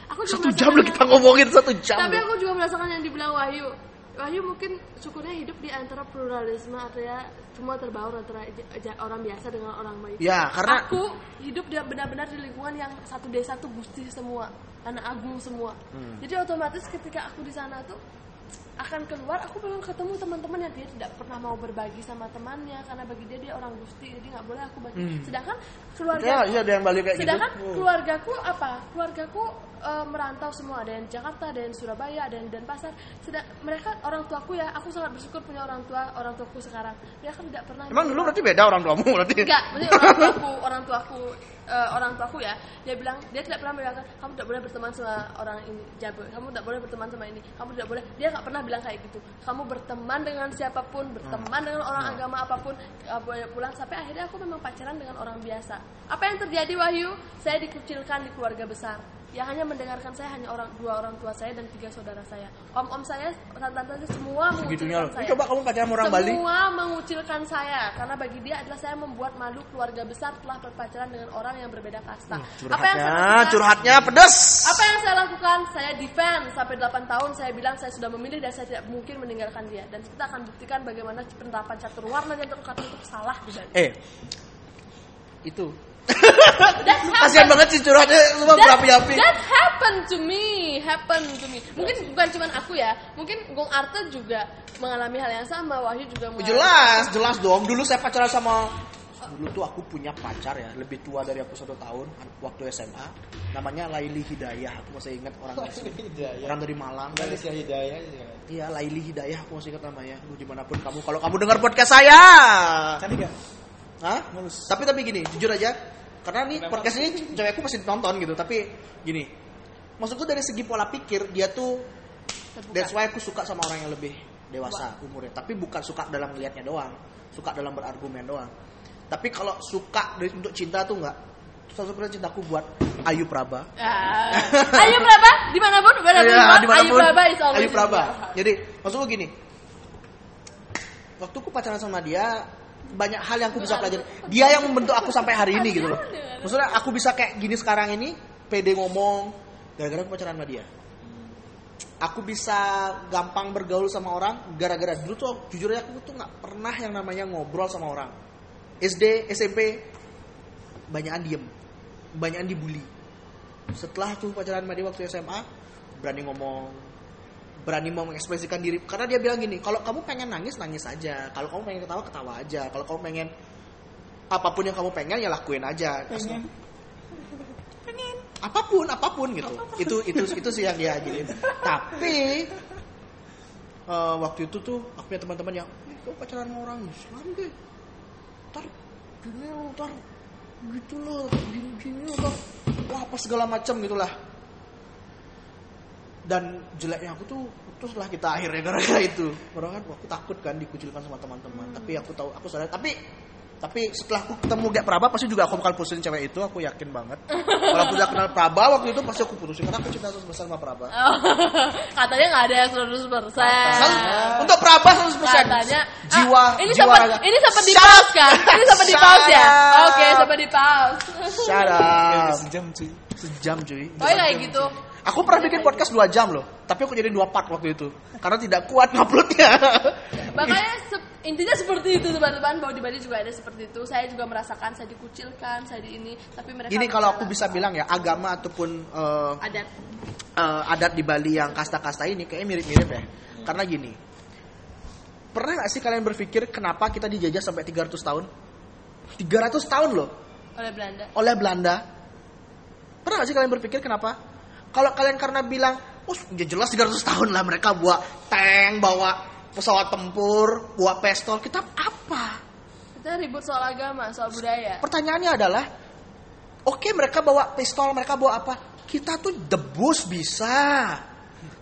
Speaker 2: aku juga
Speaker 1: Hmm. satu jam lah
Speaker 2: merasakan
Speaker 1: kita
Speaker 2: yang-
Speaker 1: ngomongin satu jam
Speaker 2: tapi
Speaker 1: loh.
Speaker 2: aku juga merasakan yang dibilang Wahyu Wahyu mungkin syukurnya hidup di antara pluralisme artinya semua terbaur antara j- j- orang biasa dengan orang baik
Speaker 1: ya karena
Speaker 2: aku hidup dia benar-benar di lingkungan yang satu desa tuh gusti semua anak agung semua
Speaker 1: Hmm.
Speaker 2: jadi otomatis ketika aku di sana tuh akan keluar aku belum ketemu teman-teman yang dia tidak pernah mau berbagi sama temannya karena bagi dia dia orang gusti jadi nggak boleh aku bagi sedangkan keluarga
Speaker 1: ya Hmm. iya ada yang balik kayak
Speaker 2: sedangkan
Speaker 1: gitu
Speaker 2: keluargaku apa keluargaku eh, merantau semua ada yang di Jakarta ada yang di Surabaya ada yang di Denpasar Sedang, mereka orang tuaku ya aku sangat bersyukur punya orang tua orang tuaku sekarang dia kan tidak pernah
Speaker 1: emang dulu berarti beda orang tuamu berarti
Speaker 2: Enggak, maksudnya
Speaker 1: [LAUGHS]
Speaker 2: orang tuaku, orang tuaku, eh, orang tuaku ya, dia bilang dia tidak pernah bilang kamu tidak boleh berteman sama orang ini jago, kamu tidak boleh berteman sama ini, kamu tidak boleh, dia nggak pernah bilang kayak gitu. Kamu berteman dengan siapapun, berteman dengan orang
Speaker 1: Hmm.
Speaker 2: agama apapun, nggak boleh pulang sampai akhirnya aku memang pacaran dengan orang biasa. Apa yang terjadi Wahyu? Saya dikucilkan di keluarga besar. Yang hanya mendengarkan saya hanya orang dua orang tua saya dan tiga saudara saya. Om-om saya, tante-tante saya, semua
Speaker 1: segitunya
Speaker 2: mengucilkan
Speaker 1: loh
Speaker 2: saya.
Speaker 1: coba kamu pacaran sama orang
Speaker 2: Semua
Speaker 1: Bali
Speaker 2: mengucilkan saya karena bagi dia adalah saya membuat malu keluarga besar telah berpacaran dengan orang yang berbeda kasta.
Speaker 1: Hmm,
Speaker 2: apa yang saya
Speaker 1: curhatnya
Speaker 2: lakukan?
Speaker 1: curhatnya pedes
Speaker 2: Apa yang saya lakukan? Saya defend sampai 8 tahun saya bilang saya sudah memilih dan saya tidak mungkin meninggalkan dia dan kita akan buktikan bagaimana penerapan catur warna dan terkait itu salah dan
Speaker 1: eh itu
Speaker 2: that's
Speaker 1: kasihan
Speaker 2: happened.
Speaker 1: banget sih curhatnya semua
Speaker 2: That,
Speaker 1: ya, berapi-api
Speaker 2: that happened to me, happened to me. Mungkin bukan cuman aku ya, mungkin Gong Arte juga mengalami hal yang sama, Wahyu juga mengalami.
Speaker 1: Jelas, jelas dong. Dulu saya pacaran sama dulu tuh aku punya pacar ya lebih tua dari aku satu tahun waktu SMA namanya Laili Hidayah aku masih ingat orang dari sini.
Speaker 3: Hidayah.
Speaker 1: orang dari Malang
Speaker 3: Berarti si Hidayah ya.
Speaker 1: iya Laili Hidayah aku masih ingat namanya Aduh, dimanapun kamu kalau kamu dengar podcast saya
Speaker 4: Cantik gak?
Speaker 1: Hah? Tapi tapi gini, jujur aja. Karena nih podcast ini cewekku masih nonton gitu, tapi gini. Maksudku dari segi pola pikir dia tuh that's why aku suka sama orang yang lebih dewasa umurnya. Tapi bukan suka dalam melihatnya doang, suka dalam berargumen doang. Tapi kalau suka dari untuk cinta tuh enggak. Satu-satunya cintaku buat Ayu Praba.
Speaker 2: Ah. Ayo berapa? Dimanapun, dimanapun,
Speaker 1: Iya,
Speaker 2: Ayo
Speaker 1: dimanapun.
Speaker 2: berapa? is always
Speaker 1: Ayu Praba.
Speaker 2: in your heart.
Speaker 1: Jadi, maksudku gini. Waktu aku pacaran sama dia, banyak hal yang aku bisa pelajari. Dia yang membentuk aku sampai hari ini gitu loh. Maksudnya aku bisa kayak gini sekarang ini, pede ngomong, gara-gara aku pacaran sama dia. Aku bisa gampang bergaul sama orang gara-gara dulu tuh jujur aja aku tuh nggak pernah yang namanya ngobrol sama orang. SD, SMP, banyakan diem, banyakan dibully. Setelah tuh pacaran sama dia waktu SMA, berani ngomong, berani mau mengekspresikan diri. Karena dia bilang gini, kalau kamu pengen nangis nangis aja, kalau kamu pengen ketawa ketawa aja, kalau kamu pengen apapun yang kamu pengen ya lakuin aja. Pengen. Apapun, apapun gitu. Itu itu itu sih yang dia jadi. Tapi eh, waktu itu tuh aku punya teman-teman yang, "Ih, kamu pacaran sama orang Islam deh. Ntar gini loh, ntar gitu loh, gini-gini loh, ntar wah apa segala macam gitulah dan jeleknya aku tuh terus lah kita akhirnya [LAUGHS] gara-gara itu orang kan wah, aku takut kan dikucilkan sama teman-teman tapi aku tahu aku sadar tapi tapi setelah aku ketemu Gak Praba pasti juga aku bakal putusin cewek itu aku yakin banget kalau aku udah kenal Praba waktu itu pasti aku putusin karena aku cinta terus besar sama Praba
Speaker 2: Oh, [LAUGHS] katanya nggak ada yang 100 persen.
Speaker 1: Sal- untuk Praba 100%
Speaker 2: Katanya
Speaker 1: jiwa
Speaker 2: ah, ini
Speaker 1: jiwa
Speaker 2: sempat
Speaker 1: raga.
Speaker 2: ini sempat di
Speaker 1: Shut
Speaker 2: pause
Speaker 1: up.
Speaker 2: kan? [LAUGHS] Ini sempat di
Speaker 1: Shut
Speaker 2: pause ya?
Speaker 1: up.
Speaker 2: Oke, sempat di pause. [LAUGHS]
Speaker 1: Shut
Speaker 4: Ya,
Speaker 1: up.
Speaker 4: udah sejam cuy.
Speaker 1: sejam cuy
Speaker 2: Oh kayak gitu.
Speaker 1: Aku pernah bikin podcast 2 jam loh, tapi aku jadi dua part waktu itu karena tidak kuat [LAUGHS] nguploadnya.
Speaker 2: Makanya se- intinya seperti itu teman-teman. Bahwa di Bali juga ada seperti itu. Saya juga merasakan saya dikucilkan, saya di ini. Tapi mereka
Speaker 1: Gini kalau aku bisa
Speaker 2: bersalah.
Speaker 1: bilang ya agama ataupun eh,
Speaker 2: adat
Speaker 1: eh, adat di Bali yang kasta-kasta ini kayaknya mirip-mirip ya. Karena gini. Pernah gak sih kalian berpikir kenapa kita dijajah sampai 300 tahun? 300 tahun loh
Speaker 2: oleh Belanda.
Speaker 1: oleh Belanda. Pernah gak sih kalian berpikir kenapa? Kalau kalian karena bilang, oh ya jelas 300 tahun lah mereka bawa tank, bawa pesawat tempur, bawa pistol, kita apa?
Speaker 2: Kita ribut soal agama, soal budaya.
Speaker 1: Pertanyaannya adalah, oke mereka bawa pistol, mereka bawa apa? kita tuh debus bisa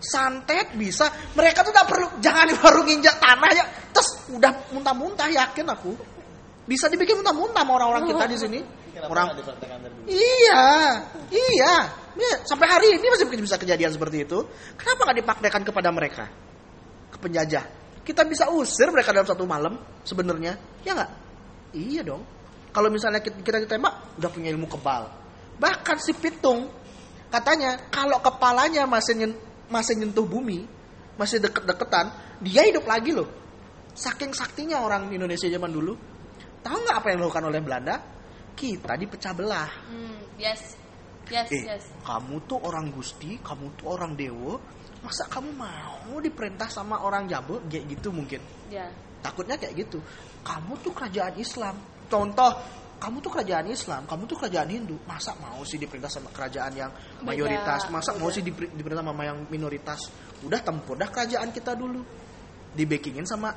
Speaker 1: santet bisa mereka tuh nggak perlu jangan baru nginjak tanah ya terus udah muntah-muntah yakin aku bisa dibikin muntah-muntah sama orang-orang kita di sini orang
Speaker 3: di praktekan dari dulu?
Speaker 1: Iya, iya. Iya, Sampai hari ini masih mungkin bisa kejadian seperti itu. Kenapa nggak dipraktekkan kepada mereka, ke penjajah? Kita bisa usir mereka dalam satu malam sebenarnya, ya nggak? Iya dong. Kalau misalnya kita, kita ditembak, udah punya ilmu kebal. Bahkan si Pitung katanya kalau kepalanya masih nyen- masih nyentuh bumi, masih deket-deketan, dia hidup lagi loh. Saking saktinya orang Indonesia zaman dulu. Tahu nggak apa yang dilakukan oleh Belanda? Kita dipecah belah.
Speaker 2: Hmm, yes. Yes,
Speaker 1: Eh,
Speaker 2: yes.
Speaker 1: kamu tuh orang gusti, kamu tuh orang dewa, masa kamu mau diperintah sama orang jabo kayak gitu mungkin?
Speaker 2: Ya.
Speaker 1: Takutnya kayak gitu. Kamu tuh kerajaan Islam. Contoh, kamu tuh kerajaan Islam, kamu tuh kerajaan Hindu, masa mau sih diperintah sama kerajaan yang mayoritas, masa mau
Speaker 2: beda.
Speaker 1: sih diper- diperintah sama yang minoritas? Udah tempur dah kerajaan kita dulu. Dibakingin sama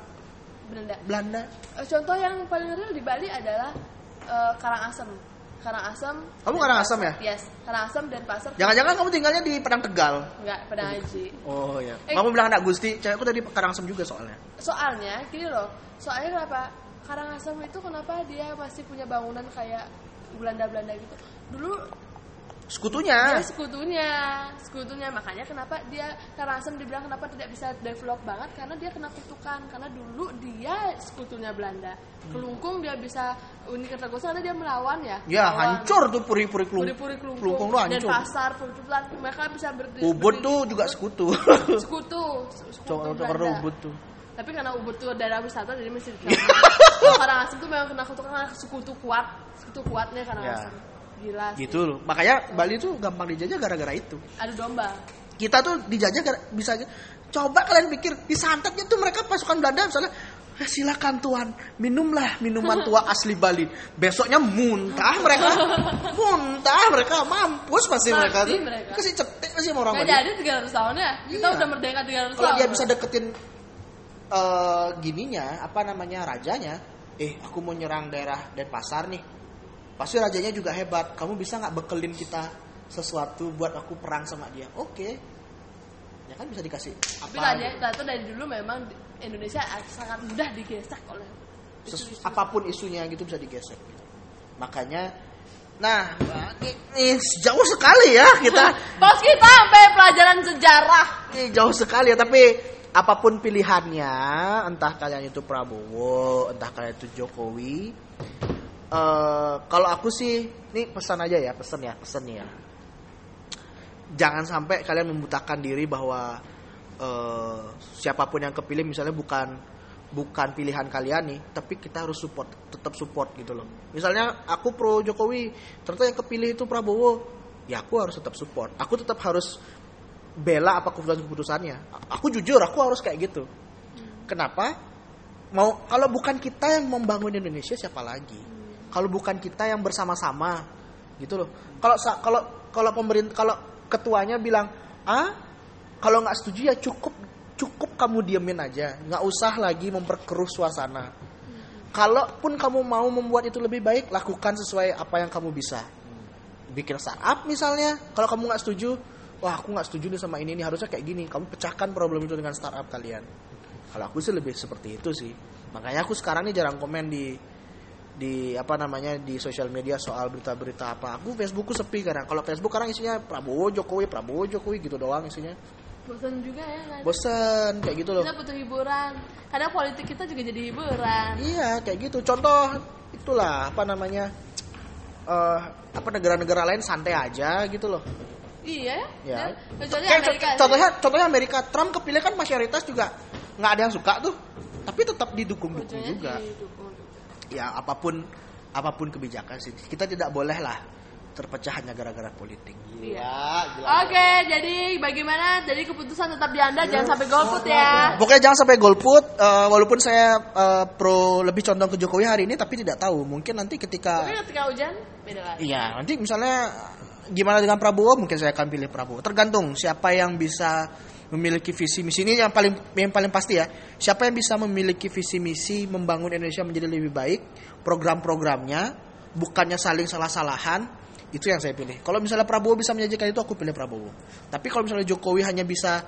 Speaker 2: Belanda.
Speaker 1: Belanda.
Speaker 2: Eh, Contoh yang paling real di Bali adalah eh, Karangasem. Karangasem.
Speaker 1: Kamu Karangasem ya?
Speaker 2: Yes, Karangasem dan Pasar.
Speaker 1: Jangan-jangan kamu tinggalnya di Padang Tegal.
Speaker 2: Enggak, pada Haji.
Speaker 1: Oh ya.
Speaker 2: Eh.
Speaker 1: Kamu bilang anak Gusti, cewekku tadi Karangasem juga soalnya.
Speaker 2: Soalnya gini loh. Soalnya kenapa Karangasem itu kenapa dia masih punya bangunan kayak Belanda-Belanda gitu. Dulu
Speaker 1: Sekutunya.
Speaker 2: dia sekutunya, sekutunya makanya kenapa dia Karangasem dibilang kenapa tidak bisa develop banget karena dia kena kutukan karena dulu dia sekutunya Belanda.
Speaker 1: Hmm.
Speaker 2: Kelungkung dia bisa Uni Ketergosan karena dia melawan ya.
Speaker 1: Ya
Speaker 2: melawan.
Speaker 1: hancur tuh puri-puri kelungkung.
Speaker 2: Puri-puri kelungkung,
Speaker 1: Kelungkung tuh
Speaker 2: dan
Speaker 1: hancur.
Speaker 2: pasar perjualan mereka bisa berdiri.
Speaker 1: Ubud tuh juga
Speaker 2: [LAUGHS]
Speaker 1: sekutu.
Speaker 2: sekutu, sekutu
Speaker 1: Cokor cokor
Speaker 2: Belanda.
Speaker 1: Ubud tuh.
Speaker 2: Tapi karena Ubud tuh daerah wisata jadi
Speaker 1: [LAUGHS]
Speaker 2: masih dikenal. Karang Asem tuh memang kena kutu karena sekutu kuat, sekutu kuatnya Karang
Speaker 1: Ya.
Speaker 2: Asem. Gila. sih.
Speaker 1: Gitu loh. Makanya Bali tuh gampang dijajah gara-gara itu.
Speaker 2: Adu domba.
Speaker 1: Kita tuh dijajah gara- bisa aja. Coba kalian pikir disantetnya tuh mereka pasukan Belanda misalnya "Eh, silakan tuan minumlah minuman tua
Speaker 2: [LAUGHS]
Speaker 1: asli Bali besoknya muntah mereka muntah mereka mampus pasti
Speaker 2: Mati
Speaker 1: mereka tuh
Speaker 2: mereka.
Speaker 1: kasih cetek sih sama orang
Speaker 2: Gak
Speaker 1: Bali
Speaker 2: jadi 300 tahun ya. Kita
Speaker 1: Iya.
Speaker 2: udah merdeka 300
Speaker 1: kalau
Speaker 2: tahun.
Speaker 1: dia bisa deketin eh, gininya apa namanya rajanya eh aku mau nyerang daerah Denpasar nih pasti rajanya juga hebat kamu bisa nggak bekelin kita sesuatu buat aku perang sama dia oke ya kan bisa dikasih apa
Speaker 2: Tapi tadi, ternyata dari dulu memang di- Indonesia sangat mudah digesek oleh
Speaker 1: Ses-
Speaker 2: isu-isu.
Speaker 1: apapun isunya gitu bisa digesek gitu. makanya nah ini jauh sekali ya kita
Speaker 2: [LAUGHS] Bos kita sampai pelajaran sejarah.
Speaker 1: Ini jauh sekali ya, tapi apapun pilihannya, entah kalian itu Prabowo, entah kalian itu Jokowi, eh, kalau aku sih, ini pesan aja ya, pesan ya, pesan ya. Jangan sampai kalian membutakan diri bahwa eh, siapapun yang kepilih misalnya bukan bukan pilihan kalian nih, tapi kita harus support, tetap support gitu loh. Misalnya aku pro Jokowi, ternyata yang kepilih itu Prabowo, ya aku harus tetap support. Aku tetap harus bela apa keputusan-keputusannya. A- Aku jujur, aku harus kayak gitu. Kenapa? Mau kalau bukan kita yang membangun Indonesia siapa lagi? Kalau bukan kita yang bersama-sama gitu loh. Kalau sa- kalau kalau pemerintah kalau ketuanya bilang, "Ah, kalau nggak setuju ya cukup cukup kamu diemin aja, nggak usah lagi memperkeruh suasana." Kalaupun kamu mau membuat itu lebih baik, lakukan sesuai apa yang kamu bisa bikin startup misalnya kalau kamu nggak setuju wah aku nggak setuju nih sama ini ini harusnya kayak gini kamu pecahkan problem itu dengan startup kalian kalau aku sih lebih seperti itu sih makanya aku sekarang nih jarang komen di di apa namanya di sosial media soal berita-berita apa aku Facebookku sepi sekarang kalau Facebook sekarang isinya Prabowo Jokowi Prabowo Jokowi gitu doang isinya
Speaker 2: Bosan juga ya kan?
Speaker 1: bosen kayak gitu loh
Speaker 2: Kita butuh hiburan. Kadang politik kita juga jadi hiburan.
Speaker 1: Iya, kayak gitu. Contoh itulah apa namanya? eh apa negara-negara lain santai aja gitu loh.
Speaker 2: Iya.
Speaker 1: Ya.
Speaker 2: Dan Kecuali
Speaker 1: Kayak
Speaker 2: Amerika.
Speaker 1: co- contohnya contohnya Amerika Trump kepilih kan mayoritas juga nggak ada yang suka tuh. Tapi tetap didukung-dukung
Speaker 2: Ujungnya
Speaker 1: juga.
Speaker 2: didukung.
Speaker 1: Ya apapun apapun kebijakan sih. Kita tidak bolehlah terpecah hanya gara-gara politik. Iya, gila.
Speaker 2: Oke, jadi bagaimana? Jadi keputusan tetap di Anda, jangan sampai golput ya.
Speaker 1: Pokoknya jangan sampai golput eh, walaupun saya eh, pro lebih condong ke Jokowi hari ini tapi tidak tahu mungkin nanti ketika
Speaker 2: Tapi ketika hujan, beda lagi.
Speaker 1: Iya, nanti misalnya gimana dengan Prabowo mungkin saya akan pilih Prabowo. Tergantung siapa yang bisa memiliki visi misi ini yang paling yang paling pasti ya. Siapa yang bisa memiliki visi misi membangun Indonesia menjadi lebih baik, program-programnya bukannya saling salah-salahan, Itu yang saya pilih. Kalau misalnya Prabowo bisa menyajikan itu, aku pilih Prabowo. Tapi kalau misalnya Jokowi hanya bisa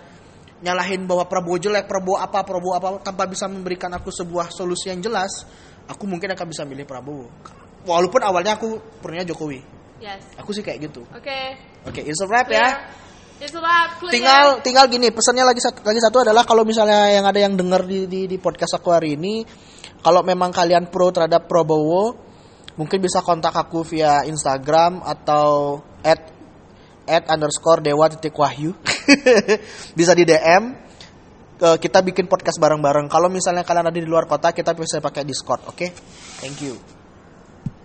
Speaker 1: nyalahin bahwa Prabowo jelek, Prabowo apa, Prabowo apa, tanpa bisa memberikan aku sebuah solusi yang jelas, aku mungkin akan bisa milih Prabowo. Walaupun awalnya aku pernah Jokowi.
Speaker 2: Yes.
Speaker 1: Aku sih kayak gitu.
Speaker 2: Oke.
Speaker 1: Oke, it's a wrap ya.
Speaker 2: clear. It's a wrap. Clear.
Speaker 1: tinggal tinggal gini pesannya lagi satu lagi satu adalah kalau misalnya yang ada yang dengar di, di di podcast aku hari ini kalau memang kalian pro terhadap Prabowo mungkin bisa kontak aku via Instagram atau at at underscore dewa titik wahyu [LAUGHS] bisa di DM Eh, kita bikin podcast bareng-bareng kalau misalnya kalian ada di luar kota kita bisa pakai Discord oke thank you